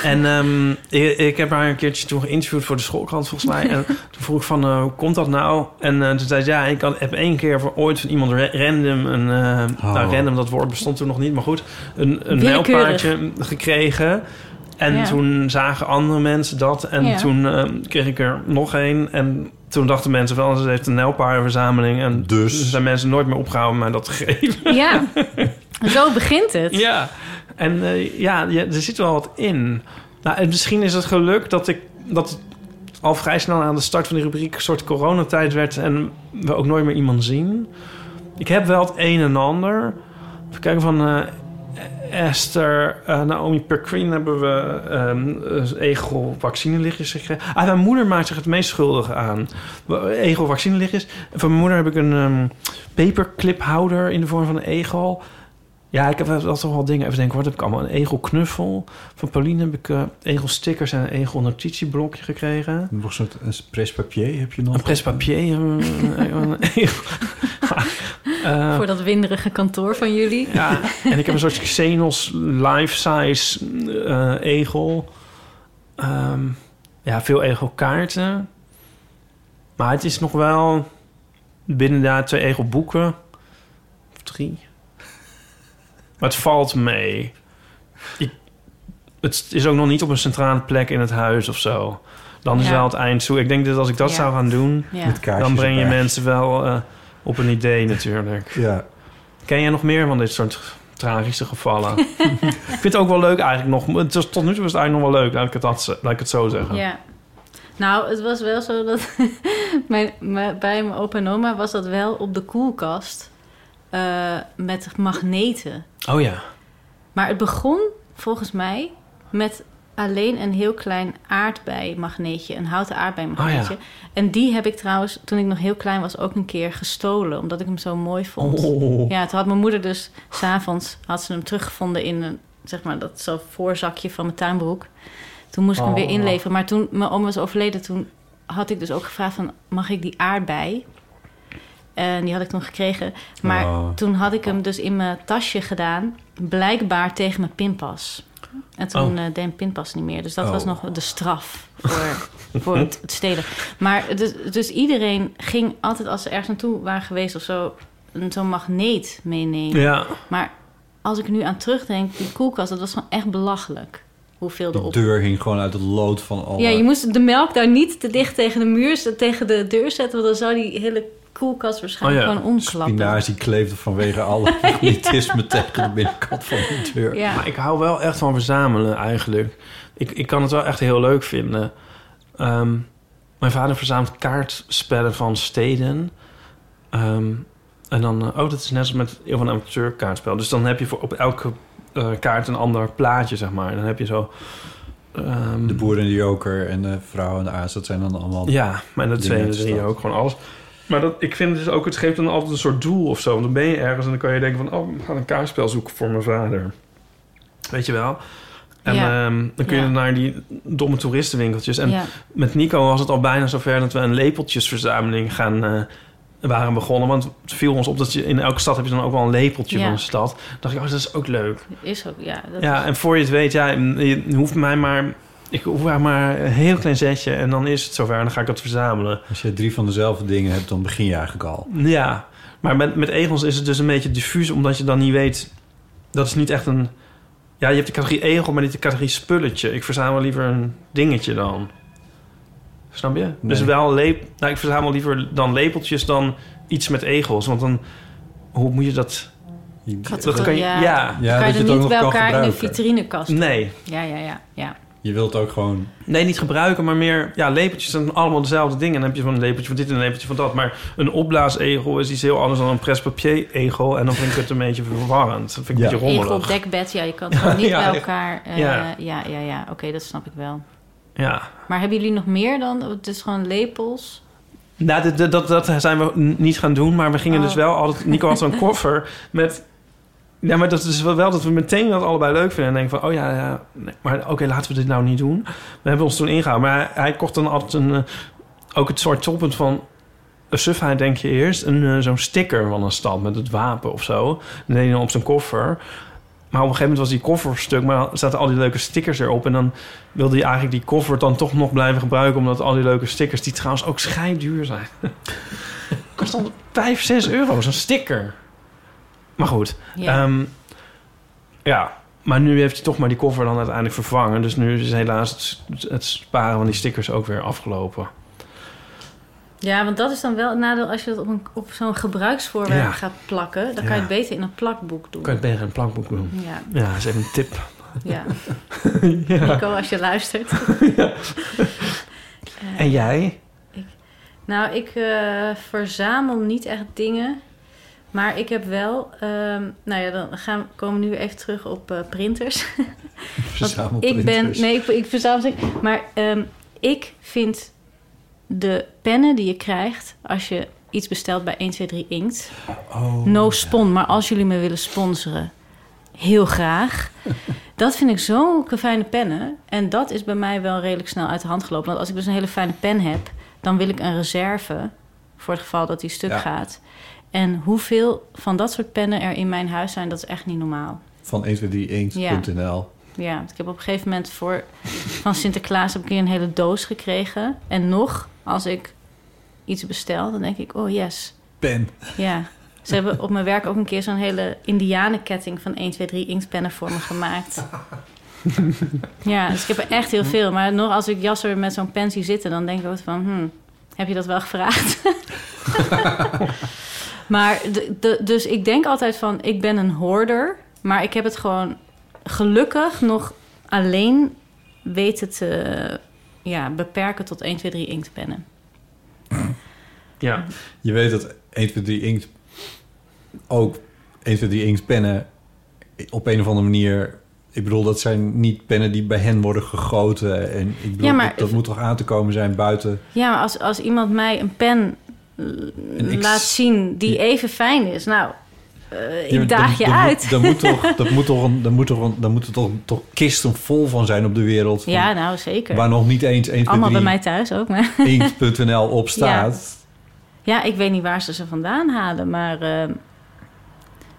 Speaker 4: En ehm, ik, ik heb haar een keertje toen geïnterviewd voor de schoolkrant, volgens mij. En toen vroeg ik van, eh, hoe komt dat nou? En eh, toen zei ze, ja, ik had, heb één keer voor ooit van iemand ra- random... Een, eh,
Speaker 3: Oh.
Speaker 4: Nou, random, dat woord bestond toen nog niet, maar goed. Een, een
Speaker 2: Willekeurig.
Speaker 4: nijlpaardje gekregen. En
Speaker 2: Ja.
Speaker 4: toen zagen andere mensen dat. En
Speaker 2: Ja.
Speaker 4: toen ehm, kreeg ik er nog één. En toen dachten mensen wel, ze heeft een nijlpaardenverzameling. En
Speaker 3: Dus?
Speaker 4: zijn mensen nooit meer opgehouden mij dat te geven.
Speaker 2: Ja, zo begint het.
Speaker 4: Ja, en eh, ja, ja, er zit wel wat in. Nou, en misschien is het geluk dat ik dat het al vrij snel aan de start van die rubriek een soort coronatijd werd en we ook nooit meer iemand zien. Ik heb wel het een en ander. Even kijken van eh, Esther, eh, Naomi Perquin hebben we ehm eh, egel vaccinelichtjes gekregen. Ah, mijn moeder maakt zich het meest schuldig aan. Egel vaccinelichtjes. En Van mijn moeder heb ik een ehm papercliphouder in de vorm van een egel. Ja, ik heb wel toch wel dingen even denken. Wat heb ik allemaal? Een egelknuffel. Van Pauline heb ik eh, egelstickers en een egelnotitieblokje gekregen.
Speaker 3: nog een soort een prespapier heb je nog.
Speaker 4: Een prespapier. Een, een egel. Eh,
Speaker 2: Voor dat winderige kantoor van jullie.
Speaker 4: ja, en ik heb een soort Xenos life-size eh, egel. Ehm, ja, veel egelkaarten. Maar het is nog wel binnen daar twee egelboeken. Of drie. Maar het valt mee. Ik, het is ook nog niet op een centrale plek in het huis of zo. Dan is
Speaker 2: Ja.
Speaker 4: wel het eind toe. Ik denk dat als ik dat
Speaker 2: Ja.
Speaker 4: zou gaan doen,
Speaker 2: Ja.
Speaker 3: Met kaartjes
Speaker 4: dan breng je
Speaker 3: erbij.
Speaker 4: mensen wel eh, op een idee natuurlijk.
Speaker 3: Ja.
Speaker 4: Ken jij nog meer van dit soort tragische gevallen? ik vind het ook wel leuk eigenlijk nog. Het is- tot nu toe is het eigenlijk nog wel leuk, laat ik het, dat, ze- laat ik het zo zeggen.
Speaker 2: Ja. Nou, het was wel zo dat mijn, mijn- bij mijn opa en oma was dat wel op de koelkast eh, met magneten.
Speaker 4: Oh ja.
Speaker 2: Maar het begon volgens mij met alleen een heel klein aardbei-magneetje, een houten aardbei-magneetje.
Speaker 4: Oh
Speaker 2: En die heb ik trouwens, toen ik nog heel klein was, ook een keer gestolen, omdat ik hem zo mooi vond.
Speaker 4: Oh.
Speaker 2: Ja, toen had mijn moeder dus s'avonds had ze hem teruggevonden in een, zeg maar, dat zo voorzakje van mijn tuinbroek. Toen moest ik hem weer
Speaker 4: Oh.
Speaker 2: inleveren. Maar toen mijn oma was overleden, toen had ik dus ook gevraagd van mag ik die aardbei? En Eh, die had ik toen gekregen. Maar
Speaker 3: Oh.
Speaker 2: toen had ik hem dus in mijn tasje gedaan, blijkbaar tegen mijn pinpas. En toen
Speaker 4: Oh.
Speaker 2: eh, deed mijn pinpas niet meer. Dus dat
Speaker 3: Oh.
Speaker 2: was nog de straf voor, voor het, het stelen. Maar dus, dus iedereen ging altijd als ze ergens naartoe waren geweest of zo, een- zo'n magneet meenemen.
Speaker 4: Ja.
Speaker 2: Maar als ik er nu aan terugdenk, die koelkast, dat was gewoon echt belachelijk. Hoeveel
Speaker 3: De
Speaker 2: erop.
Speaker 3: deur hing gewoon uit het lood van al.
Speaker 2: Ja, je moest de melk daar niet te dicht tegen de muur, z- tegen de deur zetten, want dan zou die hele koelkast waarschijnlijk
Speaker 4: Oh ja,
Speaker 2: gewoon omklappen.
Speaker 3: Spinazie kleefde vanwege alle magnetisme tegen de binnenkant van de deur.
Speaker 2: Ja.
Speaker 4: Maar ik hou wel echt van verzamelen eigenlijk. Ik, ik kan het wel echt heel leuk vinden. Ehm, mijn vader verzamelt kaartspellen van steden. Ehm, en dan, eh, oh, dat is net als met heel van amateur kaartspel. Dus dan heb je voor op elke eh, kaart een ander plaatje, zeg maar. Dan heb je zo... ehm,
Speaker 3: De boer en de joker en de vrouw en de aas, dat zijn dan allemaal...
Speaker 4: Ja, maar dat
Speaker 3: dingen
Speaker 4: zijn
Speaker 3: uit de
Speaker 4: er hier
Speaker 3: stad.
Speaker 4: ook gewoon alles. Maar dat, ik vind het dus ook, het geeft dan altijd een soort doel of zo. Want dan ben je ergens en dan kan je denken van... oh, ik ga een kaartspel zoeken voor mijn vader. Weet je wel? En
Speaker 10: Ja.
Speaker 4: ehm, dan kun je
Speaker 10: Ja.
Speaker 4: naar die domme toeristenwinkeltjes. En
Speaker 10: Ja.
Speaker 4: met Nico was het al bijna zover dat we een lepeltjesverzameling gaan... eh, waren begonnen, want het viel ons op dat je in elke stad heb je dan ook wel een lepeltje
Speaker 2: Ja.
Speaker 4: van een stad. Dan dacht ik, oh, dat is ook leuk.
Speaker 2: Is ook, ja. Dat
Speaker 4: Ja,
Speaker 2: is-
Speaker 4: en voor je het weet, ja, je hoeft mij maar... Ik hoef haar maar een heel klein zetje en dan is het zover en dan ga ik dat verzamelen.
Speaker 3: Als je drie van dezelfde dingen hebt, dan begin je eigenlijk al.
Speaker 4: Ja, maar met, met egels is het dus een beetje diffuus, omdat je dan niet weet... Dat is niet echt een... Ja, je hebt de categorie egel, maar niet de categorie spulletje. Ik verzamel liever een dingetje dan. Snap je? Dus wel lepel... Nou, ik verzamel liever dan lepeltjes dan iets met egels. Want dan... Hoe moet je dat...
Speaker 2: dat kan je, ja.
Speaker 4: ja.
Speaker 2: Dan kan je er niet bij elkaar in de vitrinekast. doen.
Speaker 4: Nee.
Speaker 2: Ja, ja, ja. ja.
Speaker 3: Je wilt ook gewoon...
Speaker 4: Nee, niet gebruiken, maar meer... Ja, lepeltjes zijn allemaal dezelfde dingen. Dan heb je van een lepeltje van dit en een lepeltje van dat. Maar een opblaasegel is iets heel anders dan een prespapier-egel. En dan vind ik het een beetje verwarrend. Dat vind ik een beetje
Speaker 2: Egel,
Speaker 4: rommelig.
Speaker 2: dekbed, ja, je kan het gewoon niet
Speaker 4: Ja, ja.
Speaker 2: bij elkaar. eh,
Speaker 4: Ja.
Speaker 2: ja, ja, ja. Oké, dat snap ik wel.
Speaker 4: Ja.
Speaker 2: Maar hebben jullie nog meer dan? Het is gewoon lepels.
Speaker 4: Nou, dat- dat, dat, dat zijn we n- niet gaan doen. Maar we gingen
Speaker 2: Oh.
Speaker 4: dus wel altijd... Nico had zo'n koffer met... Ja, maar dat is wel, wel dat we meteen dat allebei leuk vinden. En denken van, oh ja, ja nee, maar oké, laten we dit nou niet doen. We hebben ons toen ingehouden. Maar hij, hij kocht dan altijd een, eh, ook het soort toppunt van... Een sufheid denk je eerst. Een, eh, zo'n sticker van een stad met het wapen of zo. Dan deed hij dan op zijn koffer. Maar op een gegeven moment was die koffer stuk, maar zaten al die leuke stickers erop. En dan wilde hij eigenlijk die koffer dan toch nog blijven gebruiken, omdat al die leuke stickers, die trouwens ook schijnduur zijn. Kost al 5, 6 euro, zo'n sticker. Maar goed.
Speaker 10: Ja.
Speaker 4: Ja. ja, maar nu heeft hij toch maar die koffer dan uiteindelijk vervangen. Dus nu is helaas het, het sparen van die stickers ook weer afgelopen.
Speaker 2: Ja, want dat is dan wel het nadeel als je dat op, een- op zo'n gebruiksvoorwerp
Speaker 4: Ja.
Speaker 2: gaat plakken. Dan kan je het
Speaker 4: Ja.
Speaker 2: beter in een plakboek doen.
Speaker 4: Kan je het beter in een plankboek doen?
Speaker 2: Ja.
Speaker 4: Ja, dat is even een tip.
Speaker 2: Ja.
Speaker 4: Ja.
Speaker 2: Nico, als je luistert. Eh,
Speaker 4: En jij?
Speaker 2: Nou, ik eh, verzamel niet echt dingen. Maar ik heb wel... ehm, nou ja, dan gaan, we- komen we nu even terug op eh, printers.
Speaker 10: Verzamel
Speaker 2: Want ik ben,
Speaker 10: printers.
Speaker 2: Nee, ik, ik verzamel ze. Maar ehm, ik vind de pennen die je krijgt... als je iets bestelt bij 123 Inkt... no spon, maar als jullie me willen sponsoren... heel graag. Dat vind ik zulke fijne pennen. En dat is bij mij wel redelijk snel uit de hand gelopen. Want als ik dus een hele fijne pen heb, dan wil ik een reserve. Voor het geval dat die stuk
Speaker 3: Ja.
Speaker 2: gaat. En hoeveel van dat soort pennen er in mijn huis zijn, dat is echt niet normaal.
Speaker 3: Van 123.nl.
Speaker 2: Ja, want ik heb op een gegeven moment voor, van Sinterklaas heb ik hier een hele doos gekregen. En nog, als ik iets bestel, dan denk ik, oh yes.
Speaker 3: Pen.
Speaker 2: Ja, ze hebben op mijn werk ook een keer zo'n hele indianenketting van 1, 2, 3 inktpennen voor me gemaakt. Ja, dus ik heb er echt heel veel. Maar nog als ik Jasser met zo'n pen zie zitten, dan denk ik ook van... Hmm, heb je dat wel gevraagd? maar de, de- dus ik denk altijd van, ik ben een hoorder. Maar ik heb het gewoon gelukkig nog alleen weten te ja, beperken tot 1, 2, 3 inktpennen.
Speaker 4: Ja.
Speaker 3: Je weet dat 123 Inkt ook 123 Inkt pennen op een of andere manier... Ik bedoel, dat zijn niet pennen die bij hen worden gegoten. En ik bedoel,
Speaker 2: Ja, maar-
Speaker 3: dat, dat moet toch aan te komen zijn buiten...
Speaker 2: Ja, maar als, als iemand mij een pen eh,
Speaker 3: X-
Speaker 2: laat zien die even fijn is... Nou, eh, ik
Speaker 3: Ja, maar
Speaker 2: daag je
Speaker 3: dan- dan
Speaker 2: uit.
Speaker 3: Moet, dan moet toch, dat moet toch, een, dan moet toch, een, dan moeten toch, toch kisten vol van zijn op de wereld. van-
Speaker 2: ja, nou zeker.
Speaker 3: Waar nog niet eens 1, 2,
Speaker 2: Allemaal
Speaker 3: 3,
Speaker 2: bij mij thuis ook. Maar.
Speaker 3: inkt.nl op staat.
Speaker 2: Ja, ik weet niet waar ze ze vandaan halen, maar... ehm,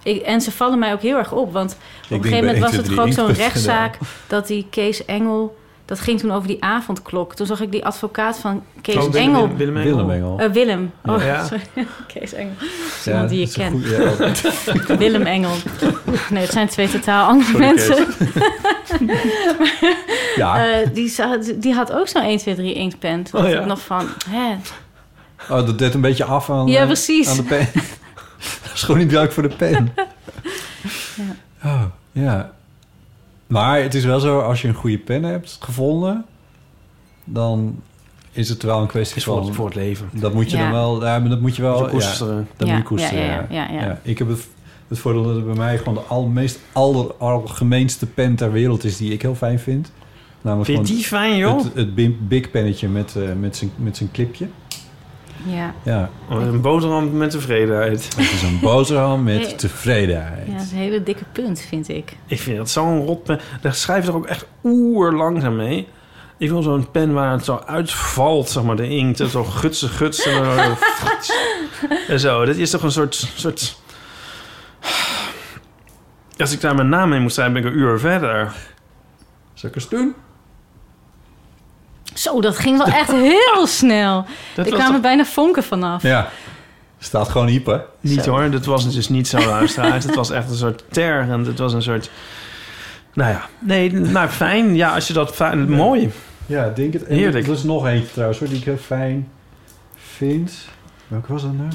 Speaker 2: ik, en ze vallen mij ook heel erg op, want op
Speaker 10: denk
Speaker 2: een gegeven
Speaker 10: bij
Speaker 2: moment was het
Speaker 10: 123
Speaker 2: gewoon zo'n
Speaker 10: inkt.nl.
Speaker 2: rechtszaak... dat die Kees Engel... Dat ging toen over die avondklok. Toen zag ik die advocaat van Kees
Speaker 10: Oh, Willem-
Speaker 2: Engel...
Speaker 10: Willem- Willem Engel. Willem Engel.
Speaker 2: Eh, Willem.
Speaker 10: Ja.
Speaker 2: Oh,
Speaker 10: Ja.
Speaker 2: sorry. Kees Engel. Dat is
Speaker 10: Ja,
Speaker 2: iemand die je
Speaker 10: dat is een
Speaker 2: kent.
Speaker 10: goeie, ja.
Speaker 2: Willem Engel. Nee, het zijn twee totaal andere
Speaker 10: Sorry,
Speaker 2: mensen.
Speaker 3: Ja.
Speaker 2: Eh, die, zag- die had ook zo'n 1, 2, 3 inktpen. Toen
Speaker 3: Oh,
Speaker 2: dacht
Speaker 3: ja.
Speaker 2: ik nog van... Hè,
Speaker 3: Oh, dat deed een beetje af aan,
Speaker 2: Eh, Ja,
Speaker 3: eh,
Speaker 2: precies.
Speaker 3: aan de pen. dat is gewoon niet duidelijk voor de pen. Oh, ja. Maar het is wel zo, als je een goede pen hebt gevonden... dan is het wel een kwestie
Speaker 4: Is voor
Speaker 3: van...
Speaker 4: het- voor het leven.
Speaker 3: Dat moet je
Speaker 4: Ja.
Speaker 3: dan wel... Ja, maar dat moet je wel...
Speaker 4: Moet je koesteren.
Speaker 3: Ja, dat
Speaker 2: Ja,
Speaker 3: moet je koesteren,
Speaker 2: ja, ja, ja, ja, ja.
Speaker 3: Ik heb het, Het voordeel dat het bij mij gewoon de al, meest alleralgemeenste pen ter wereld is... die ik heel fijn vind. Namelijk
Speaker 4: Vind je
Speaker 3: gewoon
Speaker 4: die fijn, joh?
Speaker 3: Het, het big- big pennetje met, eh, met zijn- met zijn clipje.
Speaker 2: Ja.
Speaker 3: Ja.
Speaker 4: Oh, Een boterham met tevredenheid.
Speaker 3: Het is een boterham
Speaker 2: met Nee.
Speaker 3: tevredenheid.
Speaker 2: Ja, dat is een hele dikke punt, vind ik.
Speaker 4: Ik vind dat zo'n rotpen. Daar schrijf je er ook echt oer langzaam mee. Ik wil zo'n pen waar het zo uitvalt, zeg maar, de inkt. en Zo gutsen, gutsen. en zo frits. en zo. Dit is toch een soort... soort... Als ik daar mijn naam in moet zijn, ben ik een uur verder.
Speaker 3: Zal ik eens doen?
Speaker 2: Zo, dat ging wel echt heel snel.
Speaker 4: was
Speaker 2: er kwamen
Speaker 4: toch-
Speaker 2: bijna vonken vanaf.
Speaker 3: Ja. Staat gewoon hype, hè?
Speaker 4: Niet hoor, dat was dus niet zo, luisteraars. Het was echt een soort ter en het was een soort... Nou ja, nee, nou fijn. Ja, als je dat... Fijn, mooi.
Speaker 3: Ja, ik denk het. En
Speaker 4: Heerlijk.
Speaker 3: Er is nog eentje trouwens, hoor, die ik heel fijn vind. Welke was dat nou?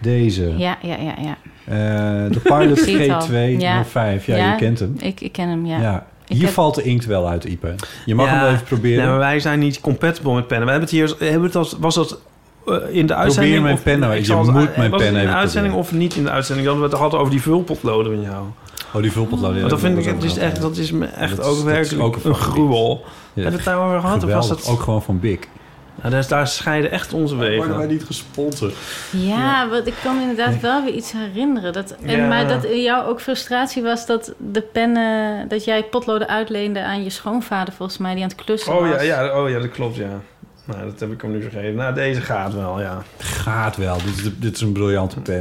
Speaker 3: Deze.
Speaker 2: Ja, ja, ja, ja.
Speaker 3: Eh, de Pilot
Speaker 2: Ik zie het al.
Speaker 3: G2 nummer 5. Ja, je kent hem.
Speaker 2: Ik, ik ken hem, ja.
Speaker 3: Ja.
Speaker 2: Ik
Speaker 3: Hier
Speaker 2: heb-
Speaker 3: valt de inkt wel uit, Ipe. Je mag
Speaker 4: Ja,
Speaker 3: hem wel even proberen.
Speaker 4: Nee, maar wij zijn niet compatible met pennen. We hebben het hier, hebben we het als, was dat eh, in de uitzending?
Speaker 3: mijn
Speaker 4: of-
Speaker 3: pen nou,
Speaker 4: ik
Speaker 3: je
Speaker 4: zal het-
Speaker 3: moet
Speaker 4: eh,
Speaker 3: mijn
Speaker 4: was het
Speaker 3: pen
Speaker 4: in de
Speaker 3: even
Speaker 4: uitzending of niet in de uitzending? Dat we het hadden over die vulpotloden van jou.
Speaker 3: Oh, die vulpotloden. ja,
Speaker 4: Want dat
Speaker 3: dat
Speaker 4: vind ik,
Speaker 3: was
Speaker 4: het
Speaker 3: ook
Speaker 4: is
Speaker 3: wel,
Speaker 4: echt,
Speaker 3: ja.
Speaker 4: dat is me echt
Speaker 3: Dat is-
Speaker 4: ook
Speaker 3: dat is
Speaker 4: werkelijk
Speaker 3: ook een
Speaker 4: een
Speaker 3: favoriet.
Speaker 4: gruwel.
Speaker 3: Ja.
Speaker 4: Hebben we het daarover gehad? Of was
Speaker 3: Geweldig.
Speaker 4: dat...
Speaker 3: Ook gewoon van Big.
Speaker 4: Nou, daar, daar scheiden echt onze wegen.
Speaker 3: worden wij niet gesponsord?
Speaker 2: Ja, want ik kan me inderdaad wel weer iets herinneren. Dat, en,
Speaker 4: Ja.
Speaker 2: Maar dat in jou ook frustratie was dat de pennen... dat jij potloden uitleende aan je schoonvader volgens mij... die aan het klussen
Speaker 4: Oh
Speaker 2: was.
Speaker 4: ja, ja, oh ja, dat klopt, ja. Nou, dat heb ik hem nu gegeven. Nou, deze gaat wel, ja.
Speaker 3: Gaat wel. Dit is, de- dit is een briljante pen.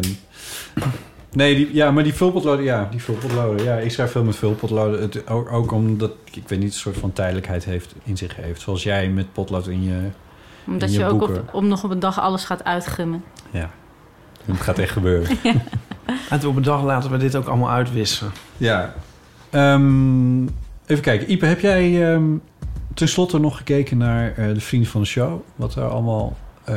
Speaker 3: Nee, die, ja, maar die vulpotloden, ja, die vulpotloden. Ja, ik schrijf veel met vulpotloden. Het, ook, ook omdat, ik weet niet, een soort van tijdelijkheid heeft, in zich heeft. Zoals jij met potlood in je
Speaker 2: Omdat
Speaker 3: in
Speaker 2: je,
Speaker 3: je,
Speaker 2: ook
Speaker 3: boeken.
Speaker 2: op, om nog op een dag alles gaat uitgummen.
Speaker 3: Ja, het gaat echt gebeuren.
Speaker 4: En toen op een dag laten we dit ook allemaal uitwissen.
Speaker 3: ja. Ehm, even kijken. Ipe, heb jij ehm tenslotte nog gekeken naar eh, de vrienden van de show? Wat er allemaal eh,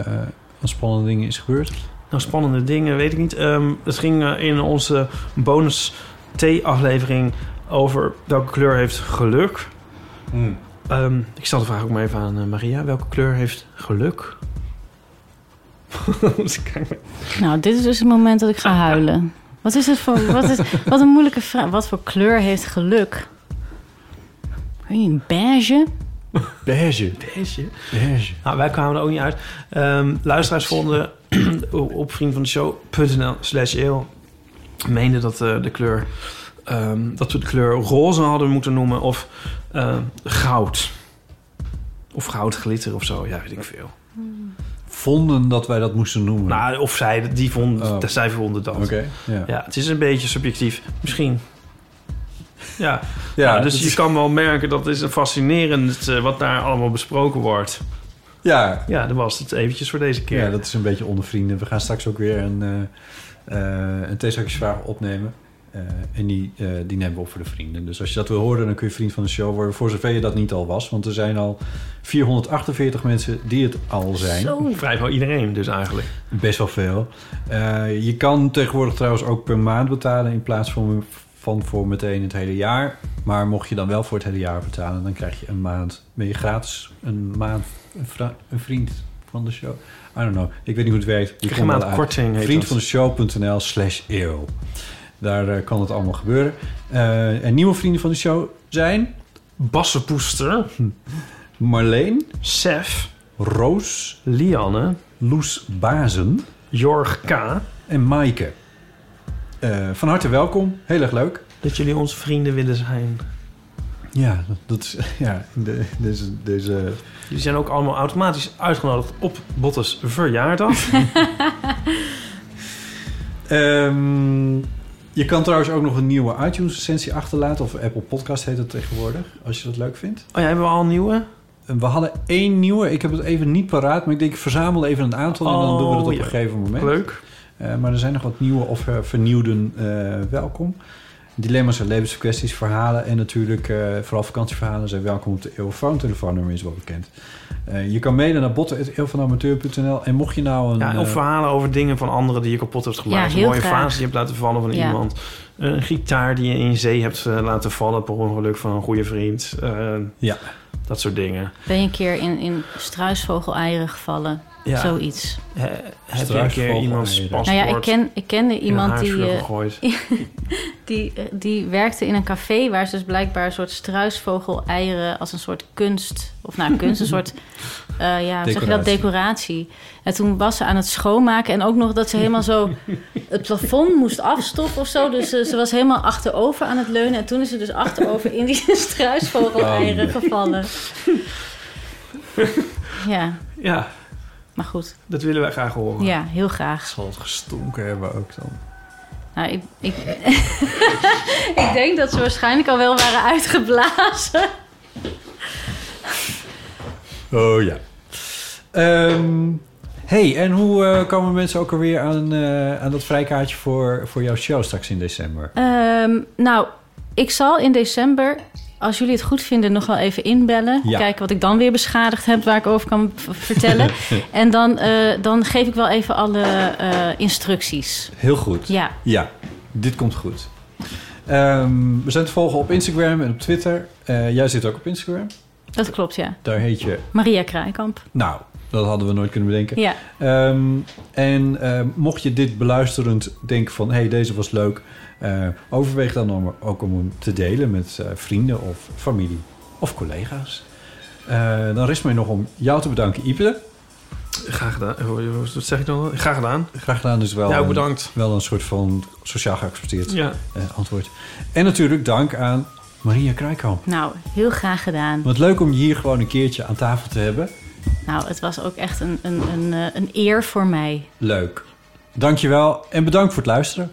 Speaker 3: aan spannende dingen is gebeurd?
Speaker 4: Nou, spannende dingen, weet ik niet. Ehm, het ging eh, in onze bonus T-aflevering over welke kleur heeft geluk.
Speaker 3: Mm.
Speaker 4: Ehm, ik stel de vraag ook maar even aan eh, Maria. Welke kleur heeft geluk? Ze kijkt me-
Speaker 2: Nou, dit is dus het moment dat ik
Speaker 4: Ah,
Speaker 2: ga huilen. Wat is het voor... Wat, is, wat een moeilijke vraag. Wat voor kleur heeft geluk? Ik weet niet, Een beige?
Speaker 3: Beige.
Speaker 4: Beige. Nou, wij kwamen er ook niet uit. Ehm, luisteraars vonden op vriendvandeshow.nl slash eeuw meenden dat eh, de kleur ehm, dat we de kleur roze hadden moeten noemen of ehm, goud. Of goudglitter of zo, ja, weet ik veel.
Speaker 3: Vonden dat wij dat moesten noemen?
Speaker 4: Nou, of zij, die vonden, zij vonden dat.
Speaker 3: Oh. Oké, ja.
Speaker 4: ja, het is een beetje subjectief. Misschien. Ja,
Speaker 3: Ja,
Speaker 4: Nou, dus
Speaker 3: dat
Speaker 4: je
Speaker 3: is-
Speaker 4: kan wel merken dat is een fascinerend eh, wat daar allemaal besproken wordt.
Speaker 3: Ja.
Speaker 4: Ja, dat was het eventjes voor deze keer.
Speaker 3: Ja, dat is een beetje onder vrienden. We gaan straks ook weer een, eh eh een theezakjesvraag opnemen. Eh, en die, eh, die nemen we op voor de vrienden. Dus als je dat wil horen, dan kun je vriend van de show worden. Voor zover je dat niet al was. Want er zijn al 448 mensen die het al zijn.
Speaker 4: Zo. Vrijwel iedereen dus eigenlijk.
Speaker 3: Best wel veel. Eh, je kan tegenwoordig trouwens ook per maand betalen... in plaats van, van voor meteen het hele jaar. Maar mocht je dan wel voor het hele jaar betalen... dan krijg je een maand... ben je gratis een maand een, vra- een vriend van de show. I don't know. Ik weet niet hoe het werkt.
Speaker 4: Krijg je een maand korting, heet
Speaker 3: Vriend
Speaker 4: dat.
Speaker 3: van de show.nl slash eeuw. Daar eh, kan het allemaal gebeuren. Eh, en nieuwe vrienden van de show zijn...
Speaker 4: Bassenpoester.
Speaker 3: Marleen.
Speaker 4: Sef.
Speaker 3: Roos.
Speaker 4: Lianne.
Speaker 3: Loes Bazen.
Speaker 4: Jorg K.
Speaker 3: En Maaike. Eh, van harte welkom. Heel erg leuk.
Speaker 4: Dat jullie onze vrienden willen zijn.
Speaker 3: Ja, dat- dat is... Ja, de, deze, deze...
Speaker 4: Jullie zijn ook allemaal automatisch uitgenodigd op Bottes verjaardag. Oh
Speaker 3: Ehm, je kan trouwens ook nog een nieuwe iTunes recensie achterlaten. Of Apple Podcast heet het tegenwoordig. Als je dat leuk vindt.
Speaker 4: Oh ja, hebben we al een nieuwe?
Speaker 3: En We hadden één nieuwe. Ik heb het even niet paraat. Maar ik denk, ik verzamel even een aantal. en dan doen we dat
Speaker 4: Oh,
Speaker 3: op
Speaker 4: ja.
Speaker 3: een gegeven moment.
Speaker 4: Leuk.
Speaker 3: Eh, maar er zijn nog wat nieuwe of eh, vernieuwden eh, welkom. Dilemma's en levenskwesties, verhalen en natuurlijk eh, vooral vakantieverhalen zijn welkom op de Eeuwfoon. Telefoonnummer is wel bekend. Eh, je kan mailen naar botten.eeuwvanamateur.nl en mocht je nou een...
Speaker 4: Ja, of
Speaker 3: eh,
Speaker 4: verhalen over dingen van anderen die je kapot hebt gemaakt.
Speaker 2: Ja,
Speaker 4: een
Speaker 2: heel
Speaker 4: mooie
Speaker 2: graag.
Speaker 4: vaas die je hebt laten vallen van
Speaker 2: Ja.
Speaker 4: iemand. Een gitaar die je in zee hebt eh, laten vallen per ongeluk van een goede vriend. ja. Dat soort dingen.
Speaker 2: Ben je een keer in, in struisvogel-eieren gevallen?
Speaker 4: Ja.
Speaker 2: Zoiets.
Speaker 4: He- heb je een keer
Speaker 3: Struisvogel
Speaker 4: iemands
Speaker 3: eieren.
Speaker 4: paspoort
Speaker 2: Nou ja, ik, ken, ik kende
Speaker 4: in een
Speaker 2: iemand die,
Speaker 4: haarsvuur
Speaker 2: eh,
Speaker 4: gegooid?
Speaker 2: die, eh, die werkte in een café waar ze dus blijkbaar een soort struisvogel-eieren als een soort kunst, of nou kunst, een soort, eh, ja, hoe zeg je dat,
Speaker 11: Decoratie.
Speaker 2: decoratie. En toen was ze aan het schoonmaken en ook nog dat ze helemaal zo het plafond moest afstoffen of zo. Dus eh, ze was helemaal achterover aan het leunen en toen is ze dus achterover in die struisvogel-eieren
Speaker 4: Oh, nee.
Speaker 2: gevallen. ja,
Speaker 4: Ja,
Speaker 2: maar goed.
Speaker 4: dat willen wij graag horen.
Speaker 2: Ja, heel graag.
Speaker 4: Zal het gestonken hebben ook dan?
Speaker 2: Nou, ik, ik, ik denk dat ze waarschijnlijk al wel waren uitgeblazen.
Speaker 3: Oh ja. Ehm, hey, en hoe eh, komen mensen ook alweer aan, eh, aan dat vrijkaartje voor, voor jouw show straks in december?
Speaker 2: Ehm, nou, ik zal in december, als jullie het goed vinden, nog wel even inbellen.
Speaker 3: Ja.
Speaker 2: Kijken wat ik dan weer beschadigd heb, waar ik over kan v- vertellen. en dan, eh, dan geef ik wel even alle eh, instructies.
Speaker 3: Heel goed.
Speaker 2: Ja.
Speaker 3: Ja, dit komt goed. Ehm, we zijn te volgen op Instagram en op Twitter. Eh, jij zit ook op Instagram.
Speaker 2: Dat klopt, ja.
Speaker 3: Daar heet je...
Speaker 2: Maria Kraaikamp.
Speaker 3: Nou, dat hadden we nooit kunnen bedenken.
Speaker 2: Ja.
Speaker 3: Ehm, en ehm, mocht je dit beluisterend denken van... hé, hey, deze was leuk. eh, overweeg dan om, ook om hem te delen met eh, vrienden of familie of collega's. Eh, dan rest mij nog om jou te bedanken, Ipe.
Speaker 4: Graag gedaan. Hoe- hoe- Wat zeg ik dan? wel? Graag gedaan.
Speaker 3: Graag gedaan dus wel,
Speaker 4: Ja,
Speaker 3: een-
Speaker 4: Nou, bedankt.
Speaker 3: wel een soort van sociaal geaccepteerd
Speaker 4: Ja.
Speaker 3: eh, antwoord. En natuurlijk dank aan Maria Krijkamp.
Speaker 2: Nou, heel graag gedaan.
Speaker 3: Wat leuk om je hier gewoon een keertje aan tafel te hebben.
Speaker 2: Nou, het was ook echt een, een, een, eh, een eer voor mij.
Speaker 3: Leuk. Dankjewel en bedankt voor het luisteren.